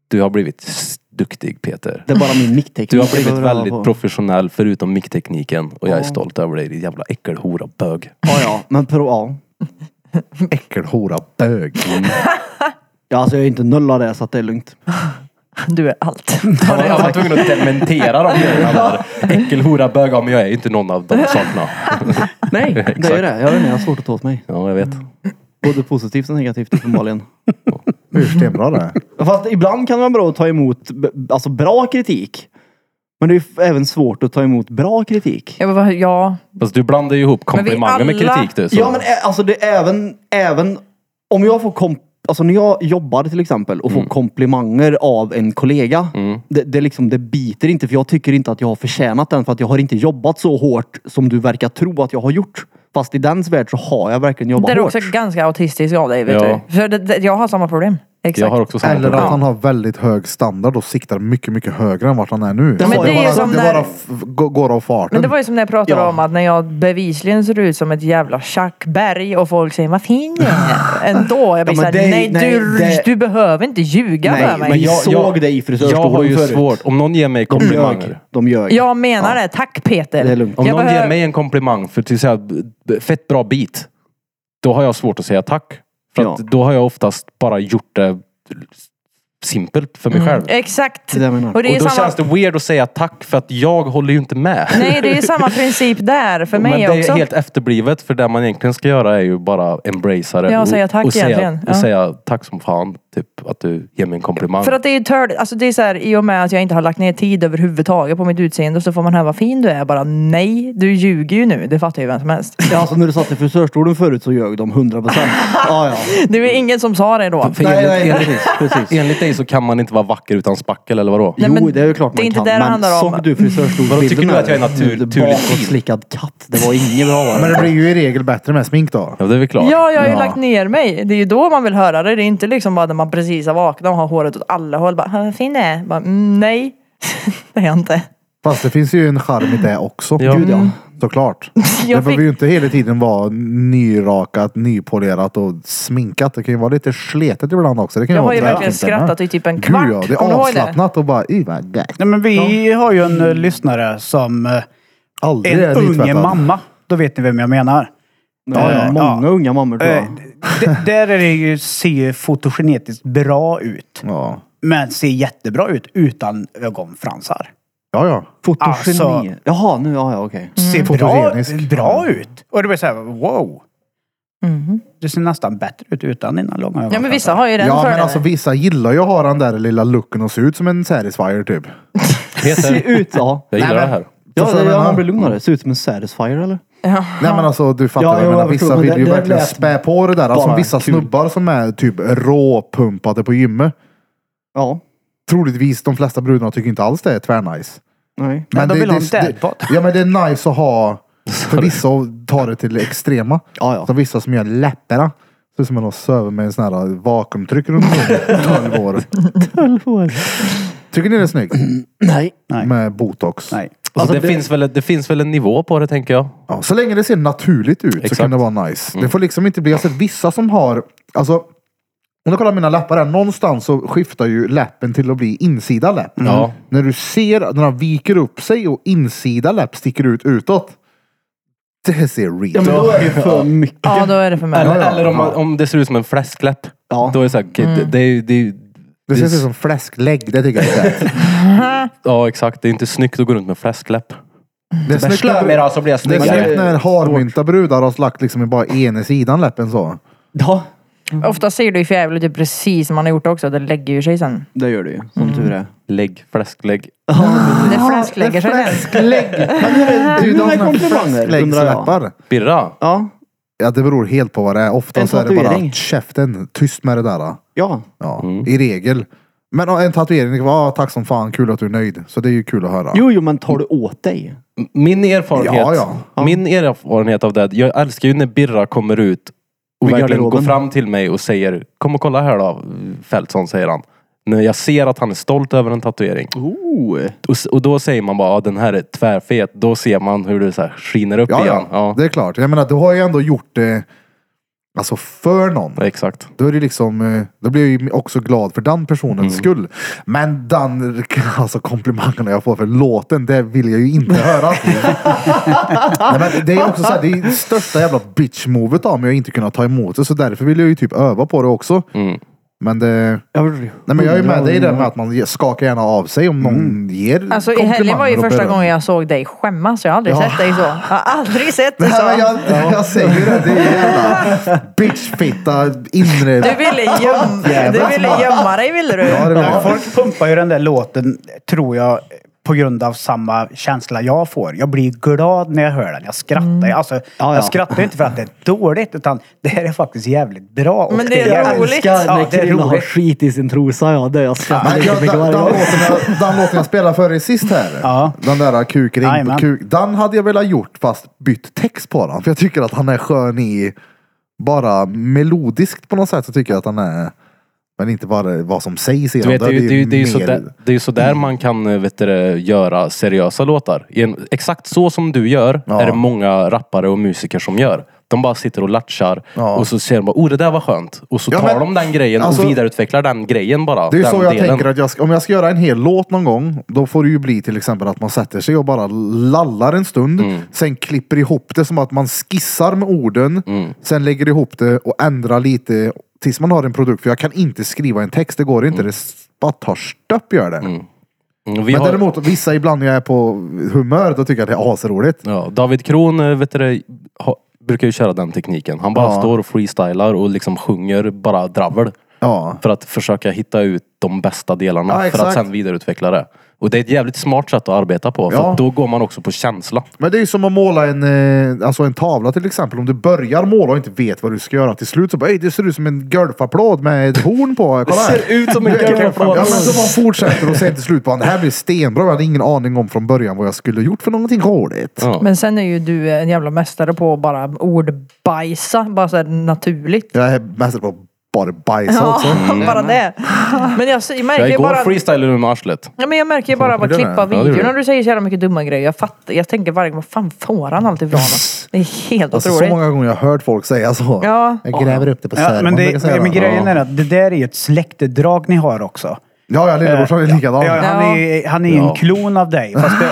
Du har blivit s- duktig Peter. Det är bara min mickteknik. Du har jag blivit behöver öva väldigt på. professionell förutom micktekniken och jag är stolt över dig din jävla äckelhora bög. Ja, ja. Men pro, ja. Äckelhora bög. ja. Alltså jag är inte noll av det så att det är lugnt. Du är allt. Jag var, jag var tvungen att dementera de grejerna där. Äckelhora bög, ja men jag är ju inte någon av de sakerna. Nej, det är ju det. Jag vet inte, jag har svårt att ta åt mig. Ja jag vet. Både positivt och negativt uppenbarligen. Det är ju stenbra det. Fast ibland kan det vara bra att ta emot b- alltså bra kritik. Men det är ju f- även svårt att ta emot bra kritik. Jag bara, ja, Fast du blandar ju ihop vi komplimanger med alla- kritik du. så- Ja men ä- alltså det är även, även om jag får komp- Alltså när jag jobbar till exempel och får komplimanger av en kollega. Det, det, liksom, det biter inte för jag tycker inte att jag har förtjänat den för att jag har inte jobbat så hårt som du verkar tro att jag har gjort. Fast i dens värld så har jag verkligen jobbat det är hårt. också ganska autistiskt av dig vet Ja. du. För det, det, jag har samma problem. Exakt. jag har också samma Eller problem. att han har väldigt hög standard och siktar mycket, mycket högre än vart han är nu. Ja, men Så det är ju bara, som det när- bara f- gå- går av farten. Mm. Men det var ju som när jag pratade Ja. om att när jag bevisligen ser ut som ett jävla tjackberg och folk säger vad fin jag är. Ändå. Ja, Jag blir men såhär, det- nej, du, nej, det- du behöver inte ljuga Nej, för mig. men Vi såg dig i frisörstolen Jag har ju förut. svårt. Om någon ger mig De ljög. komplimanger. De ljög. Jag menar det. Tack Peter. Det är lugnt. Om jag någon behöver- ger mig en komplimang för till exempel fett bra bit. Då har jag svårt att säga tack. För att Ja. då har jag oftast bara gjort det simpelt för mig själv. Mm, Exakt. Det är det jag menar. och Eh, det är Och då samma... känns det weird att säga tack för att jag håller ju inte med. Nej, det är samma princip där för mig Men det också. är helt efterblivet för det man egentligen ska göra är ju bara embracea det. Ja, och säga tack och säga, egentligen. Ja. och säga tack som fan. Typ att du ger mig en komplimang. För att det är ju törd, alltså det är så här, i och med att jag inte har lagt ner tid överhuvudtaget på mitt utseende så får man höra vad fin du är. Bara nej, du ljuger ju nu. Det fattar ju vem som helst. Ja, alltså när du satt i frisörstolen förut så ljög de 100 procent. Ja, ja. Det är ingen som sa det då. För Nej, enligt, nej, enligt, precis, precis. enligt dig så kan man inte vara vacker utan spackel eller vadå? Nej, jo, men det är ju klart det är man inte kan. det det Men handlar om. såg du frisörstolsbilden? Vadå, tycker du att jag är här? natur- Du naturligt Bakåtslickad katt. Det var inget bra var Men det. det blir ju i regel bättre med smink då. Ja, det är väl klart. Ja, jag har ju lagt ner mig. Det är ju då man vill höra det. Det är inte liksom bara när man precis har vaknat och har håret åt alla håll. Bara, "Vad fin det är. Bara, mm, nej, det är jag inte. Fast det finns ju en charm i det också. Mm. Ja. Gud, ja. Såklart. det fick- behöver ju inte hela tiden vara nyrakat, nypolerat och sminkat. Det kan ju vara lite sletet ibland också. Det kan Jag har vara ju dräkt verkligen inte, men- skrattat i typ en kvart. Gud ja, det Kommer är du ihåg det? avslappnat och bara "Ih, vad gött." Nej, men vi har ju en eh, lyssnare som eh, Aldrig en är unge nytvättad. mamma. Då vet ni vem jag menar. Ja, ja. Eh, Många unga mammor tror Eh, jag. d- där är det ju, ser ju fotogenetiskt bra ut. Ja, Men ser jättebra ut utan ögonfransar. ja. ja. Fotogeni. alltså- Jaha, nu, ja, ja, okej. Ser bra, Fotogenisk. bra ut. Och det blir såhär, wow. Du ser nästan bättre ut utan dina långa ögonfransar. Mhm. Ja, men vissa har ju den ja fördelen. men alltså vissa gillar ju att ha den där lilla looken och se ut som en satisfier typ. Se Peter, ut, ja. jag gillar det här. Ja, Fast jag ja, menar- man blir lugnare. Ser ut som en satisfier eller? Nej men alltså du fattar Ja, vad jo, jag menar. jag förstår, Vissa men vill det- ju det verkligen lät spä på det där. Alltså bara vissa kul. snubbar som är typ råpumpade på gymmet. Ja. Troligtvis de flesta brudarna tycker inte alls det är tvärnice. Nej. Men de vill ha en det- dadbot. Ja men det är nice att ha för vissa och ta det till det extrema. Ja, ja. Så vissa som gör läpparna. Ser ut som att de sover med en sån här vakuumtryck runt munnen. 12 år. Tycker ni det är snyggt? Nej. Nej. Med botox. Nej. Alltså, Alltså, det, det- Finns väl, det finns väl en nivå på det tänker jag. Ja, så länge det ser naturligt ut så Exakt. kan det vara nice. Det får liksom inte bli, jag har sett vissa som har, alltså om du kollar mina läppar här, någonstans så skiftar ju läppen till att bli insida läpp. Ja. När du ser att den viker upp sig och insida läpp sticker ut utåt. Det ser real. Ja, men då är det för mycket. Ja, då är det för mig. Eller, eller om, man- om det ser ut som en fläskläpp. Ja. Då är det såhär, okay, det, det, är ju- det, är ju- det det ser är- ut som fläsklägg, det tycker jag är fett. Ja exakt, det är inte snyggt att gå runt med fläskläpp. Det är snyggt Slö mig när, då så blir jag det är snyggt snyggare. när harmynta brudar har slagt liksom i bara ena sidan läppen så. Ja, Ofta ser du ju för jävligt ut precis som man har gjort också. Det lägger ju sig sen. det gör du ju. Som tur är. Lägg, fläsklägg. Det fläsklägger sig sen. Fläsklägg! Du, Du, de de här har komplimanger, undrar jag. fläskläggsläppar. Birra. Ja. Ja, det beror helt på vad det är. Ofta En så är det bara tatuering. käften, tyst med det där. Ja. Ja, i regel. Men ja, en tatuering, det kan vara "Ah, tack som fan, kul att du är nöjd. Så det är ju kul att höra. Jo, jo, men tar du åt dig? Min erfarenhet, Ja, ja. Min erfarenhet av det, jag älskar ju när Birra kommer ut och Med verkligen går garderoben. fram till mig och säger Kom och kolla här då, Fältson säger han. När jag ser att han är stolt över en tatuering. Oh. Och, s- och då säger man bara, "Ja, den här är tvärfet. Då ser man hur det så här skiner upp ja, igen. ja. Ja, det är klart. Jag menar, du har ju ändå gjort det alltså för någon. exakt. Då är det liksom, eh, då blir jag ju också glad för den personens skull. Men den, alltså komplimangerna jag får för låten, det vill jag ju inte höra. Nej, men det är också så här, det är största jävla bitch-movet av mig att inte kunna ta emot det. Så därför vill jag ju typ öva på det också. Men det... Jag, Nej, men jag är med dig i det med att man skakar gärna av sig om någon ger Alltså i helgen var ju komplimanger och första beröm. gången jag såg dig skämmas. Jag har aldrig sett dig så. Jag har aldrig sett dig Nej, så. men jag, jag säger ju det, det är jävla bitchfitta inre... Du ville, göm... du ville gömma dig ville du. Ja, det Ja, var folk pumpar ju den där låten, tror jag, på grund av samma känsla jag får. Jag blir glad när jag hör den. Jag skrattar. Mm. Alltså, ja. Jag skrattar ju inte för att det är dåligt, utan det här är faktiskt jävligt bra. och Men det är jävligt- roligt. älskar när Ja, det är killar har roligt. skit i sin trosa. Ja, det är jag skrattar Nej, lite jag, mycket den, varje den, gång. låten jag, den låten jag spelade för er sist här. Ja. Den där eh, kukring på Jajamän. kuk. Den hade jag velat gjort fast bytt text på den. För jag tycker att han är skön i bara melodiskt på något sätt. Så tycker jag att han är... Men inte bara vad som sägs i Du den. vet, det, är ju- det, är ju- det, är ju mer- sådär, det är ju sådär man kan eh, vet du, det, göra seriösa låtar. I en, exakt så som du gör Ja. är det många rappare och musiker som gör. De bara sitter och latchar Ja. och så ser de bara, oh det där var skönt. Och så Ja, tar men- de den grejen alltså- och vidareutvecklar den grejen bara. Det är ju den så jag delen. tänker att jag ska, om jag ska göra en hel låt någon gång, då får det ju bli till exempel att man sätter sig och bara lallar en stund. Mm. Sen klipper ihop det som att man skissar med orden. Mm. Sen lägger ihop det och ändrar lite tills man har en produkt. För jag kan inte skriva en text, det går inte. Det bara tar stöpp gör det. Mm, Vi Men har, däremot vissa ibland när jag är på humör, då tycker jag att det är asroligt. ja, David Kron eh, vet du, det, ha, brukar ju köra den tekniken. Han bara Ja. står och freestylar och liksom sjunger bara dravel. Ja. För att försöka hitta ut de bästa delarna Ja, för exakt. att sen vidareutveckla det. Och det är ett jävligt smart sätt att arbeta på. För Ja. att då går man också på känsla. Men det är ju som att måla en, eh, alltså en tavla till exempel. Om du börjar måla och inte vet vad du ska göra till slut så bara, "Ey, det ser ut som en golfapplåd med ett horn på. Kolla här. ut som en Ja, men så man fortsätter och sen till slut bara, det här blir stenbra. Jag hade ingen aning om från början vad jag skulle gjort för någonting roligt. Ja. Men sen är ju du en jävla mästare på att bara ordbajsa. Bara såhär naturligt. Jag är mästare på att bara bajsa Ja, också. bara det. Men jag, jag märker Jag ju igår bara... freestylade med arslet. Ja, men jag märker ju bara på det där? klippa Ja, det gör videorna det. du säger så jävla mycket dumma grejer. Jag fattar, jag tänker varje gång, vad fan får han allt ifrån? Det är helt Alltså, så otroligt. många gånger jag har hört folk säga så. Ja. Jag gräver upp det på Ja, servern. men brukar det, säga men det. grejen är att det där är ju ett släktedrag ni har också. Ja, ja, lillebrorsan är likadan. Eh, Ja, han är ju han är ju Ja. en klon av dig. Fast, det,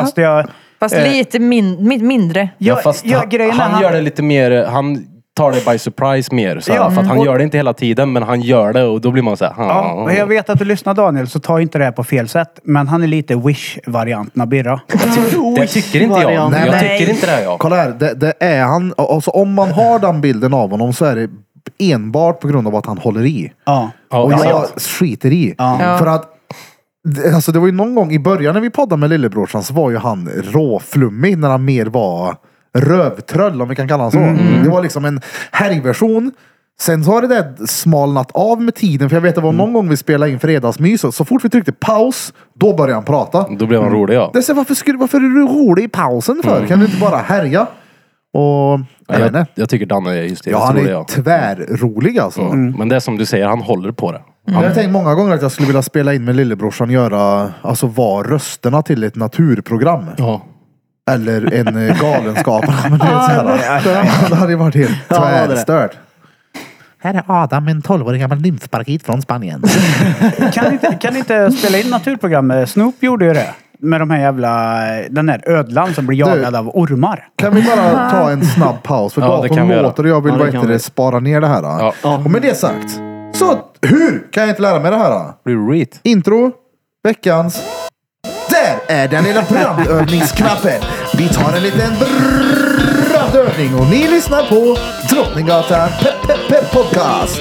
fast jag... Fast eh, lite min, min, mindre. Ja, fast ja, han, grejen är han, han- gör det lite mer, eh, han tar det by surprise mer. Så här, Ja, för att han och- gör det inte hela tiden men han gör det och då blir man såhär... Ja, och jag vet att du lyssnar Daniel, så ta inte det här på fel sätt. Men han är lite wish-varianten av Birra. Det tycker inte jag. Nej, jag nej. tycker inte det här jag. Kolla här, det, det är han. Alltså, om man har den bilden av honom så är det enbart på grund av att han håller i. Ja. Ja, och jag exakt. skiter i. För att det- Alltså det var ju någon gång i början när vi poddade med lillebrorsan så var ju han råflummig när han mer var rövtröll om vi kan kalla honom så. Mm. Det var liksom en härjversion. Sen så har det där smalnat av med tiden för jag vet det var Mm. någon gång vi spelade in fredagsmys och så fort vi tryckte paus då började han prata. Då blev han rolig ja. Mm. Det är så, här, varför, skulle, varför är du rolig i pausen för? Kan du inte bara härja? Och jag vet Mm. Jag, inte. jag tycker Danne är hysteriskt Ja, han rolig. är Ja. Mm. tvärrolig alltså. Men det är som du säger, han håller på Mm. det. Jag har tänkt många gånger att jag skulle vilja spela in med lillebrorsan göra, alltså var rösterna till ett naturprogram. Ja. Eller en eh, galenskap. Men det, är så här, det hade ju varit helt det hade det. tvärstört. Här är Adam, en 12-årig gammal nymfparkit från Spanien. Kan inte, kan inte spela in naturprogram? Snoop gjorde ju det. Med de här jävla... Den här ödlan som blir jagad av ormar. Kan vi bara ta en snabb paus? För Ja, det kan datorn vi göra. låter och jag vill Ja, det bara kan inte vi. spara ner det här. då. Ja. Och med det sagt. Så hur kan jag inte lära mig det här? då? Blir du reet? Intro, veckans... Där är den lilla brandövningsknappen. Vi tar en liten brandövning och ni lyssnar på Drottninggatan pe- pe- pe- Podcast.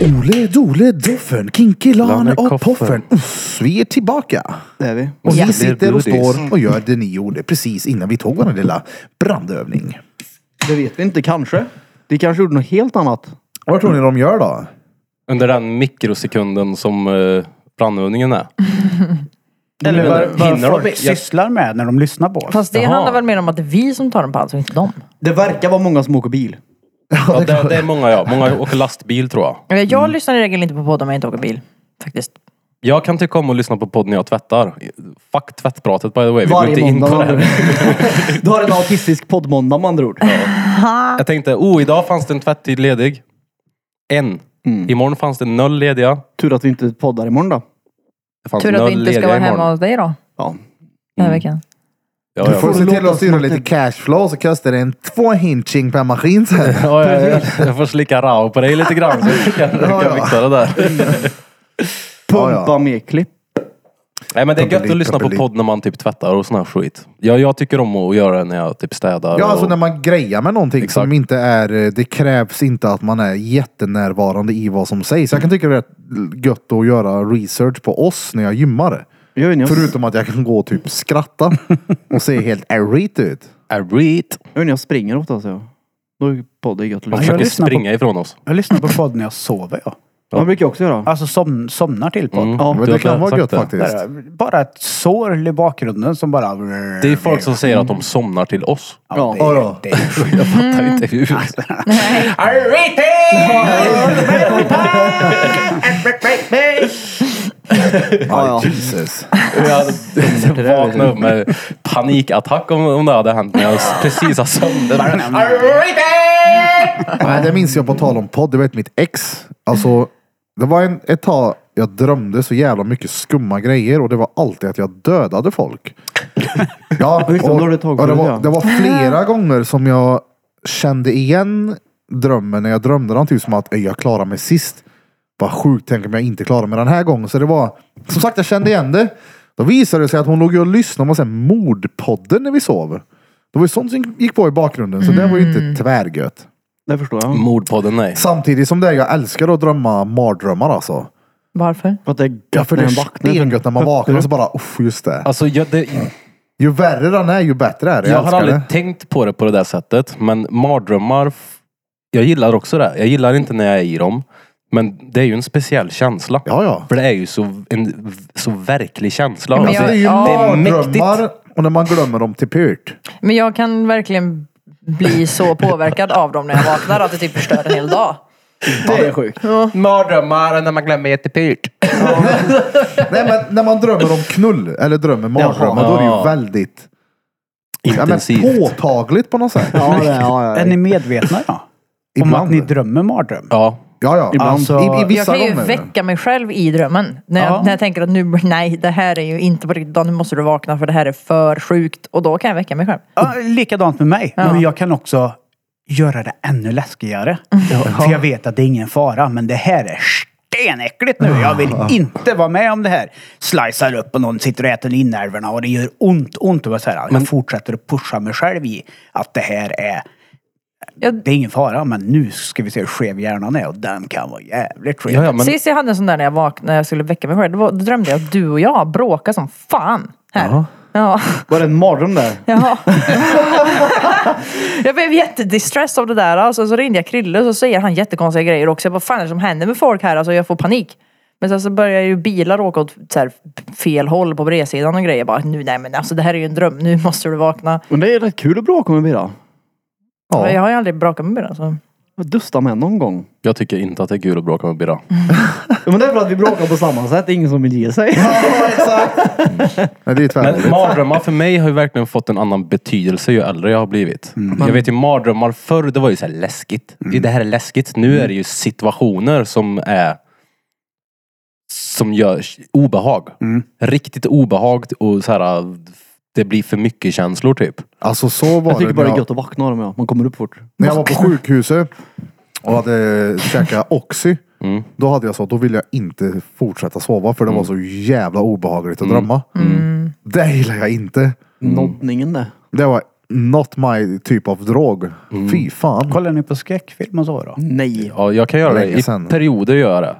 Ole, Dole, Doffen, Kinky, Lane Lane och Koffen. Poffen. Uff, vi är tillbaka. Det är vi. Och Ja. vi sitter och Det är godis. står och gör det ni gjorde precis innan vi tog vår lilla brandövning. Det vet vi inte, kanske. Vi kanske gjorde något helt annat. Vad tror ni de gör då? Under den mikrosekunden som eh, brandövningen är. Eller vad, vad Hinner de- folk jag- sysslar med när de lyssnar på oss. Fast det Jaha. handlar väl mer om att det är vi som tar en paus och inte dem. Det verkar vara många som åker bil. Ja, det, det är många ja. Många åker lastbil tror jag. Eh, Jag lyssnar i regel inte på poddar om jag inte åker bil. Faktiskt. Jag kan tycka om att lyssna på podd när jag tvättar. Fuck tvättpratet by the way. Vi går inte Varje in måndag. på det har här. du- du har en autistisk poddmåndag med andra ord. Jag tänkte, oh idag fanns det en tvättid ledig. En. Imorgon fanns det noll lediga. Tur att vi inte poddar imorgon då. Det fanns Tur att noll vi inte ska lediga vara imorgon. hemma hos dig då. Ja. Den här veckan. Ja, Du ja. får se till att styra lite cashflow så kostar det en två hinching per maskin sen. Ja, ja, ja. Jag får slicka rau på dig lite grann så vi kan, vi kan fixa det där. Ja, Pumpa ja. mer klipp. Nej men det är gött Trubbeli, att lyssna på trubbeli. podd när man typ tvättar och sån här skit. Ja, jag tycker om att göra det när jag typ städar. Ja, alltså och... när man grejar med någonting som Exakt. inte är... eh, Det krävs inte att man är jättenärvarande i vad som sägs. Jag kan tycka det är rätt gött att göra research på oss när jag gymmar. Gör ni, Förutom att jag kan gå och typ skratta och se helt errit ut. I read. gör ni, jag springer ofta så. Då är podden gött liksom. att Ja, Man lyssna jag på. försöker lyssnar på- springa ifrån oss. Jag lyssnar på podd när jag sover. Ja. Man brukar jag också göra. Alltså som, somnar till podd. Mm. Ja, Du Men det har kan vara sagt gött det. faktiskt. Där, Bara ett sorl i bakgrunden som bara... Det är folk som säger att de somnar till oss. Ja. Ja, då. Det är Jag Mm. fattar inte hur. Alltså. Ja, ja. Jesus. Jag vaknade upp med panikattack om, om det hade hänt när jag precis har sönder. Nej, det minns jag på tal om podd. Du vet mitt ex. Alltså, det var en, ett tag jag drömde så jävla mycket skumma grejer och det var alltid att jag dödade folk. Ja, Just det, då har du tagit och det, det, ja. var, det var flera gånger som jag kände igen drömmen när jag drömde den. Typ som att "Ey, jag klarar mig sist. Vad sjukt, tänk om jag inte klarar mig den här gången. Så det var, som sagt jag kände igen det. Då visade det sig att hon låg ju och lyssnade på så här mordpodden när vi sov. Det var ju sånt som gick på i bakgrunden. Mm. Så det var ju inte tvärgött. Det förstår jag. Mordpodden, nej. Samtidigt som det, jag älskar att drömma mardrömmar alltså. Varför? För att det är Ja, gött för när det är den vaknar. stengött när man vaknar och så bara, uff, just det. Alltså, jag, det, Ju värre den är, ju bättre är det. Jag har älskar aldrig det. tänkt på det på det där sättet. Men mardrömmar, f- jag gillar också det. Jag gillar inte när jag är i dem. Men det är ju en speciell känsla. Ja, ja. För det är ju så, en så verklig känsla. Men Alltså, Alltså, det är ju Ja, det är mäktigt. mardrömmar och när man glömmer dem till pyrt. Men jag kan verkligen bli så påverkad av dem när jag vaknar att det typ förstör en hel dag. Det är sjukt. mardrömmar när man glömmer jättepyrt. Nej, men när man drömmer om knull eller drömmer mardrömmar, då är det ju Ja. väldigt ja, men, Intensivt. påtagligt på något sätt. Ja, det, ja, Är ja. ni medvetna då? Om Ibland. att ni drömmer mardröm? Ja. Ja, ja. Ibland. Alltså, I, I Jag vissa kan ju gånger. väcka mig själv i drömmen. När jag, Ja. när jag tänker att nu, nej det här är ju inte på riktigt, Dan, nu måste du vakna för det här är för sjukt. Och då kan jag väcka mig själv. Ja, likadant med mig. Men jag kan också göra det ännu läskigare. För jag vet att det är ingen fara, men det här är stenäckligt nu. Jag vill inte vara med om det här. Slicear upp och någon sitter och äter inälvorna och det gör ont, ont. Och jag, så här, jag fortsätter att pusha mig själv i att det här är... Jag, Det är ingen fara, men nu ska vi se hur skev hjärnan är och den kan vara jävligt skev. Ja, ja, men, Sist jag hade en sån där när jag, vak- när jag skulle väcka mig själv, då, var, då drömde jag att du och jag bråkade som fan. Här. Ja. Var det en mardröm där? Jaha. jag blev jättedistressed av det där. Alltså, så ringde jag Krille och så säger han jättekonstiga grejer också. Jag bara, fan är det som händer med folk här? Alltså jag får panik. Men sen så börjar ju bilar åka åt så här, fel håll på bredsidan och grejer. Jag bara, nu, nej men alltså det här är ju en dröm. Nu måste du vakna. Men det är rätt kul att bråka med Bira. Ja. Jag Ja. har ju aldrig bråkat med bilar. Alltså. Jag dustar med någon gång. jag tycker inte att det är kul att bråka med Birra. Ja, men det är för att vi bråkar på samma sätt. Det är ingen som vill ge sig. Nej, det är tvärtom. Men mardrömmar för mig har ju verkligen fått en annan betydelse ju äldre jag har blivit. Mm. Jag vet ju mardrömmar förr, det var ju så här läskigt. Det här är läskigt. Mm. Nu är det ju situationer som är som gör obehag. Mm. Riktigt obehag och så här det blir för mycket känslor typ. Alltså så var Jag tycker det. bara när det är jag- gött att vakna av dem. Ja. Man kommer upp fort. När jag var på sjukhuset och hade käkat Oxy. Då hade jag så, då ville jag inte fortsätta sova för det var så jävla obehagligt att drömma. Det gillar jag inte. Mm. Noddningen där. Det var not my typ av drog. Fy fan. Kollar ni på skräckfilm och så Mm. då? Nej. Ja, jag kan göra det. Länge I sedan. perioder gör jag det.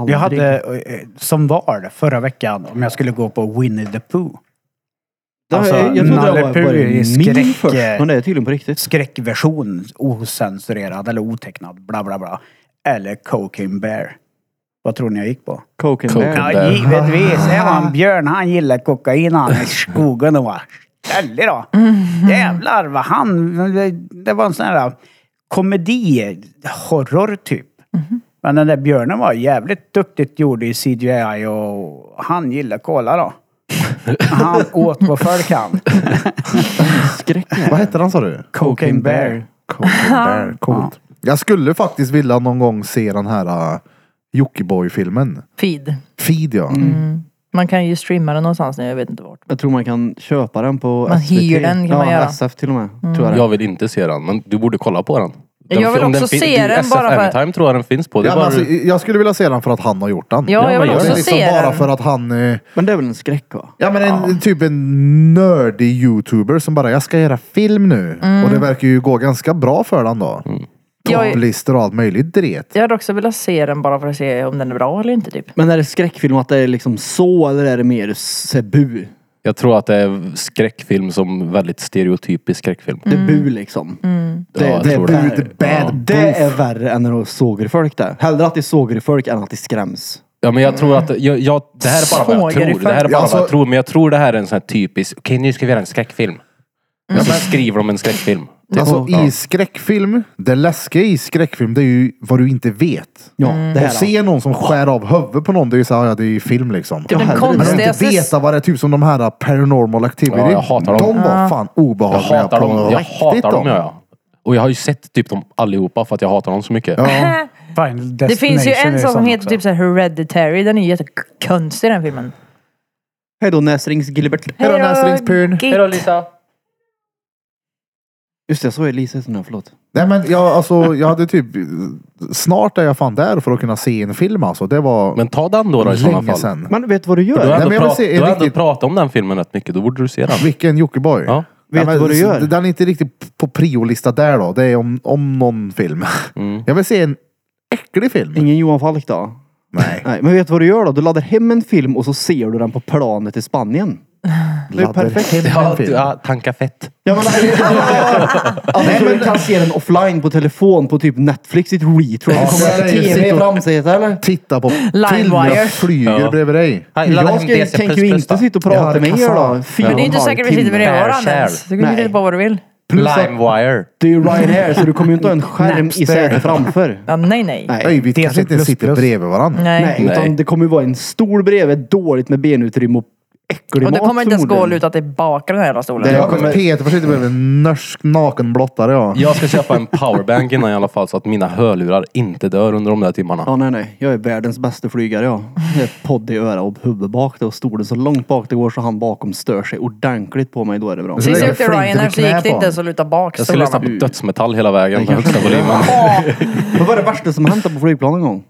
Aldrig. Jag hade, eh, som var förra veckan, om jag skulle gå på Winnie the Pooh. Det här- alltså, jag trodde det Nalle var Puh bara är en skräck, meme först. eh, Men det är tydligen på riktigt. skräckversion, ocensurerad eller otecknad, bla bla bla. Eller Cocaine Bear. Vad tror ni jag gick på? Coke and Coke bear. and- Ja, Bear. givetvis. Det var en björn, han gillar kokain han i skogen och var ställig då. Jävlar vad han... Det var en sån här komedi, horror typ. Men den där björnen var jävligt duktigt gjord i CGI och han gillar kola då. Han åt på folk han. Skräck. Vad hette den sa du? Cocaine Bear. Cocaine Bear. Coolt. Jag skulle faktiskt vilja någon gång se den här uh, äh, Jockiboi-filmen. Feed. Feed ja. Man kan ju streama den någonstans nu, jag vet inte vart. Jag tror man kan köpa den på Man SVT. hyr den, kan ja, man göra. Mm. SF till och med. Tror jag det. Jag vill inte se den, men du borde kolla på den. den Jag vill om också fin- se den SF bara för- Anytime tror jag den finns på. Det är Ja, men bara, alltså, jag skulle vilja se den för att han har gjort den. Ja, jag vill det är också se bara den. för att han... eh, Men det är väl en skräck va? Ja men en, typ en nördig youtuber som bara, jag ska göra film nu. Och det verkar ju gå ganska bra för den då. Mm. Jag- Topplistor och allt möjligt dret. Jag hade också velat se den bara för att se om den är bra eller inte typ. Men är det skräckfilm att det är liksom så eller är det mer sebu? jag tror att det är skräckfilm som väldigt stereotypisk skräckfilm. Det är Mm. bu liksom. Det, Ja, jag det, är tror bu, det. det, är bad det är värre än att sågar folk det. Hellre att det sågar folk än att det skräms. Ja men jag tror att, jag, jag, det här är bara vad jag Sågar i tror. Det här är bara Alltså- vad jag tror. Men jag tror det här är en sån här typisk, okej nu ska vi göra en skräckfilm. Och så skriver de en skräckfilm. Alltså i skräckfilm, det läskiga i skräckfilm det är ju vad du inte vet. Ja, Mm. det här. Att se någon som skär av huvudet på någon, det är ju såhär, ja det är ju film liksom. Ja, Den herregud. Men att inte konstigaste... veta vad det är, typ som de här paranormal activity. Ja, jag hatar dem. De var fan Jag obehagliga hatar på dem, jag riktigt, hatar dem de. ja, ja. Och jag har ju sett typ dem allihopa för att jag hatar dem så mycket. Final Det finns ju Destination är en sån som sån heter också. typ såhär Hereditary, den är ju jättekonstig den filmen. Hej då näsrings Gilbert. Hej då, näsringspurn. Git. Just det, så är Lisa heter nu, förlåt. Nej men jag, alltså, jag hade typ, snart är jag fan där för att kunna se en film alltså. Det var Men ta den då, då i sådana länge fall. sedan. Men vet du vad du Du har gör? Nej, ändå, men jag vill prat, se en du har ändå riktigt- pratat om den filmen rätt mycket, då borde du se den. Vilken Jockiboi. Ja. Vet men du vad du s- gör? Den är inte riktigt på priolista där då. Det är om, om någon film. Mm. Jag vill se en äcklig film. Ingen Johan Falk då? Nej. Nej, men vet du vad du gör då? Du laddar hem en film och så ser du den på planet i Spanien. Det är ju Laddar perfekt. hem en Ja, film. ja, tanka fett. Ja, men, alltså, du kan se den offline på telefon på typ Netflix i ett retro. Ja, det är Kommer det ju tv sitt- i framsätet eller? Titta på filmer Limewire. jag flyger Ja. bredvid dig. Jag ska, ju- tänker ju inte sitta och prata Ja, det med er passar. då. Fyra Men det är inte och en halv säkert vi sitter timme. med det i timme. varandra Fair ens. Du kan Nej. ju titta på vad du vill. Limewire. Det är ju Ryanair så du kommer ju inte ha en skärm i Napster. sätet framför. Ja, nej, nej. Nej. Nej, vi Det är kanske sitt inte plus sitter plus. bredvid varandra. Nej. Nej, utan Nej. det kommer ju vara en stol bredvid, dåligt med benutrymme och äcklig Och det mat kommer inte ens gå att förmodligen. luta tillbaka den här jävla stolen. Det Jag jag kommer- Peter får sitta bredvid en norsk naken blottare. Ja. Jag ska köpa en powerbank innan i alla fall så att mina hörlurar inte dör under de där timmarna. Ja, nej, nej. Jag är världens bästa flygare jag. Jag är Podd i öra och huvud bak det och stolen så långt bak det går så han bakom stör sig ordentligt på mig. Då är det bra. Så Sist lägger jag åkte flinten i Ryanair så knä gick på det inte honom. ens att luta bak Jag ska lyssna stolarna. på dödsmetall hela vägen på högsta volymen. Åh, Vad var det värsta som hänt på flygplan en gång?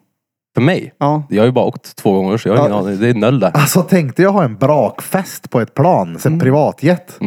För mig? Ja. Jag har ju bara åkt två gånger så jag har ingen aning. Det är noll där. Mm. Alltså tänkte jag ha en brakfest på ett plan, så en privatjet.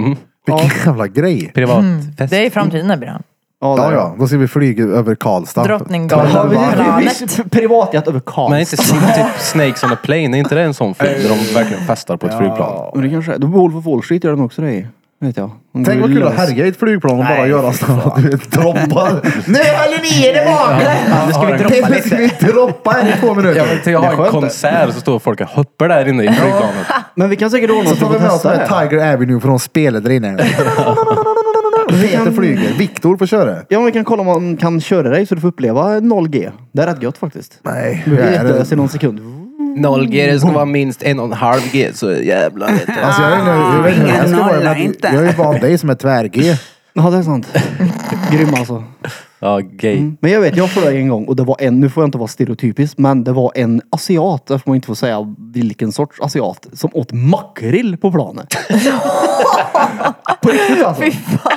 Vilken jävla grej. Privatfest. Det är i framtiden här Birra. Ja, Ja, ja, då ska vi flyga över Karlstad. Drottninggatan. Tolv Vi- varv. vi- vi- Privatjet över Karlstad. Men inte Sn- typ Snakes on a plane, är inte det en sån film där de verkligen festar på ett flygplan? Men det kanske är. Då Wolf of Wall Street gör den också det i. Vet jag. Om du Tänk vad vill kul att lösa- härja i ett flygplan och bara göra sådana att du droppar. Nu häller ni er där bak! Nu ska vi droppa lite. ska vi droppa här i två Jag minuter. vill till att ha en konsert så står folk och hoppar där inne i flygplanet. Men vi kan säkert ordna Så så tar att vi vi med får oss testa med det. Tiger Avenue från spelet där inne. Peter flyger. Viktor får köra. Ja, men vi kan kolla om man kan köra dig så du får uppleva 0G. Det är rätt gött faktiskt. Nej, Du hur blir är det? vettlös i någon sekund. 0G, det ska vara minst en och en halv G så jävlar vet du. Alltså jag vet inte jag vet inte hur jag ska vara. men Jag är ju van dig som är tvär-G. Ja, det är sant. Grym alltså. Ja, gay. Mm. Men jag vet, jag flög en gång och det var en, nu får jag inte vara stereotypisk, men det var en asiat, där får man inte få säga vilken sorts asiat, som åt makrill på planet. på riktigt alltså. Fy fan.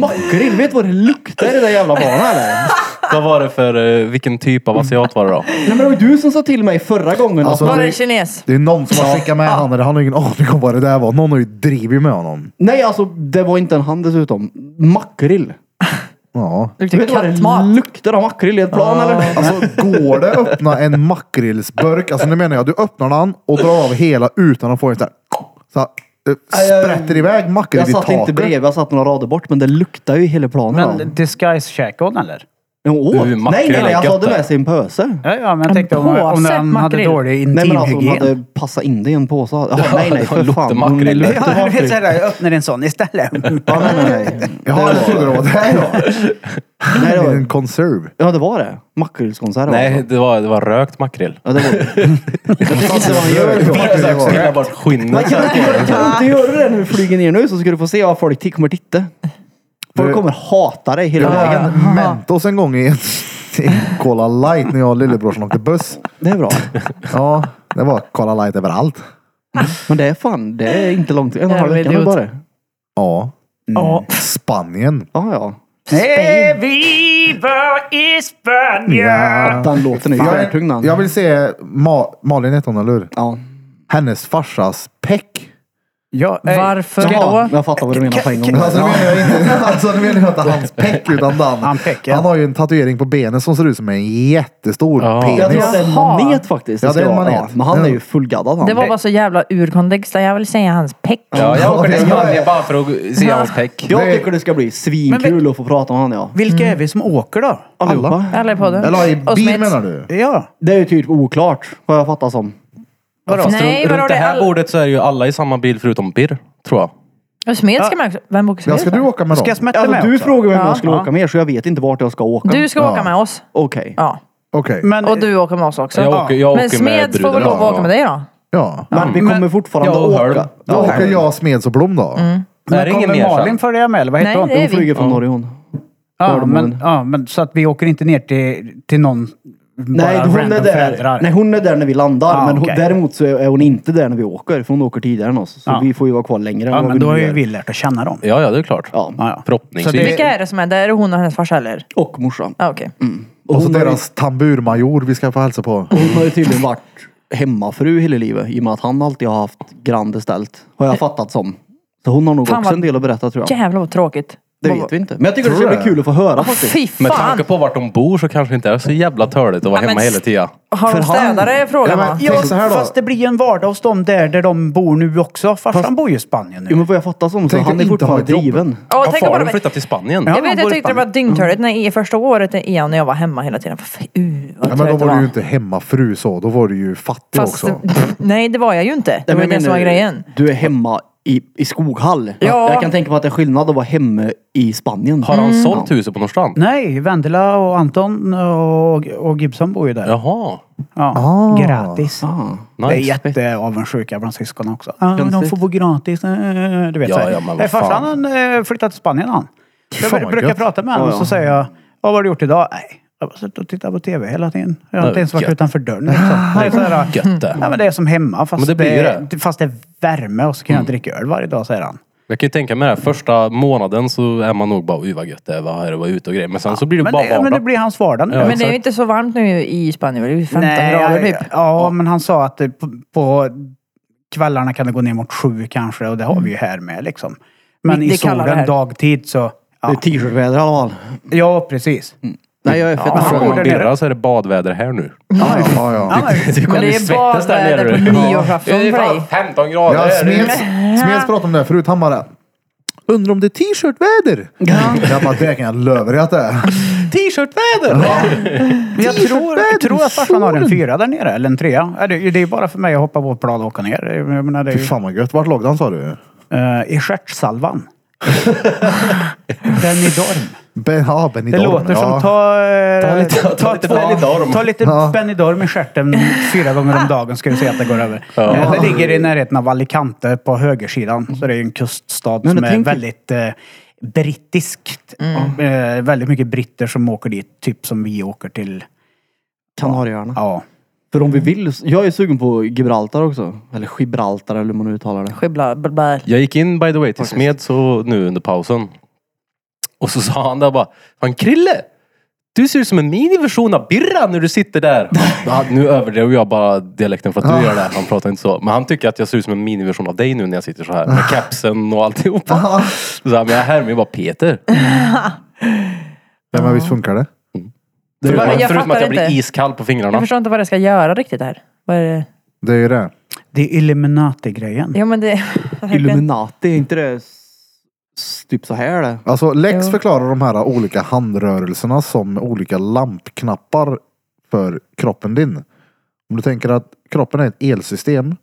Makrill, vet du vad det luktar i det där jävla barnet eller? Vad var det för, eh, vilken typ av asiat var det då? Nej men det var ju du som sa till mig förra gången Alltså, att Var man, det kines? Det är någon som har skickat med han eller han har ingen aning om vad det där var. Någon har ju drivit med honom. Nej alltså, det var inte en han dessutom. Makrill. Ja. Du Luktar vet vad det kattmat. luktar av makrill i ett plan eller? Alltså går det att öppna en makrillsburk? Alltså nu menar jag, du öppnar den och drar av hela utan att få en sån här... Så här, eh, sprätter iväg makrill Jag i satt inte taket. bredvid, jag satt några rader bort, men det luktar ju i hela planen. av. Men Disguise käkade hon eller? Men hon Uh, åt. Nej, makrill nej, nej. är Han gött hade det. med sig en pöse. Ja, ja men jag tänkte om, om påse hon hade makrill. dålig Nej men alltså hon intimhygien. hade passat in det i en påse. Jaha, nej nej för luktar fan. makrill. Hon luktar Ja, du vet makrill. sådär, jag öppnar en sån istället. Ja, nej, nej, nej. Jaha, jag trodde det var det här då. nej det Det är en var, konserv. ja det var det. Makrillskonsert var Nej, det. det var, det var rökt makrill. Ja det var det. Jag spelade bort skinnet. Men Kan du inte- kan du inte göra det när vi flyger ner nu så ska du få se vad folk till- kommer titta. Folk Du- kommer hata dig hela Jag var vägen. en Mentos en gång i en i en Cola light när jag och lillebrorsan åkte buss. Det är bra. Ja, det var Cola light överallt. Men det är fan, det är inte långt. En och en halv vecka Jävla nu idiot. bara. Ja. Mm. Ja. Spanien. Ja, ja. Nej, vi var i Spanien! Ja. Den låten är ju Jag, sjötung den. vill- jag vill se Ma Malin hette hon, eller hur? Ja. Hennes farsas peck. Ja, eh, Varför Jaha, då? jag fattar vad du menar på en gång. Alltså nu Ja. menar jag inte, alltså, nu menar jag inte hans peck utan den. Han peck, ja. han har ju en tatuering på benet som ser ut som en jättestor Ja. Jag tror penis. att det är en Jaha. manet faktiskt. Ja, det är en ska vara. manet. men han är Ja. ju fullgaddad han. Det var bara så jävla ur kontext. Jag vill säga hans peck. Ja, jag åker till Ja, Spanien bara för att se hans peck. Jag tycker det ska bli svinkul att få prata om han ja. Vilka är vi som åker då? Allihopa. Eller podden. Eller i Och bil Smith. menar du? Ja. Det är ju typ oklart, vad jag fattar som. Vadå? Nej, Runt- vadå, Runt det det är här all- bordet så är ju alla i samma bil förutom Birr, tror jag. Och Smed ska man också. Vem åker Ja, Smed ska du för? åka med Ska dem? jag smätta Alltså med du också? frågade mig om Ja. jag skulle åka med så jag vet inte vart jag ska åka. Du ska åka med oss. Okej. Ja. Okej. Men, Och du åker med oss också. Jag åker, jag åker Men Smed får väl brudarna. lov att åka med dig då? Ja. Men vi kommer fortfarande Jag och Hörl. åka. Då åker jag, Smeds och Blom då. Det är men ingen kommer mer Malin sen. följa med eller vad heter Nej, hon? det är Hon vi. flyger från Norge hon. Ja, Gardermoen. men, ja, men så att vi åker inte ner till, till någon Nej, bara hon är random där. föräldrar. Nej, hon är där när vi landar. Ah, men hon, okej. däremot så är hon inte där när vi åker. För hon åker tidigare än oss. Så Ja. vi får ju vara kvar längre. än ja, vad men vi då har nu ju är. vi lärt att känna dem. Ja, ja, det är klart. Ja. Ja, ja. Förhoppningsvis. Så det- Vilka är det som är där? Är det hon och hennes farsa eller? Och morsan. Ja, Okej. Och så hon, har ju- deras tamburmajor vi ska få hälsa på. hon har ju tydligen varit hemmafru hela livet. I och med att han alltid har haft grande ställt. Har jag fattat som. Så hon har nog Fan, också vad- en del att berätta tror jag. Jävlar vad tråkigt. Det vet vi inte. Men jag tycker det ska Tror bli jag. kul att få höra Åh, faktiskt. fy fan! Med tanke på vart de bor så kanske det inte är så jävla töligt att vara Ja, hemma men hela tiden. Har För han- de städare är Ja, men- frågan va? Ja, Ja, så här då. fast det blir ju en vardag hos dem där, där de bor nu också. Farsan bor ju i Spanien Jo nu. men vad jag fattar som så Tänk han att är inte fortfarande ha ett jobb. driven. Ja, Ja, tänk far bara... har flyttat till Spanien. Jag vet, bor jag i tyckte det var dyngtörligt när i första året i EAN när jag var hemma hela tiden. Fy, uh, vad Ja, men då trött var jag du ju inte hemmafru så. Då var du ju fattig Fast, också. nej det var jag ju inte. Det var Nej, ju men det som var menar du- grejen. Du är hemma i, i Skoghall. Ja. Jag kan tänka mig att det är skillnad att vara hemma i Spanien. Har Mm. han sålt huset på Norrstrand? Nej, Vendela och Anton och, och Gibson bor ju där. Ja. Jaha. Ah. Gratis. Ah. Det är Nice. jätteavundsjuka bland syskonen också. Ah, de Konstigt. får bo gratis. eh, Du vet Ja, så här. ja, men vad Eh, Farsan fan. han eh, flyttade till Spanien han. Jag Fan, br- vad brukar gött. prata med honom och så säger jag, "Ja, vad har du gjort idag? Nej, jag har bara suttit och tittat på TV hela tiden. Jag har Ja, inte ens varit gött. utanför dörren. Liksom. Det är så här, Gött det. Ja, men det är som hemma fast, Men det det, blir är- fast det är värme och så kan jag dricka öl varje dag säger han. Jag kan ju tänka mig det här, första månaden så är man nog bara oj vad gött det är, vad här är det, vad ute och grejer. Men sen så blir det Men bara det, men det vardag. blir hans vardag nu. Ja, Men det är exakt. ju inte så varmt nu i Spanien. Det är ju 15 grader jag- typ. Ja, men han sa att det på, på kvällarna kan det gå ner mot sju kanske och det har vi ju här med liksom. Men Det- i det Mm. kallar det solen här. dagtid så... Det är Ja, t-shirtväder i alla fall. ja precis. Mm. Nej jag är fett Ja. Frågar ja. man där nere. Birra så är det badväder här nu. Ja, ja. Ja, men- Men det ju är svettas där badväder nere. på nyårsafton för dig. 15 grader. ja Smeds, Smeds pratade om det här förut. Han bara, undrar om det är t-shirtväder? Jag bara, det kan jag löva dig att det är. T-shirtväder! Men jag tror, jag tror att farsan har en solen. fyra där nere, eller en trea. Ja, Det, det är bara för mig att hoppa på ett plan och åka ner. Jag menar, det är Fy ju, fan vad gött. Vart låg den sa du? eh, I stjärtsalvan. Benidorm. Ben, ja, Det Benidorm. låter ja. som ta... eh, Ta lite- ta lite två- Benidorm. Ta lite Ja. Benidorm i stjärten fyra gånger om dagen ska du se att det går över. Eh, Det ligger i närheten av Alicante på högersidan. Så det är ju en kuststad Men som jag är tänker- väldigt eh, brittiskt. Mm. Eh, väldigt mycket britter som åker dit, typ som vi åker till... Kanarieöarna. Ja. För om vi vill, jag är sugen på Gibraltar också. Eller Gibraltar eller hur man nu uttalar det. Skibla, bla, bla. Jag gick in by the way till Smed så nu under pausen. Och så sa han där bara, fan Krille! Du ser ut som en miniversion av Birra när du sitter där. Ja, nu överdrev jag bara dialekten för att Ah. du gör det. Han pratar inte så. Men han tycker att jag ser ut som en miniversion av dig nu när jag sitter så här. Ah. Med kepsen och alltihopa. Så här, men jag härmar ju bara Peter. Ja, men visst funkar det? Förutom, jag förutom att fattar jag blir inte. iskall på Jag fingrarna. förstår inte vad det ska göra riktigt här. Vad är Mm. det? Det är ju det. Det är Illuminati-grejen. Ja men det... Illuminati, är inte det s- s- typ så här det? Alltså Lex Jo. förklarar de här olika handrörelserna som olika lampknappar för kroppen din. Om du tänker att kroppen är ett elsystem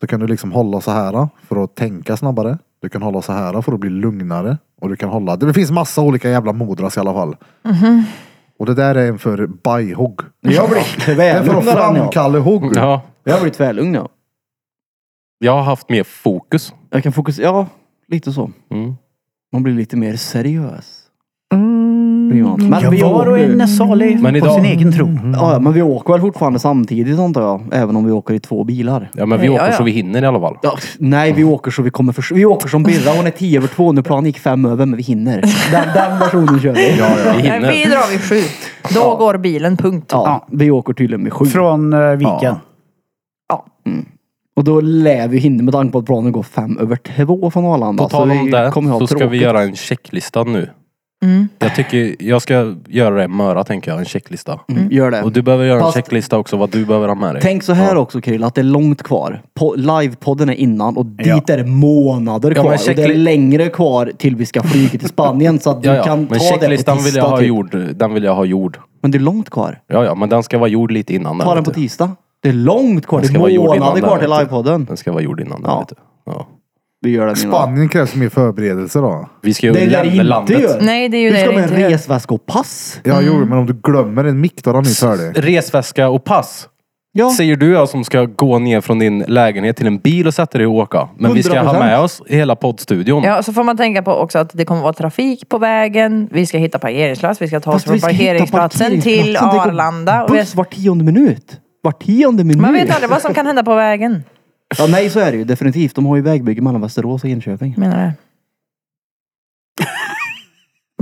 så kan du liksom hålla så här för att tänka snabbare. Du kan hålla så här för att bli lugnare. Och du kan hålla... Det finns massa olika jävla modras i alla fall. Mhm. Och det där är en för bajhugg. Jag blir Det är för att tvärlugn där, ja. framkalla hugg. Ja, Jag blir tvärlugn ja. jag har haft mer fokus. Jag kan fokusera, ja lite så. Mm. Man blir lite mer seriös. blir man. Men vi, Var och en är salig Men på idag- Mm. sin egen tro. ja, ja, men vi åker väl fortfarande samtidigt antar jag. Även om vi åker i två bilar. Ja men vi Ja, åker ja. så vi hinner i alla fall. Ja, nej, vi åker så vi kommer förs- Vi åker som Birra. Hon är 10 över 2 nu. Planen gick 5 över, men vi hinner. Den, den versionen kör vi. Ja, Nej, Vi hinner. vi drar vid sju. Då går bilen, punkt. vi åker tydligen med 7. Från eh, Viken. Ja. Och då lär vi hinna med tanke på att planen går 5 över 2 från Arlanda. På tal så om Alltså, vi det kommer ju ha så ska vi tråkigt. göra en checklista nu. Mm. Jag tycker, jag ska göra det i Möra tänker jag, en checklista. Mm, Gör det. Och du behöver göra en Fast- checklista också vad du behöver ha med dig. Tänk så här också Krill, att det är långt kvar. Po- Livepodden är innan och dit Ja. är det månader Ja, kvar. men Och det är checkli- längre kvar till vi ska flyga till Spanien. Så att du ja, ja. kan Men ta det på checklistan vill jag tisdag. ha typ. gjord. Den vill jag ha gjord. Men det är långt kvar. Ja ja, men den ska vara gjord lite innan. Ta där, den vet på du. tisdag. Det är långt kvar. Den Det ska vara är gjord innan månader där, kvar till vet du. livepodden. Den ska vara gjord innan. Ja. Ja. Vet du. Ja. Vi gör det mina. Spanien krävs mer förberedelser då. Vi ska ju Det är det lämna inte landet. gör. Nej, det är ju Du det ska det med inte en gör. resväska och pass. Ja, jo, Mm. men om du glömmer en mick då har de inte hört det. Resväska och pass. Ja. Säger du jag som ska gå ner från din lägenhet till en bil och sätta dig och åka. Men vi ska ha 100%. med oss hela poddstudion. Ja, så får man tänka på också att det kommer vara trafik på vägen. Vi ska hitta parkeringsplats. Vi ska ta oss Fast från vi ska hitta parkeringsplatsen till parkeringsplatsen. Det går Arlanda. Och vi- Buss var tionde minut. Var tionde minut. Man vet aldrig vad som kan hända på vägen. Ja, nej, så är det ju definitivt. De har ju vägbygge mellan Västerås och Enköping. Menar du?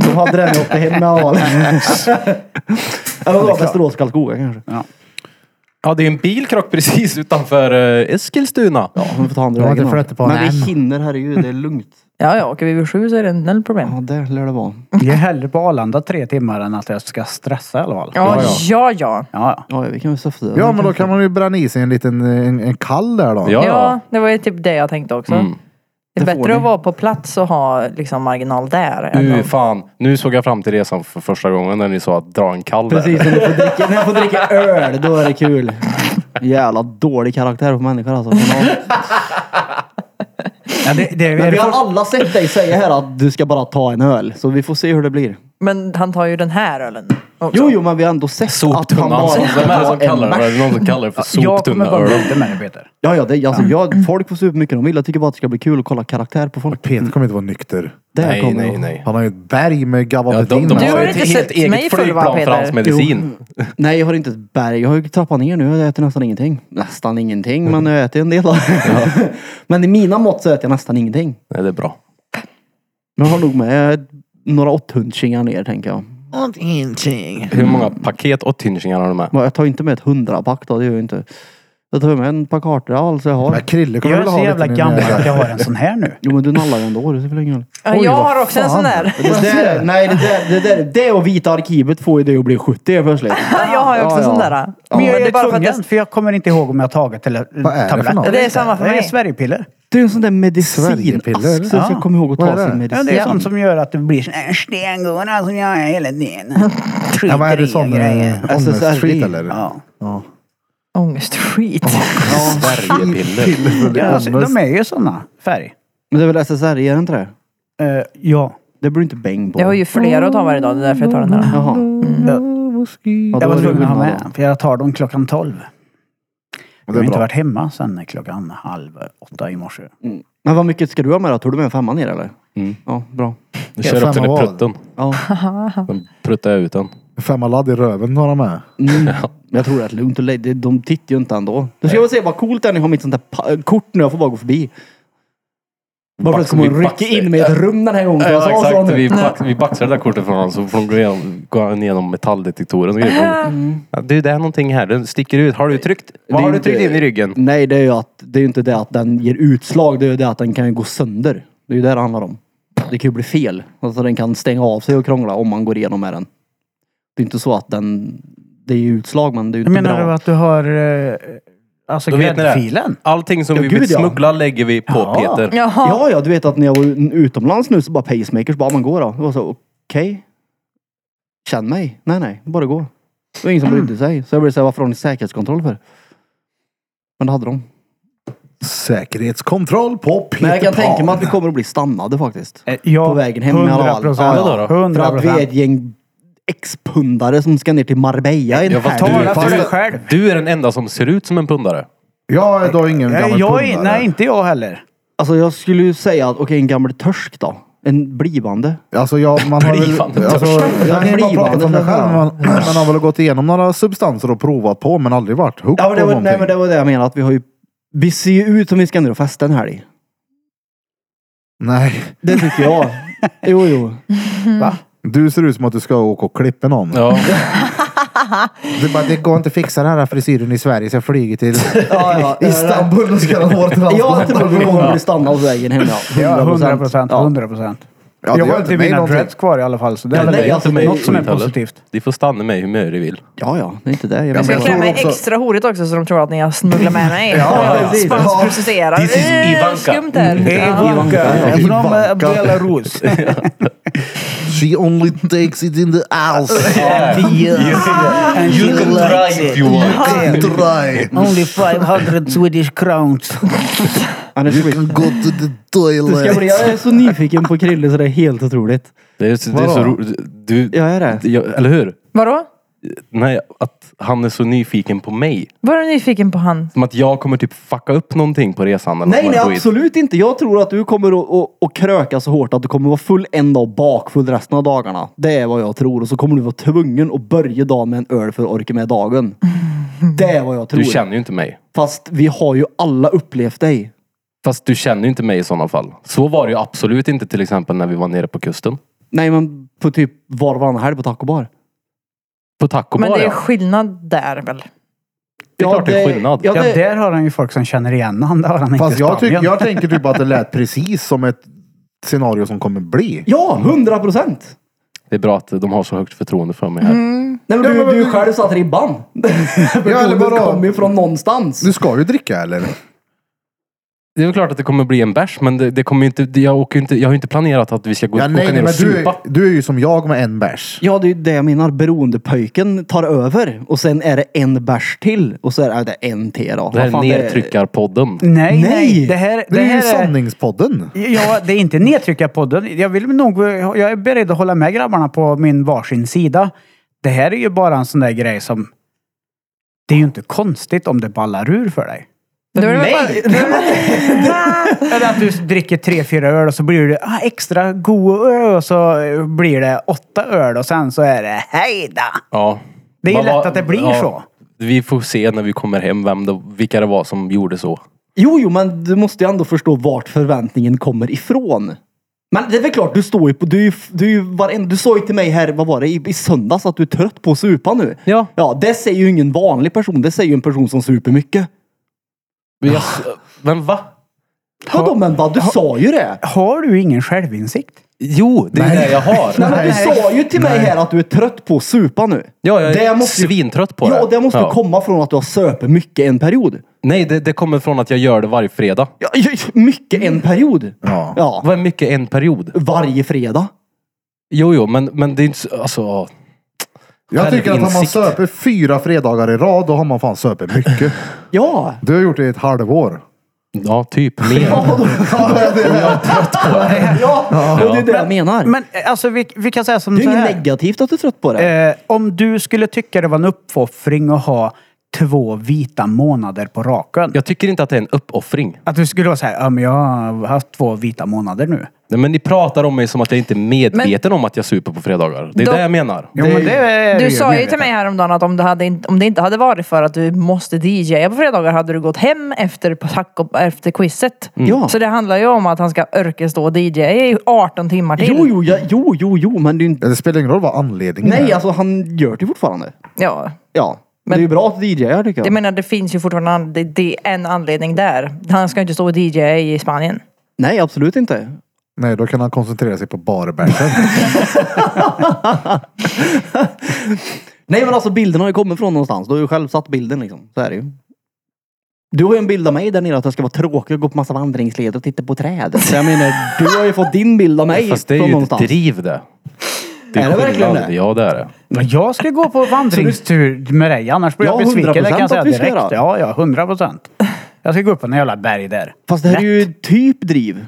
De hade den uppe hemma. Eller vad var Västerås Karlskoga kanske. Ja, det är en bilkrock precis utanför eh, Eskilstuna. Ja, vi får ta andra Ja, det vägen. då. flyter på Men den. vi hinner, herregud. Det är lugnt. Ja, ja, åker vi vid sju så är det noll problem. Ja, där lär det vara. Jag är hellre på Arlanda tre timmar än att jag ska stressa i alla fall. Ja, ja, ja. Ja, Ja, ja, vi kan väl suffa det. Ja, men då kan man ju bränna i sig en liten en, en kall där då. Ja, Ja, ja. det var ju typ det jag tänkte också. Mm. Det är Det får bättre ni. att vara på plats och ha liksom marginal där. än Uh, att- fan. Nu såg jag fram till resan för första gången när ni sa att dra en kall där. Precis, när jag, får dricka, när jag får dricka öl, då är det kul. Jävla dålig karaktär på människor alltså. Men, ja. ja. Det, det, är Men det vi har första- alla sett dig säga här att du ska bara ta en öl. Så vi får se hur det blir. Men han tar ju den här ölen också. Jo, jo, men vi har ändå sett att han Soptunnan. bara som- Vem är det som ska ta kallar en det? Är bärs. det någon som kallar det för jag kommer bara soptunnaöl? inte med det Peter. Ja, ja, det, alltså, jag, folk får super mycket de vill. Jag tycker bara att det ska bli kul att kolla karaktär på folk. Peter kommer inte vara nykter. Mm. Där Nej, kommer nej, de. nej. Han har ju ett berg med Ja, de, gabapentin. de Du har har ju ett inte helt sett mig eget full, va, flygplan för Peter? hans medicin. Nej, jag har inte ett berg. Jag har ju trappat ner nu. Jag äter nästan ingenting. Nästan ingenting, Mm. men jag äter en del. men i mina mått så äter jag nästan ingenting. Nej, det är bra. Men jag har nog med några åtthundskingar ner, tänker jag. Hur många paket och tinsingar har du med? Men jag tar inte med ett hundrapack då, det gör jag inte. Jag tar med en par kartor, allt så jag har. Men Krille kommer Jag väl är ha så lite jävla nu gammal när- att jag har en sån här nu. Jo men du nallar ju ändå, det spelar ingen roll. Ja, jag har också en sån där. Det där, nej, det där, det där, det och Vita Arkivet får ju dig att bli 70 helt plötsligt. Jag har ju också Ja, ja. sån där. Men jag det är är bara för att tvungen jag... för, jag kommer inte ihåg om jag har tagit tele- Vad är det för tabletter. något? Det är samma för Det är mig. Sverigepiller. Det är en sån där medicinask Sverigepiller, så eller? jag ska Ja. komma ihåg att Vad ta är det? sin Ja, medicin. det är sånt som gör att det blir sån här stengurra som jag är hela tiden. Ja, vad är det Skiter i sån? grejer. eh, Ångestskit SSRI? eller? Ja. Ångestskit. Sverigepiller. Ja, alltså, de Ångest. är ju sådana färg. Men det är väl SSRI, är det inte det? Eh, ja. Det blir inte bäng på. Jag har ju flera att ta varje dag, det är därför jag tar den här. Jaha. Ja, då Jag var är det tvungen att skillnad ha då. med, för jag tar dem klockan tolv. Ja, Jag Det har är inte bra. varit hemma sen klockan halv åtta i morse. Men vad mycket ska du ha med då? Tog du med en femma ner eller? Mm. Ja, bra. Du kör upp den i Fan, vad- prutten. Ja. Sen pruttar jag ut den. Femma ladd i röven har de med. Mm. Men jag tror det är lugnt och lejdigt. De tittar ju inte ändå. Nu ska jag väl se vad coolt det är när jag har mitt sånt där pa- eh, kort nu. Jag får bara gå förbi. Bara för att kommer hon rycka in mig i ett rum den här gången. Jag sa Ja, så exakt. nu. Vi, bax, vi baxar det där kortet från honom så får de gå igenom, gå igenom metalldetektorn. Och grejer. Ja, du, det är någonting här. Den sticker ut. Har du tryckt? Vad Det är har du inte- tryckt in i ryggen? Nej, det är ju att, det är ju inte det att den ger utslag. Det är ju det att den kan ju gå sönder. Det är ju det det handlar om. Det kan ju bli fel. Alltså den kan stänga av sig och krångla om man går igenom med den. Det är inte så att den... Det är ju utslag men det är ju Jag inte menar du bra. att du har eh, alltså Då vet ni det. gräddfilen? Allting som Ja, vi gud, vill ja. smuggla lägger vi på Ja. Peter. Jaha. Ja, ja, du vet att när jag var utomlands nu så bara pacemakers, bara man går då. Det var så, okej. Känn mig. Nej, nej, bara gå. Det var ingen som brydde sig. Så jag blev såhär, varför har ni säkerhetskontroll för? Men det hade de. Säkerhetskontroll på Peter Men jag kan Pan. tänka mig att vi kommer att bli stannade faktiskt. Eh, Ja, På vägen hem i alla fall. 100%. Ja, ja. För 100 att vi är ett gäng ex-pundare som ska ner till Marbella i en Ja, vad helg. Tala tar för Du- dig själv. Du är den enda som ser ut som en pundare. Ja, då är ingen Eh, gammal Jag, är- pundare. nej, inte jag heller. Alltså jag skulle ju säga att, okej en gammal törsk då. En blivande. Alltså jag, man har väl, Blivande alltså, törstig. jag kan ju bara prata för mig Blivande själv. Man, man har väl gått igenom några substanser och provat på men aldrig varit hooked Ja, men det på var, nej, någonting. men det var det jag menade. Att vi, har ju, vi ser ju ut som vi ska ner och festa en helg. Nej. Det tycker jag. Jo, jo. Va? Du ser ut som att du ska åka och klippa någon. Ja. Det, är bara, det går inte att fixa den här frisyren i Sverige så jag flyger till Ja, ja. Istanbul och ska ha Jag tror vi hårtransplantation. kommer bli stannade på vägen hem. Ja, 100 procent. 100 procent. Ja, det jag gör har inte inte mig mina någonting. dreads kvar i alla fall. Så det är Nej, väl nej, alltså, det är något som är skit heller. positivt. De får stanna med hur mycket de vill. Ja, ja. Det är inte det. Jag Jag menar. ska tror klämma också- extra horigt också så de tror att ni har smugglat med mig. Ja, ja, precis. Spansprocesserar. This is Eh, Ivanka. Skumt där. Det är Mm. Ivanka från Ivanka. eh, Belarus. She only takes it in the ass. You can try if you want. Dry. Only 500 Swedish crowns. Han är You sweet. can go to the Du ska bli, toilet. jag är så nyfiken på Krille så det är helt otroligt. Det är, så- det är så Vadå? roligt. Du, Jag är det. jag, eller hur? Vadå? Nej, att han är så nyfiken på mig. Var du nyfiken på han? Som att jag kommer typ fucka upp någonting på resan. Eller Nej, något nej skit. absolut inte. Jag tror att du kommer att, att, att kröka så hårt att du kommer vara full en dag och bakfull resten av dagarna. Det är vad jag tror. Och så kommer du vara tvungen att börja dagen med en öl för att orka med dagen. Det är vad jag tror. Du känner ju inte mig. Fast vi har ju alla upplevt dig. Fast du känner ju inte mig i sådana fall. Så var det ju absolut inte till exempel när vi var nere på kusten. Nej men på typ var och varannan helg på taco bar. På taco Men bar, det är ja. skillnad där väl? Det är klart det är skillnad. Ja, Ja, det, där har han ju folk som känner igen honom. Det har han inte Fast i jag, tyck, Spanien. jag tänker typ att det lät precis som ett scenario som kommer bli. ja, hundra procent. Det är bra att de har så högt förtroende för mig här. Mm. Nej men du, men- du själv satt ribban. Ja, eller du vadå? kom ju från någonstans. Du ska ju dricka eller? Det är väl klart att det kommer bli en bärs, men det, det kommer ju inte, det- jag, åker ju inte, jag har ju inte planerat att vi ska gå Ja, åka nej, ner men och du, supa. du är ju som jag med en bärs. Ja, det är ju det jag menar. Beroendepöjken tar över och sen är det en bärs till och så är det en till då. Det här Vad är fan, nertryckarpodden. Nej, Nej. nej. Det här, Det det är ju här är... sanningspodden. Ja, det är inte nedtryckarpodden. Jag vill nog... Jag är beredd att hålla med grabbarna på min varsin sida. Det här är ju bara en sån där grej som... Det är ju inte konstigt om det ballar ur för dig. Då är det väl bara- Eller att du dricker tre, fyra öl och så blir det ah, extra god öl och så blir det åtta öl och sen så är det hejda. Ja. Det är ju Vad lätt var- att det blir så. Vi får se när vi kommer hem vem det, vilka det var som gjorde så. Jo, jo, men du måste ju ändå förstå vart förväntningen kommer ifrån. Men det är väl klart, du står ju på... Du, är ju- du, är ju varenda- du sa ju till mig här, vad var det, i, i söndags att du är trött på att supa nu. Ja. Ja, det säger ju ingen vanlig person. Det säger ju en person som super mycket. Men Jag, men va? Vadå, men vad? Du sa ju det! Har du ingen självinsikt? Jo, det är det jag har. Nej, men du sa ju till mig här att du är trött på att supa nu. Ja, jag är Det måste ju- svintrött på det. Ja, det måste Ja. komma från att du har söpit mycket en period. Nej, det, det kommer från att jag gör det varje fredag. Ja, ja, mycket en period. Ja. ja. Vad är mycket en period? Varje fredag. Jo, jo, men, men det är inte så- alltså... Jag tycker att om man Självinsikt. söper fyra fredagar i rad, då har man fan söpit mycket. Ja. Du har gjort det i ett halvår. Ja, typ. Mer. Ja, och det är det jag menar. Men eh, alltså vi, vi kan säga som det är så ju inget här. negativt att du är trött på det. Eh, om du skulle tycka det var en uppoffring att ha två vita månader på raken. Jag tycker inte att det är en uppoffring. Att du skulle vara så här, ja men jag har haft två vita månader nu. Nej, men ni pratar om mig som att jag inte är medveten om att jag super på fredagar. Det är Då- det jag menar. Jo, men det är Du ju sa ju medveten. till mig häromdagen att om det, hade, inte- om det inte hade varit för att du måste DJa på fredagar hade du gått hem efter, på taco, efter quizet. Ja. Så det handlar ju om att han ska örkestå och DJa i 18 timmar till. Jo, jo, ja, jo, jo, jo, men det är ju inte... Ja, Det spelar ingen roll vad anledningen Nej, är. alltså han gör det ju fortfarande. Ja. Ja. Men det är ju bra att DJa tycker jag. Jag menar det finns ju fortfarande an, det, det är en anledning där. Han ska ju inte stå och DJa i Spanien. Nej, absolut inte. Nej, då kan han koncentrera sig på barbärsen. Nej, men alltså bilden har ju kommit från någonstans. Du har ju själv satt bilden liksom. Så är det ju. Du har ju en bild av mig där nere att jag ska vara tråkig och gå på massa vandringsleder och titta på träd. Så jag menar, du har ju fått din bild av mig Fast det är från ju ett någonstans. driv det. Är det verkligen skillnad. det? Ja, det är det. Men Jag ska gå på vandringstur med dig, annars blir Ja, jag besviken. Det kan 100% jag säga att vi ska direkt. göra. Ja, ja, hundra procent. Jag ska gå upp på några jävla berg där. Fast det här är ju typ driv. Typ.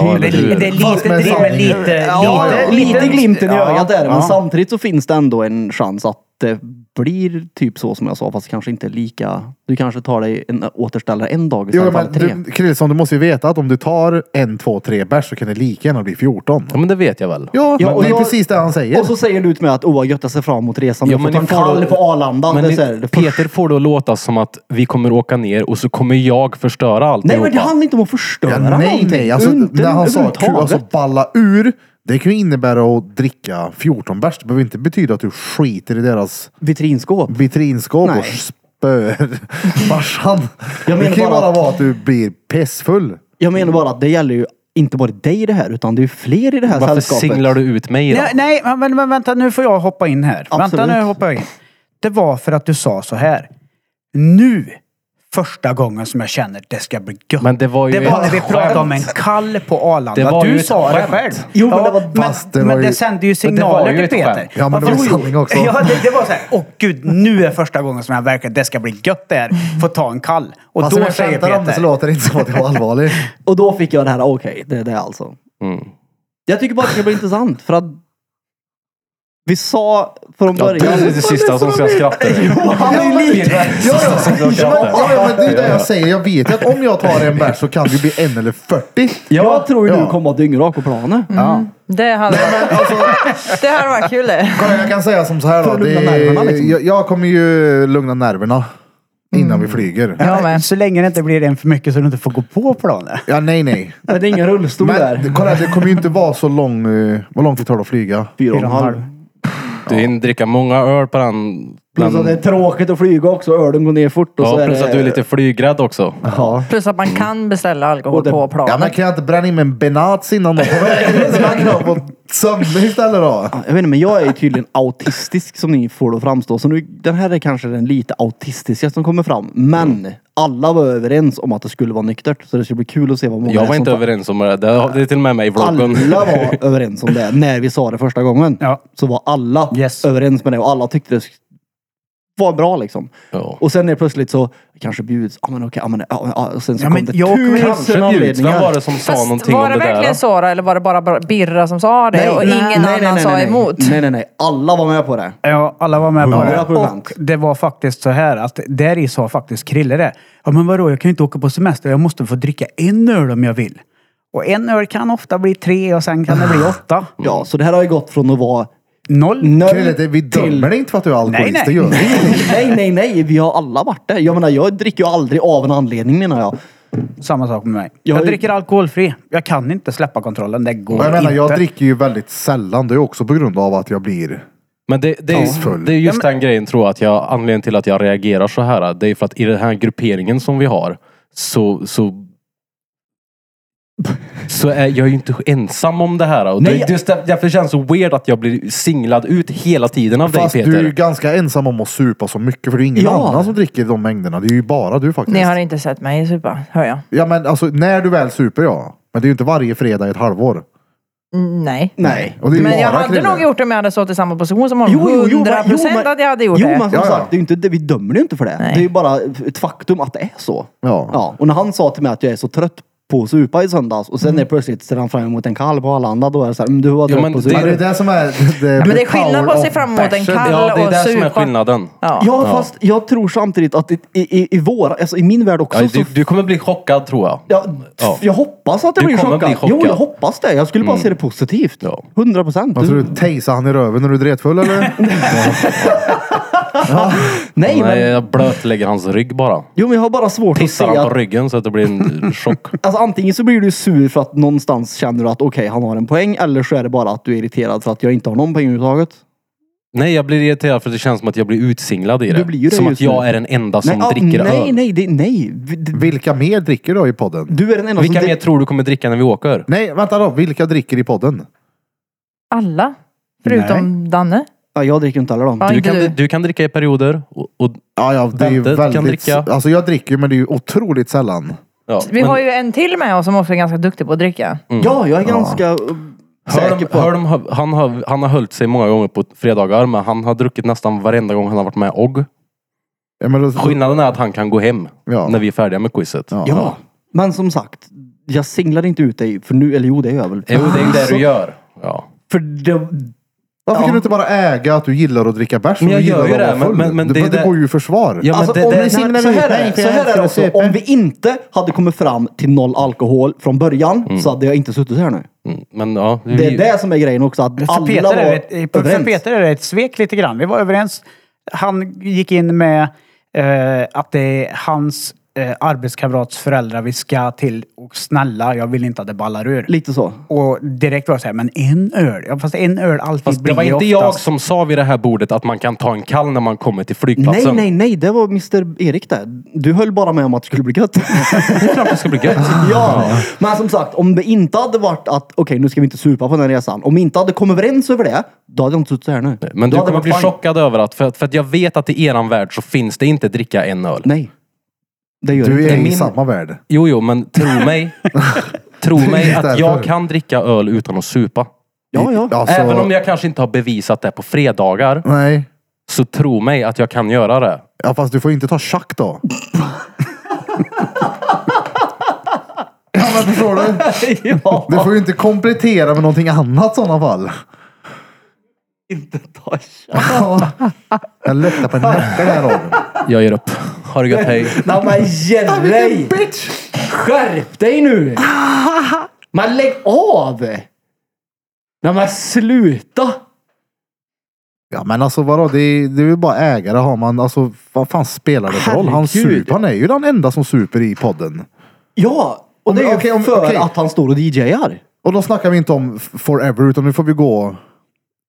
Ja, eller hur? Fast med sanningen. lite, Ja, lite, glimten i Ja, ögat är det, men ja. samtidigt så finns det ändå en chans att det blir typ så som jag sa, fast kanske inte lika. Du kanske tar dig en återställare en dag Jo, istället för men tre. du, Krillson, du måste ju veta att om du tar en, två, tre bärs så kan det lika gärna bli 14. Ja men det vet jag väl. Ja, Ja, och det är jag- precis det han säger. Och så säger du till mig att åh vad gött jag ser fram emot resan. Ja, du får men ta en ni får då- kall på Arlanda. Men det är ni- så här, det får- Peter får det att låta som att vi kommer åka ner och så kommer jag förstöra Nej alltihopa. men det handlar inte om att förstöra Ja, nej, någonting. nej. Alltså, Inte när han sa överhuvudtaget. kul, alltså balla ur. Det kan ju innebära att dricka 14 bärs. Det behöver inte betyda att du skiter i deras Vitrinskåp. vitrinskåp Nej. och spöar farsan. Jag Det menar kan ju bara bara att- vara att du blir pessfull. Jag menar bara att det gäller ju inte bara dig i det här utan det är ju fler i det här Varför sällskapet. singlar du ut mig då? Nej, nej men, men, men vänta nu får jag hoppa in här. Absolut. Vänta nu hoppar jag in. Det var för att du sa så här. Nu, första gången som jag känner det ska bli gött. Men det var ju det var ett när vi pratade om en kall på Arlanda. Det var ju du ett sa det skämt. själv. Jo, men det var- fast det men, var men ju- det sände ju Men det var signaler ju till ett Peter. skämt. Ja, men det var Varför- ju sanning också. Ja, det, det var så här. Åh gud, nu är första gången som jag verkar det ska bli gött det här. Få ta en kall. Och Fast om då jag säger skämtar om det så Peter. låter det inte som att jag var allvarlig. Och då fick jag det här, okej, det är det alltså. Jag tycker bara att det blir intressant för att vi sa från Ja, det början... är det sista som ska skratta. Han är ju livrädd! Ja, ja. Så jag kan Ja, inte. ja, men det är det jag säger. Jag vet ju att om jag tar en bärs så kan det ju bli en eller 40. Jag tror ju Ja. du kommer vara dyngrak på planen. Det hade, det hade varit kul det. Alltså, Kolla, jag kan säga som så här För då. att lugna Det, nerverna, liksom. Mm. jag, jag kommer ju lugna nerverna innan vi flyger. Ja. Jag med. Så länge det inte blir en för mycket så du inte får gå på planet. nej, nej. Det är ingen rullstol Men där. det- kolla, det kommer ju inte vara så lång... eh, vad långt det tar att flyga? Fyra och en Fyra och en halv. halv. Du hinner dricka många öl på den. Plus att det är den tråkigt att flyga också. Ölen går ner fort och så ja, är plus det... att du är lite flygrädd också. Ja. Plus att man kan beställa alkohol Och det- på Ja, men planet. kan jag inte bränna in mig en Benats innan då? På vägen in så jag kan ha på sömnig istället då? Jag vet inte, men jag är ju tydligen autistisk som ni får det att framstå. Så nu, den här är kanske den lite autistiska som kommer fram. Men alla var överens om att det skulle vara nyktert. Så det skulle bli kul att se vad många Jag är var som inte tar- överens om det. Det har- det är till och med med i vloggen. Alla var överens om det när vi sa det första gången. Ja. Så var alla Yes. överens med det och alla tyckte det var bra liksom. Ja. Och sen är det plötsligt så kanske bjuds, ja men okej, ja men ja, ja, och sen så Ja, kom men det jag kommer- Kanske tusen bjuds. Vem var anledningar. det som sa Fast någonting var om det det där? verkligen då? Sara eller var det bara Birra som sa det och ingen annan sa nej, Mm. emot? Nej, nej, nej. Alla var med på det. Ja, alla var med på Hundra det. procent. Och det var faktiskt så här att där i sa faktiskt Krille det. Ja men vadå, jag kan ju inte åka på semester. Jag måste få dricka en öl om jag vill. Och en öl kan ofta bli tre och sen kan det Ah. bli åtta. Mm. Ja, så det här har ju gått från att vara Noll. Krille, nöjd det- vi dömer dig inte för att du är alkoholist. Nej, nej. Det gör vi. Nej, nej, nej. Vi har alla varit det. Jag menar, jag dricker ju aldrig av en anledning menar jag. Samma sak med mig. Jag Jag, har ju- dricker alkoholfri. Jag kan inte släppa kontrollen. Det går Och Jag menar, inte. jag dricker ju väldigt sällan. Det är också på grund av att jag blir... Men det, det, är, Tansfull. det är just den grejen tror jag, att jag, anledningen till att jag reagerar så här, det är för att i den här grupperingen som vi har, så, så så är jag ju inte ensam om det här. Och Nej, det, just där- därför känns det så weird att jag blir singlad ut hela tiden av Fast dig du är Peter. ju ganska ensam om att supa så mycket. För det är ju ingen Ja. annan som dricker de mängderna. Det är ju bara du faktiskt. Ni har inte sett mig supa, hör jag. Ja men alltså när du väl super ja. Men det är ju inte varje fredag i ett halvår. Mm, Nej. Nej. Och det är ju Men bara jag hade Krille. nog gjort det om jag hade stått i samma position som honom. Jo, jo, jo. men- 100% jo, men- att jag hade gjort jo, det. men som Ja, ja. sagt, det är ju inte, det, vi dömer ju inte för det. Nej. Det är ju bara ett faktum att det är så. Ja. ja. Och när han sa till mig att jag är så trött på att supa i söndags och sen Mm. är det plötsligt ser han fram emot en kall på Arlanda. Då är det så här, "Mm, du var trött men på att det- Ja, supa. det är det som är... Det, Ja, men det är skillnad på att se fram emot en kall ja, det är och det som är supa. skillnaden. Ja. Ja, fast jag tror samtidigt att i, i, i vår, alltså i min värld också, Ja, du, så du kommer bli chockad tror jag. Ja, Ja. Jag hoppas att det Du blir kommer chockad. bli chockad. Mm. Jo, jag hoppas det. Jag skulle bara se det positivt. Ja. 100 procent. Vad tror Alltså, du? Tejsade han i röven när du är dretfull eller? Nej, Nej, men... jag blötlägger hans rygg bara. Jo, men jag har bara svårt att se Pissar han på att... ryggen så att det blir en chock. Alltså, antingen så blir du sur för att någonstans känner du att okej, han har en poäng. Eller så är det bara att du är irriterad för att jag inte har någon poäng överhuvudtaget. Nej, jag blir irriterad för det känns som att jag blir utsinglad i det. Du blir ju det som just att jag nu. är den enda som nej, ah, Alltså, dricker nej, öl. nej, det, nej. Vi- det- Vilka mer dricker då i podden? Du är den enda Vilka som... mer tror du kommer dricka när vi åker? Nej, vänta då. Vilka dricker i podden? Alla. Förutom Danne. Ja, jag dricker inte heller dem. Ja, Du inte kan, du. du kan dricka i perioder. Och, och, Ja, ja, det är ju Väntet kan väldigt... dricka. Alltså jag dricker ju men det är ju otroligt sällan. ja. Vi men har ju en till med oss som också är ganska duktig på att dricka. Ja, jag är ganska eh, hör säker de, på hör att... de, han, har, han har höljt sig många gånger på fredagar, men han har druckit nästan varenda gång han har varit med OGG. Ja, men då, Skillnaden är att han kan gå hem Ja. när vi är färdiga med quizet. Ja, men som sagt. Jag singlar inte ut dig, för nu, eller jo det gör jag väl. Jo, det är ju det du gör. Ja. För det... Varför kan du inte bara äga att du gillar att dricka bärs? och Men jag du gillar gör ju att vara det, men- full? men- men det, det- det, det- går ju i försvar. Ja, men Alltså, det- om det- vi, så Nej, men här är nej, det, så här är det också. nej, Om vi inte hade kommit fram till noll alkohol från början så hade jag inte suttit här nu. Mm, Men ja, Det är det som är grejen också. Att För alla Peter, var är det, ett- för överens. Peter är det ett svek lite grann. Vi var överens. Han gick in med eh, att det är hans eh, arbetskamrats föräldrar vi ska till. Och snälla, jag vill inte att det ballar ur. Lite så. Och direkt var det så här, men en öl? Ja, fast en öl alltid Fast det blir var inte oftast- jag som sa vid det här bordet att man kan ta en kall när man kommer till flygplatsen. Nej, nej, nej. Det var Mr Erik där. Du höll bara med om att det skulle bli gött. Det är klart det ska bli gött. ja. Men som sagt, om det inte hade varit att okej, nu ska vi inte supa på den här resan. Om vi inte hade kommit överens över det, då hade jag inte suttit här nu. Men Då du hade det kommer varit bli fine. chockad över att, för, att- för att jag vet att i eran värld så finns det inte dricka en öl. Nej. Det gör Du inte. är i min- samma värld. Jo, jo, men tro mig. tro mig att Därför. jag kan dricka öl utan att supa. Ja, ja. Alltså, Även om jag kanske inte har bevisat det på fredagar, Nej. så tro mig att jag kan göra det. Ja, fast du får inte ta tjack då. ja, men förstår du? ja. Du får ju inte komplettera med någonting annat i sådana fall. Inte ta Jag lättar på nacken här Robin. Jag ger upp. Har det gött, hej. Nej men Jerry! Skärp dig nu! Men lägg av! Nej men sluta! Ja men alltså vadå, det är, det är ju bara ägare har man. Alltså vad fan spelar det för roll? Han, Herregud. super, han är ju den enda som super i podden. Ja, och Om- det är ju okej, om- för okej. att han står och DJar. Och då snackar vi inte om f- forever utan nu får vi gå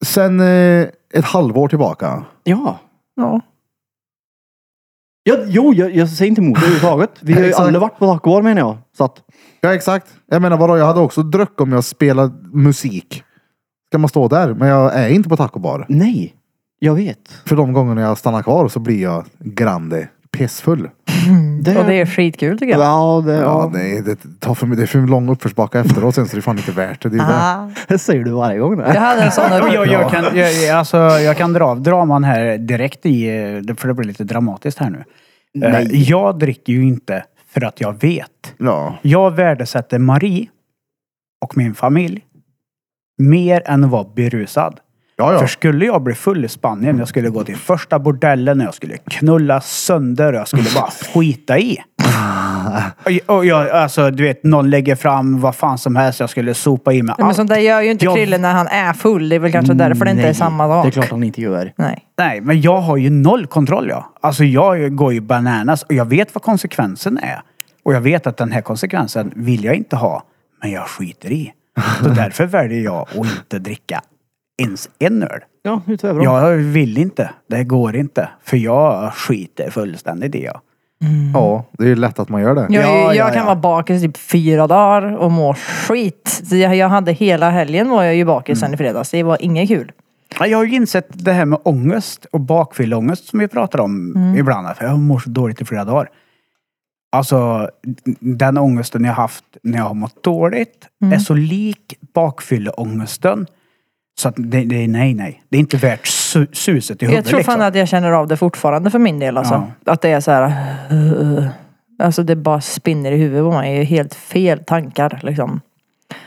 sen eh, ett halvår tillbaka. Ja. Ja. ja jo, jag, jag säger inte emot det överhuvudtaget. Vi har ju Exakt. aldrig varit på Taco Bar menar jag. Så att, Ja exakt. Jag menar vadå, jag hade också druck om jag spelade musik. Ska man stå där? Men jag är inte på tacobar. nej. Jag vet. För de gångerna jag stannar kvar så blir jag grande pissfull. Det, Och det är skitkul tycker jag. Ja, det, Ja, ja. nej, det, tar för, det är för lång uppförsbacke efteråt sen så det är fan inte värt det. det, är det. Ah. det säger du varje gång. Jag Det. hade en sån där... Jag, jag, kan, jag, jag- alltså, jag kan dra av draman här direkt i, eh, för det blir lite dramatiskt här nu. Nej. Jag dricker ju inte för att jag vet. Ja. Jag värdesätter Marie och min familj mer än att vara berusad. Ja, ja. För skulle jag bli full i Spanien, jag skulle gå till första bordellen, jag skulle knulla sönder, jag skulle bara skita i. Och, och jag, alltså, du vet, någon lägger fram vad fan som helst, jag skulle sopa i mig Nej, men sånt där gör ju inte Jag- Krille när han är full. Det är väl kanske därför det inte är Mm, Nej, samma sak. Det är klart han inte gör. Nej. Nej, men jag har ju noll kontroll jag. Alltså jag går ju bananas och jag vet vad konsekvensen är. Och jag vet att den här konsekvensen vill jag inte ha, men jag skiter i. Så därför väljer jag att inte dricka ens en öl. Ja, nu är jag. Jag vill inte. Det går inte. För jag skiter fullständigt i jag. ja, det är ju lätt att man gör det. Jag, Ja, jag ja, kan ja. vara bakis typ fyra dagar och må skit. Så Jag, jag hade hela helgen var jag ju bakis Mm. sen i fredags. Det var inget kul. Ja, Jag har ju insett det här med ångest och bakfylleångest som vi pratar om Mm. ibland. För jag mår så dåligt i flera dagar. Alltså, den ångesten jag haft när jag har mått dåligt är Mm. så lik bakfylleångesten. Så att det, det är nej, nej. Det är inte värt su suset i huvudet. Jag tror fan liksom. att jag känner av det fortfarande för min del alltså. Att det är så här. eh, alltså det bara spinner i huvudet på mig. Det är helt fel tankar liksom.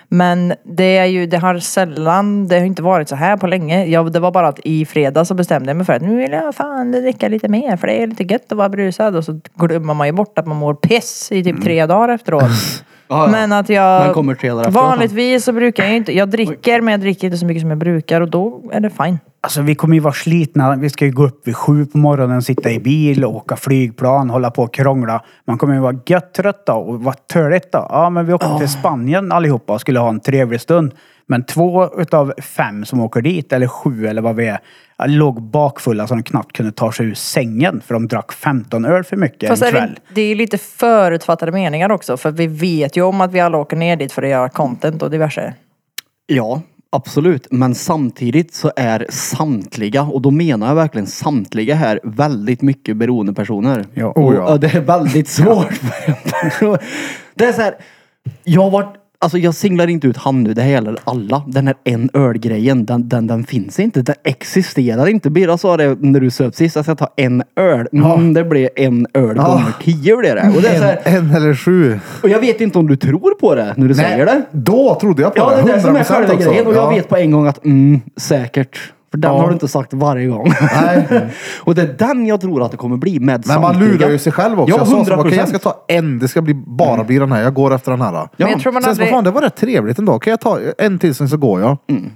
Men det är ju, det har sällan, det har inte varit så här på länge. Jag, det var bara att i fredags så bestämde jag mig för att nu vill jag fan dricka lite mer för det är lite gött att vara brusad. Och så glömmer man ju bort att man mår piss i Mm. typ tre dagar efteråt. Ja, ja. Men att jag... Man kommer tre dagar efteråt, Vanligtvis så brukar jag ju inte, jag dricker men jag dricker inte så mycket som jag brukar och då är det fine. Alltså vi kommer ju vara slitna. Vi ska ju gå upp vid sju på morgonen, sitta i bil, åka flygplan, hålla på och krångla. Man kommer ju vara gött trött då och vara töligt då. Ja, men vi åker till Spanien allihopa och skulle ha en trevlig stund. Men två utav fem som åker dit, eller sju eller vad vi är, låg bakfulla så de knappt kunde ta sig ur sängen för de drack 15 öl för mycket Fast en är kväll. det, det är ju lite förutfattade meningar också för vi vet ju om att vi alla åker ner dit för att göra content och diverse. Ja, absolut. Men samtidigt så är samtliga, och då menar jag verkligen samtliga här, väldigt mycket beroendepersoner. Ja. och, Oh, ja. och det är väldigt svårt för en person. Det är så här, jag har varit, alltså jag singlar inte ut han nu, det här gäller alla. Den här en öl-grejen, den, den, den finns inte. Den existerar inte. Birra sa det när du söp sist, att jag tar en öl. Mm, det blev en öl gånger tio blir det. Och, det är så här, En, en eller sju. och jag vet inte om du tror på det när du säger det. Då trodde jag på Ja, det det. är det som är 100% själva också. grejen. Och jag Ja. vet på en gång att, mm, säkert. För den Ja. har du inte sagt varje gång. Nej. och det är den jag tror att det kommer bli med Men man samtliga. lurar ju sig själv också. Ja, jag sa så, 100%. okej jag ska ta en, det ska bli, bara bli den här. Jag går efter den här. Ja. Men jag tror man Sen så, aldrig... fan det var rätt trevligt ändå. Kan jag ta en till sen så går jag. Mm.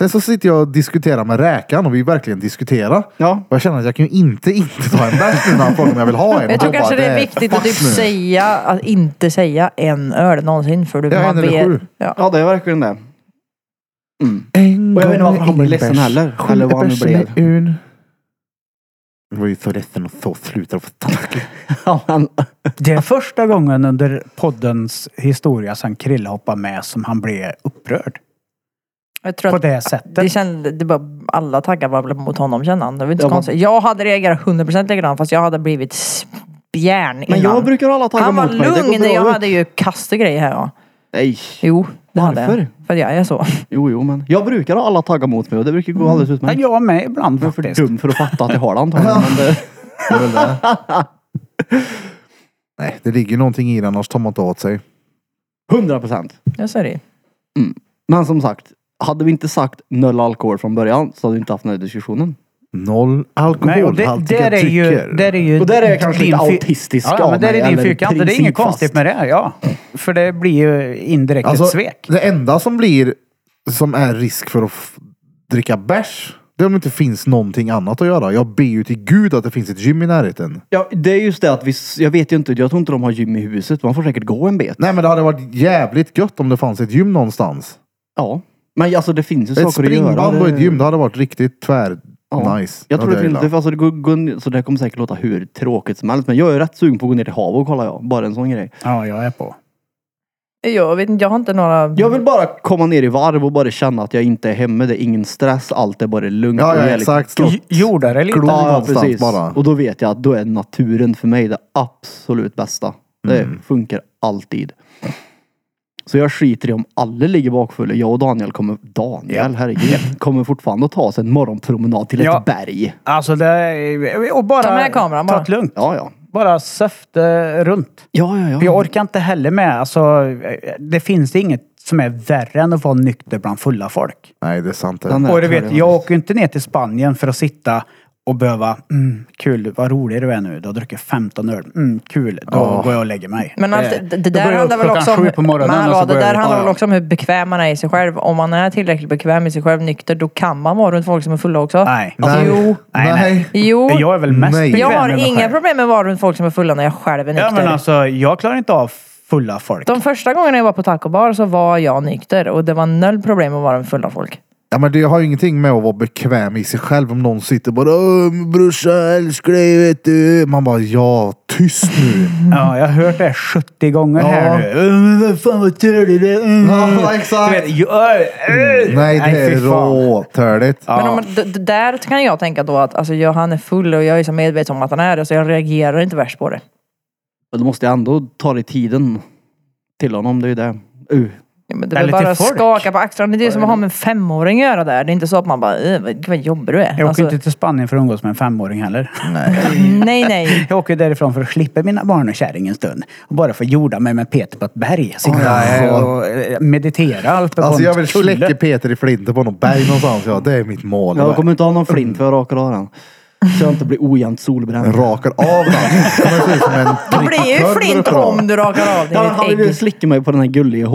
Sen så sitter jag och diskuterar med räkan och vi verkligen diskuterar. Ja. Och jag känner att jag kan ju inte inte ta en bärs nu när han frågar om jag vill ha en. Men jag tror Då kanske bara, det är nej, viktigt att fuck typ nu. säga, att inte säga en öl någonsin. För du, Ja, man en eller sju. Ja. Ja, det är verkligen det. Mm. En Och jag vet inte gång varför han blev en ledsen bärs. heller, Sju eller vad han nu bärsen blev. i ugn. Jag var ju så ledsen och så slutade på tack. Ja, men, Det är första gången under poddens historia sen Krille hoppade med som han blev upprörd. Jag tror På att det sättet. det kände, det bara, alla taggar var väl mot honom kände han. Det var inte Ja, så men- konstigt. Jag hade reagerat 100% likadant fast jag hade blivit spjärn men innan. jag brukar ha alla taggar han var emot mig. Det går lugn, bra jag ut. hade ju kastat grejer här ja. Nej. Jo, det hade Varför? jag. För att jag är så. Jo, jo, men. Jag brukar ha alla taggar emot mig och det brukar Mm. gå alldeles Men utmärkt. jag med ibland Jag är för faktiskt. dum för att fatta att jag har det antagligen. men det, Det är väl det. Nej, det ligger ju någonting i den annars tar man inte åt sig. 100 procent. Jag säger det. Men som sagt, hade vi inte sagt noll alkohol från början så hade vi inte haft den här diskussionen. Noll Nej, och det, alkoholhaltiga där är ju, drycker. där är ju Och där är jag kanske din lite fy- autistisk Ja, av men där mig, är din eller fyrkant. Det är inget principfast. konstigt med det. Ja. För det blir ju indirekt ett Alltså, svek. det enda som blir som är risk för att f- dricka bärs, det är om det inte finns någonting annat att göra. Jag ber ju till gud att det finns ett gym i närheten. Ja, det är just det att vi, s- jag vet ju inte, jag tror inte de har gym i huset. Man får säkert gå en bit. Nej men det hade varit jävligt gött om det fanns ett gym någonstans. Ja. Men alltså det finns ju Ett saker att göra. springband och ett Det- gym, det hade varit riktigt tvär... Ja. Nice. Jag tror Ja, det det finns, gillar det, alltså, det går, går, så det här kommer säkert låta hur tråkigt som helst. Men jag är rätt sugen på att gå ner till havet och kolla jag. Bara en sån grej. Ja, jag är på. Jag vet inte, jag har inte några... Jag vill bara komma ner i varv och bara känna att jag inte är hemma. Det är ingen stress. Allt är bara lugnt. Ja, och ja jävligt- exakt. Slå- Gjorde det lite. Klo- Ja, ja, någonstans precis. bara. Och då vet jag att då är naturen för mig det absolut bästa. Det Mm. funkar alltid. Så jag skiter i om alla ligger bakfulla. Jag och Daniel kommer... Daniel, herregud. Kommer fortfarande att ta oss en morgonpromenad till ett Ja. berg. Alltså det är, och bara Ta med kameran ta bara. det lugnt. Ja, ja. Bara söfte runt. Ja, ja, ja. För jag orkar inte heller med, alltså det finns inget som är värre än att vara nykter bland fulla folk. Nej det är sant det. Den är Och du klar, vet, jag åker ju inte ner till Spanien för att sitta och behöva, mm, kul, vad rolig du är nu, du har druckit 15 öl, mm, kul, då går jag och lägger mig. Men allt, det, det Då går där jag handlar upp väl klockan också om... sju på morgonen men och hallå, det så går jag där ut. handlar Ja, väl ja. också om hur bekväm man är i sig själv. Om man är tillräckligt bekväm i sig själv nykter, då kan man vara runt folk som är fulla också. Nej. Alltså, jo. Nej. nej. Jo. Jag är väl mest Nej. bekväm Jag har med mig inga själv. problem med att vara runt folk som är fulla när jag själv är nykter. Ja men alltså, jag klarar inte av fulla folk. De första gångerna jag var på tacobar så var jag nykter och det var noll problem att vara med fulla folk. Ja, men det har ju ingenting med att vara bekväm i sig själv om någon sitter bara "Åh, brorsa jag älskar dig vet du. Man bara ja tyst nu. Ja, jag har hört det 70 gånger Ja. här nu. Mm, vad fan vad törlig du är. Mm. Ja, exakt. Du vet, jag, mm. Nej det fy är fan. råtörligt. Men om, man- d- d- där kan jag tänka då att alltså, jag, han är full och jag är så medveten om att han är det så jag reagerar inte värst på det. Men Då måste jag ändå ta dig tiden till honom, det är ju det. Uh. Ja, men det är Eller väl bara till att folk. skaka på axlarna. Det är som att ha med en femåring att göra där. Det är inte så att man bara, "Eh, vad vad jobbig du är. Jag åker Alltså, inte till Spanien för att umgås med en femåring heller. nej, nej. Jag åker därifrån för att slippa mina barn och kärring en stund. Och bara få jorda mig med Peter på ett berg. Sitta ja. och eh, meditera uppe på Alltså en jag vill kulle. släcka Peter i flinten på någon berg någonstans. Ja, det är mitt mål. Jag kommer inte ha någon flint för jag rakar av den. Så jag inte blir ojämnt solbränd. Rakar av den. Kommer se ut som en Det blir ju prickig flint kurv om du rakar av Ja, men han dig vill ditt ju ägg. slicka mig på den här gulliga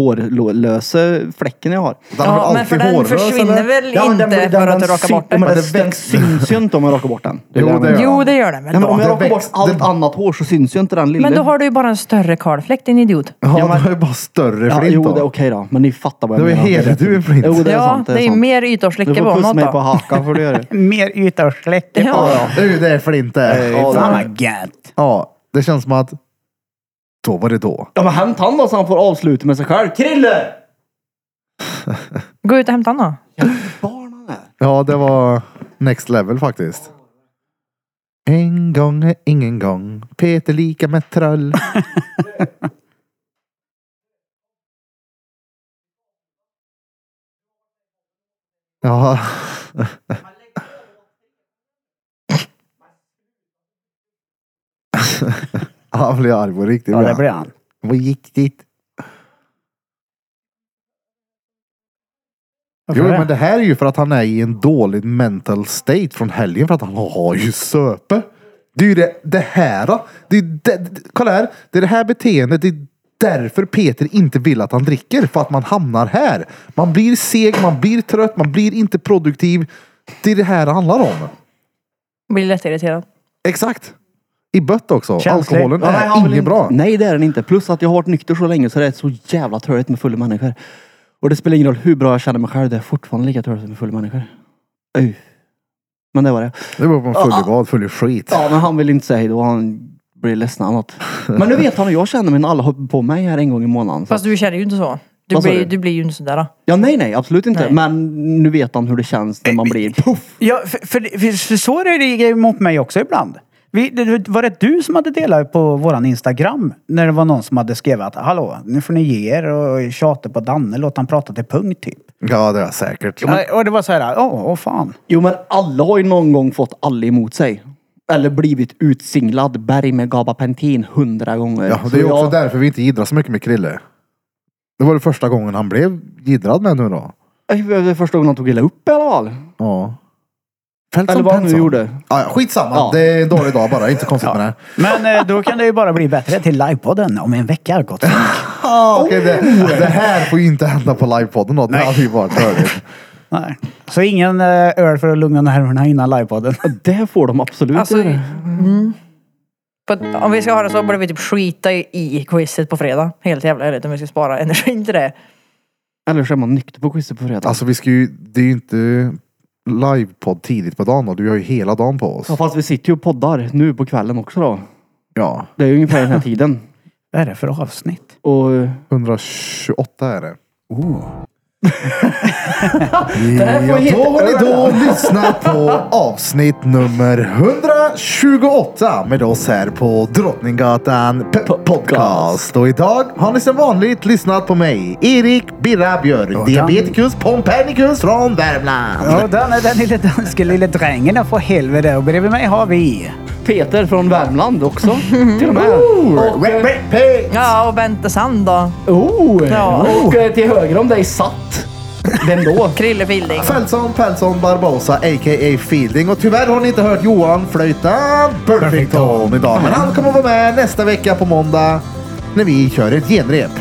hårlösa fläcken jag har. Den har Ja, väl men alltid för den hårlös, försvinner eller? väl inte för att du rakar bort den. Men den. Men den, det den syns ju inte om jag rakar bort den. Jo, jag det menar. gör Jo, det gör den väl Ja, men om då. jag det rakar bort växt- allt det- annat hår så syns ju inte den lilla. Men då har du ju bara en större kalfläkt din idiot. Ja, men det är bara större ja, flint Jo, då. det är okej då. Men ni fattar vad jag Det är menar. hela du är flint. Jo, det är Ja, sant. det är sant. mer Du ytosläcke får på pussa något mig på då. hakan för det gör det. Mer yta och släcka på. Ja. Det är ju det flint är. Ja, Fan det- vad gött. Ja, det känns som att då var det då. Ja, men hämt han då så han får avsluta med sig själv. Krille! Gå ut och hämta honom Barn han är. Ja, det var next level faktiskt. En gång är ingen gång. Peter lika med troll. ja. Han blev arg på riktigt. Ja, blev det han. blir han. Vad gick dit? Jo, det? men det här är ju för att han är i en dålig mental state från helgen för att han har ju söpe. Det är ju det, det här. då. Det är, det, det, kolla här. Det är det här beteendet. Det är därför Peter inte vill att han dricker. För att man hamnar här. Man blir seg, man blir trött, man blir inte produktiv. Det är det här det handlar om. Blir lättirriterad. Exakt. I bött också. Känslig. Alkoholen Ja, nej, han är vill inget inte- bra. Nej, det är den inte. Plus att jag har varit nykter så länge så det är så jävla trögt med fulla människor. Och det spelar ingen roll hur bra jag känner mig själv, det är fortfarande lika trögt med fulla människor. Öj. Men det var det. Det var på en full i vad, full i skit. Ja, men han vill inte säga hejdå. Han blir ledsen eller något. Men nu vet han hur jag känner mig när alla hoppar på mig här en gång i månaden. Så. Fast du känner ju inte så. Du, Vad sa blir, du? du blir ju inte sådär. då. Ja, nej, nej, absolut inte. Nej. Men nu vet han hur det känns när man blir puff. Ja, för, för, för, för så är det ju mot mig också ibland. Vi, det, var det du som hade delat på våran Instagram? När det var någon som hade skrivit att hallå, nu får ni ge er och tjata på Danne, låt han prata till punkt typ. Ja, det är säkert. Ja, Och det var så här, åh, åh fan. Jo, men alla har ju någon gång fått alla emot sig. Eller blivit utsinglad berg med gabapentin hundra gånger. Ja, och Så det är också jag- därför vi inte jiddrar så mycket med Krille. Det var det första gången han blev jiddrad med nu då. Oj, Det var Äh, första gången han tog illa upp i alla fall. Ja. Fält Eller som vad han nu Penson. gjorde. Ja, ja, skitsamma. Ja. Det är en dålig dag bara. Inte konstigt med det. här. Men eh, då kan det ju bara bli bättre till livepodden om en vecka. Gott. folk. Ah, okej, Oh! det, det här får ju inte hända på livepodden då. Det hade ju varit hörligt. Nej. Så ingen eh, öl för att lugna nerverna innan livepodden. Det får de absolut Alltså, göra. På, om vi ska ha det så borde vi typ skita i, i quizet på fredag. Helt jävla ärligt om vi ska spara energin till det. Eller så är man nykter på quizet på fredag. Alltså vi ska ju, det är ju inte livepodd tidigt på dagen då. Du har ju hela dagen på oss. Ja, fast vi sitter ju och poddar nu på kvällen också då. Ja. Det är ju ungefär den här tiden. Vad är det för avsnitt? Och 128 är det. får Oh. Ja, heta då har ni då lyssnat på avsnitt nummer 128 med oss här på Drottninggatan P- Podcast. Och idag har ni som vanligt lyssnat på mig, Erik Birra Björk, diabetikus Pompernicus från Värmland. Ja, den, är den lille danske lille drängen, för helvete. Och bredvid mig har vi... Peter från Värmland också. till och med. Och- Ja, och Bente Sand Mm. då. Oh, Ja. Och eh, till höger om dig satt. Vem då? Krille Filding. Fältson, Pältson, Barbosa, a.k.a. Fielding. Och tyvärr har ni inte hört Johan flöjta Perfecton idag. Men han kommer vara med nästa vecka på måndag när vi kör ett genrep.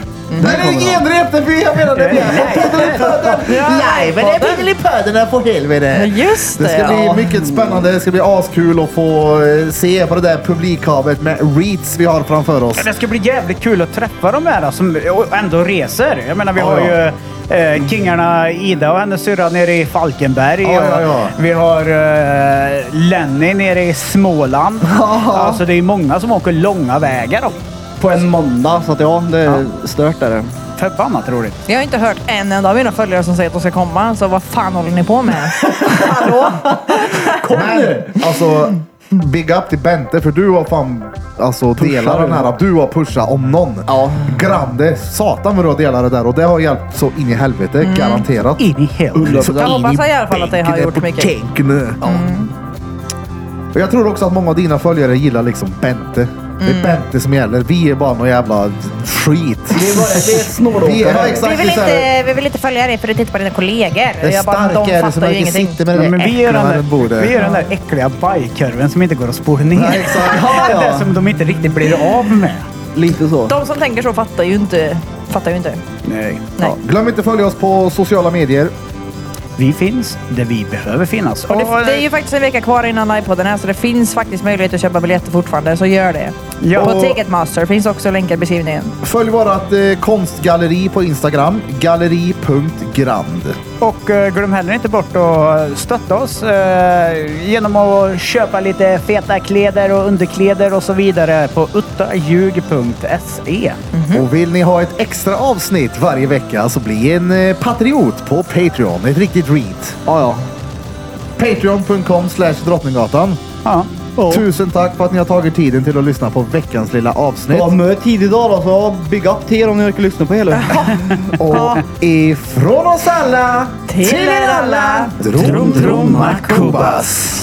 Nej, det är genrep! Det vi, jag menar det vi är på Piddelipöden! Live! Det är Piddelipöden för helvete! Just det, Det ska ja. bli mycket spännande. Det ska bli askul att få eh, se på det där publikhavet med reeds vi har framför oss. Det ska bli jävligt kul att träffa de här som och ändå reser. Jag menar, vi Ja, har ja. ju eh, kingarna Ida och hennes syrra nere i Falkenberg. Ja, ja, ja. Vi har eh, Lenny nere i Småland. Alltså det är många som åker långa vägar. då. På en måndag. Så att ja, det är stört är det. Förbannat roligt. Jag har inte hört en enda av mina följare som säger att de ska komma, så vad fan håller ni på med? Alltså, Hallå? Men alltså, big up till Bente för du har fan alltså, delat den här. Du har pushat om någon. Ja. Grande satan vad du har delat det där och det har hjälpt så in i helvete. Garanterat. In i helvete. Så Jag in Mm. hoppas i alla fall att det har bänken, gjort på mycket. bänken. Mm. Och Jag tror också att många av dina följare gillar liksom Bente. Det Mm. är Bente som gäller. Vi är bara någon jävla skit. Det är, bara, det är ett Vi är, ja, snåråkare. exakt, det är så här- vi vill inte följa dig för att titta på dina kollegor. Det är starkare som inte sitter med Ja, det men där vi, är äcklet den där, runt bordet. vi är den där äckliga bajkorven som inte går att spola ner. Ja, exakt. Ja, Det är det ja. som de inte riktigt blir av med. Lite så. De som tänker så fattar ju inte. Fattar ju inte. Nej. Nej. Glöm inte att följa oss på sociala medier. Vi finns där vi behöver finnas. Och det, Och, det är ju faktiskt en vecka kvar innan livepodden är, så det finns faktiskt möjlighet att köpa biljetter fortfarande, så gör det. Ja. På Ticketmaster finns också länkar i beskrivningen. Följ vårat eh, konstgalleri på Instagram, galleri.grand. Och eh, glöm heller inte bort att stötta oss eh, genom att köpa lite feta kläder och underkläder och så vidare på uttaljug.se. Mm-hmm. Och vill ni ha ett extra avsnitt varje vecka så bli en eh, patriot på Patreon. Ett riktigt reat. Ja, ja. Patreon.com slash Drottninggatan. Ja. Tusen tack för att ni har tagit tiden till att lyssna på veckans lilla Det avsnitt. var mycket tid idag då, så big up till er om ni orkar lyssna på hela. Och ifrån oss alla Till er alla. Drom, Dromma Kubas.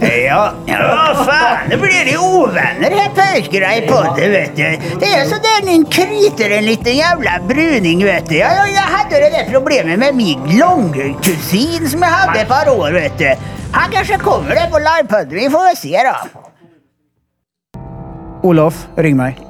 Ja, ja fan, nu blir det ovänner här pösgura i podden vet du. Det är sådär ni kryter en liten jävla bruning vet du. Jag, jag, jag hade det där problemet med min långkusin som jag hade ett par år vet du. Han kanske kommer där på livepodden, vi får väl se då. Olof, ring mig.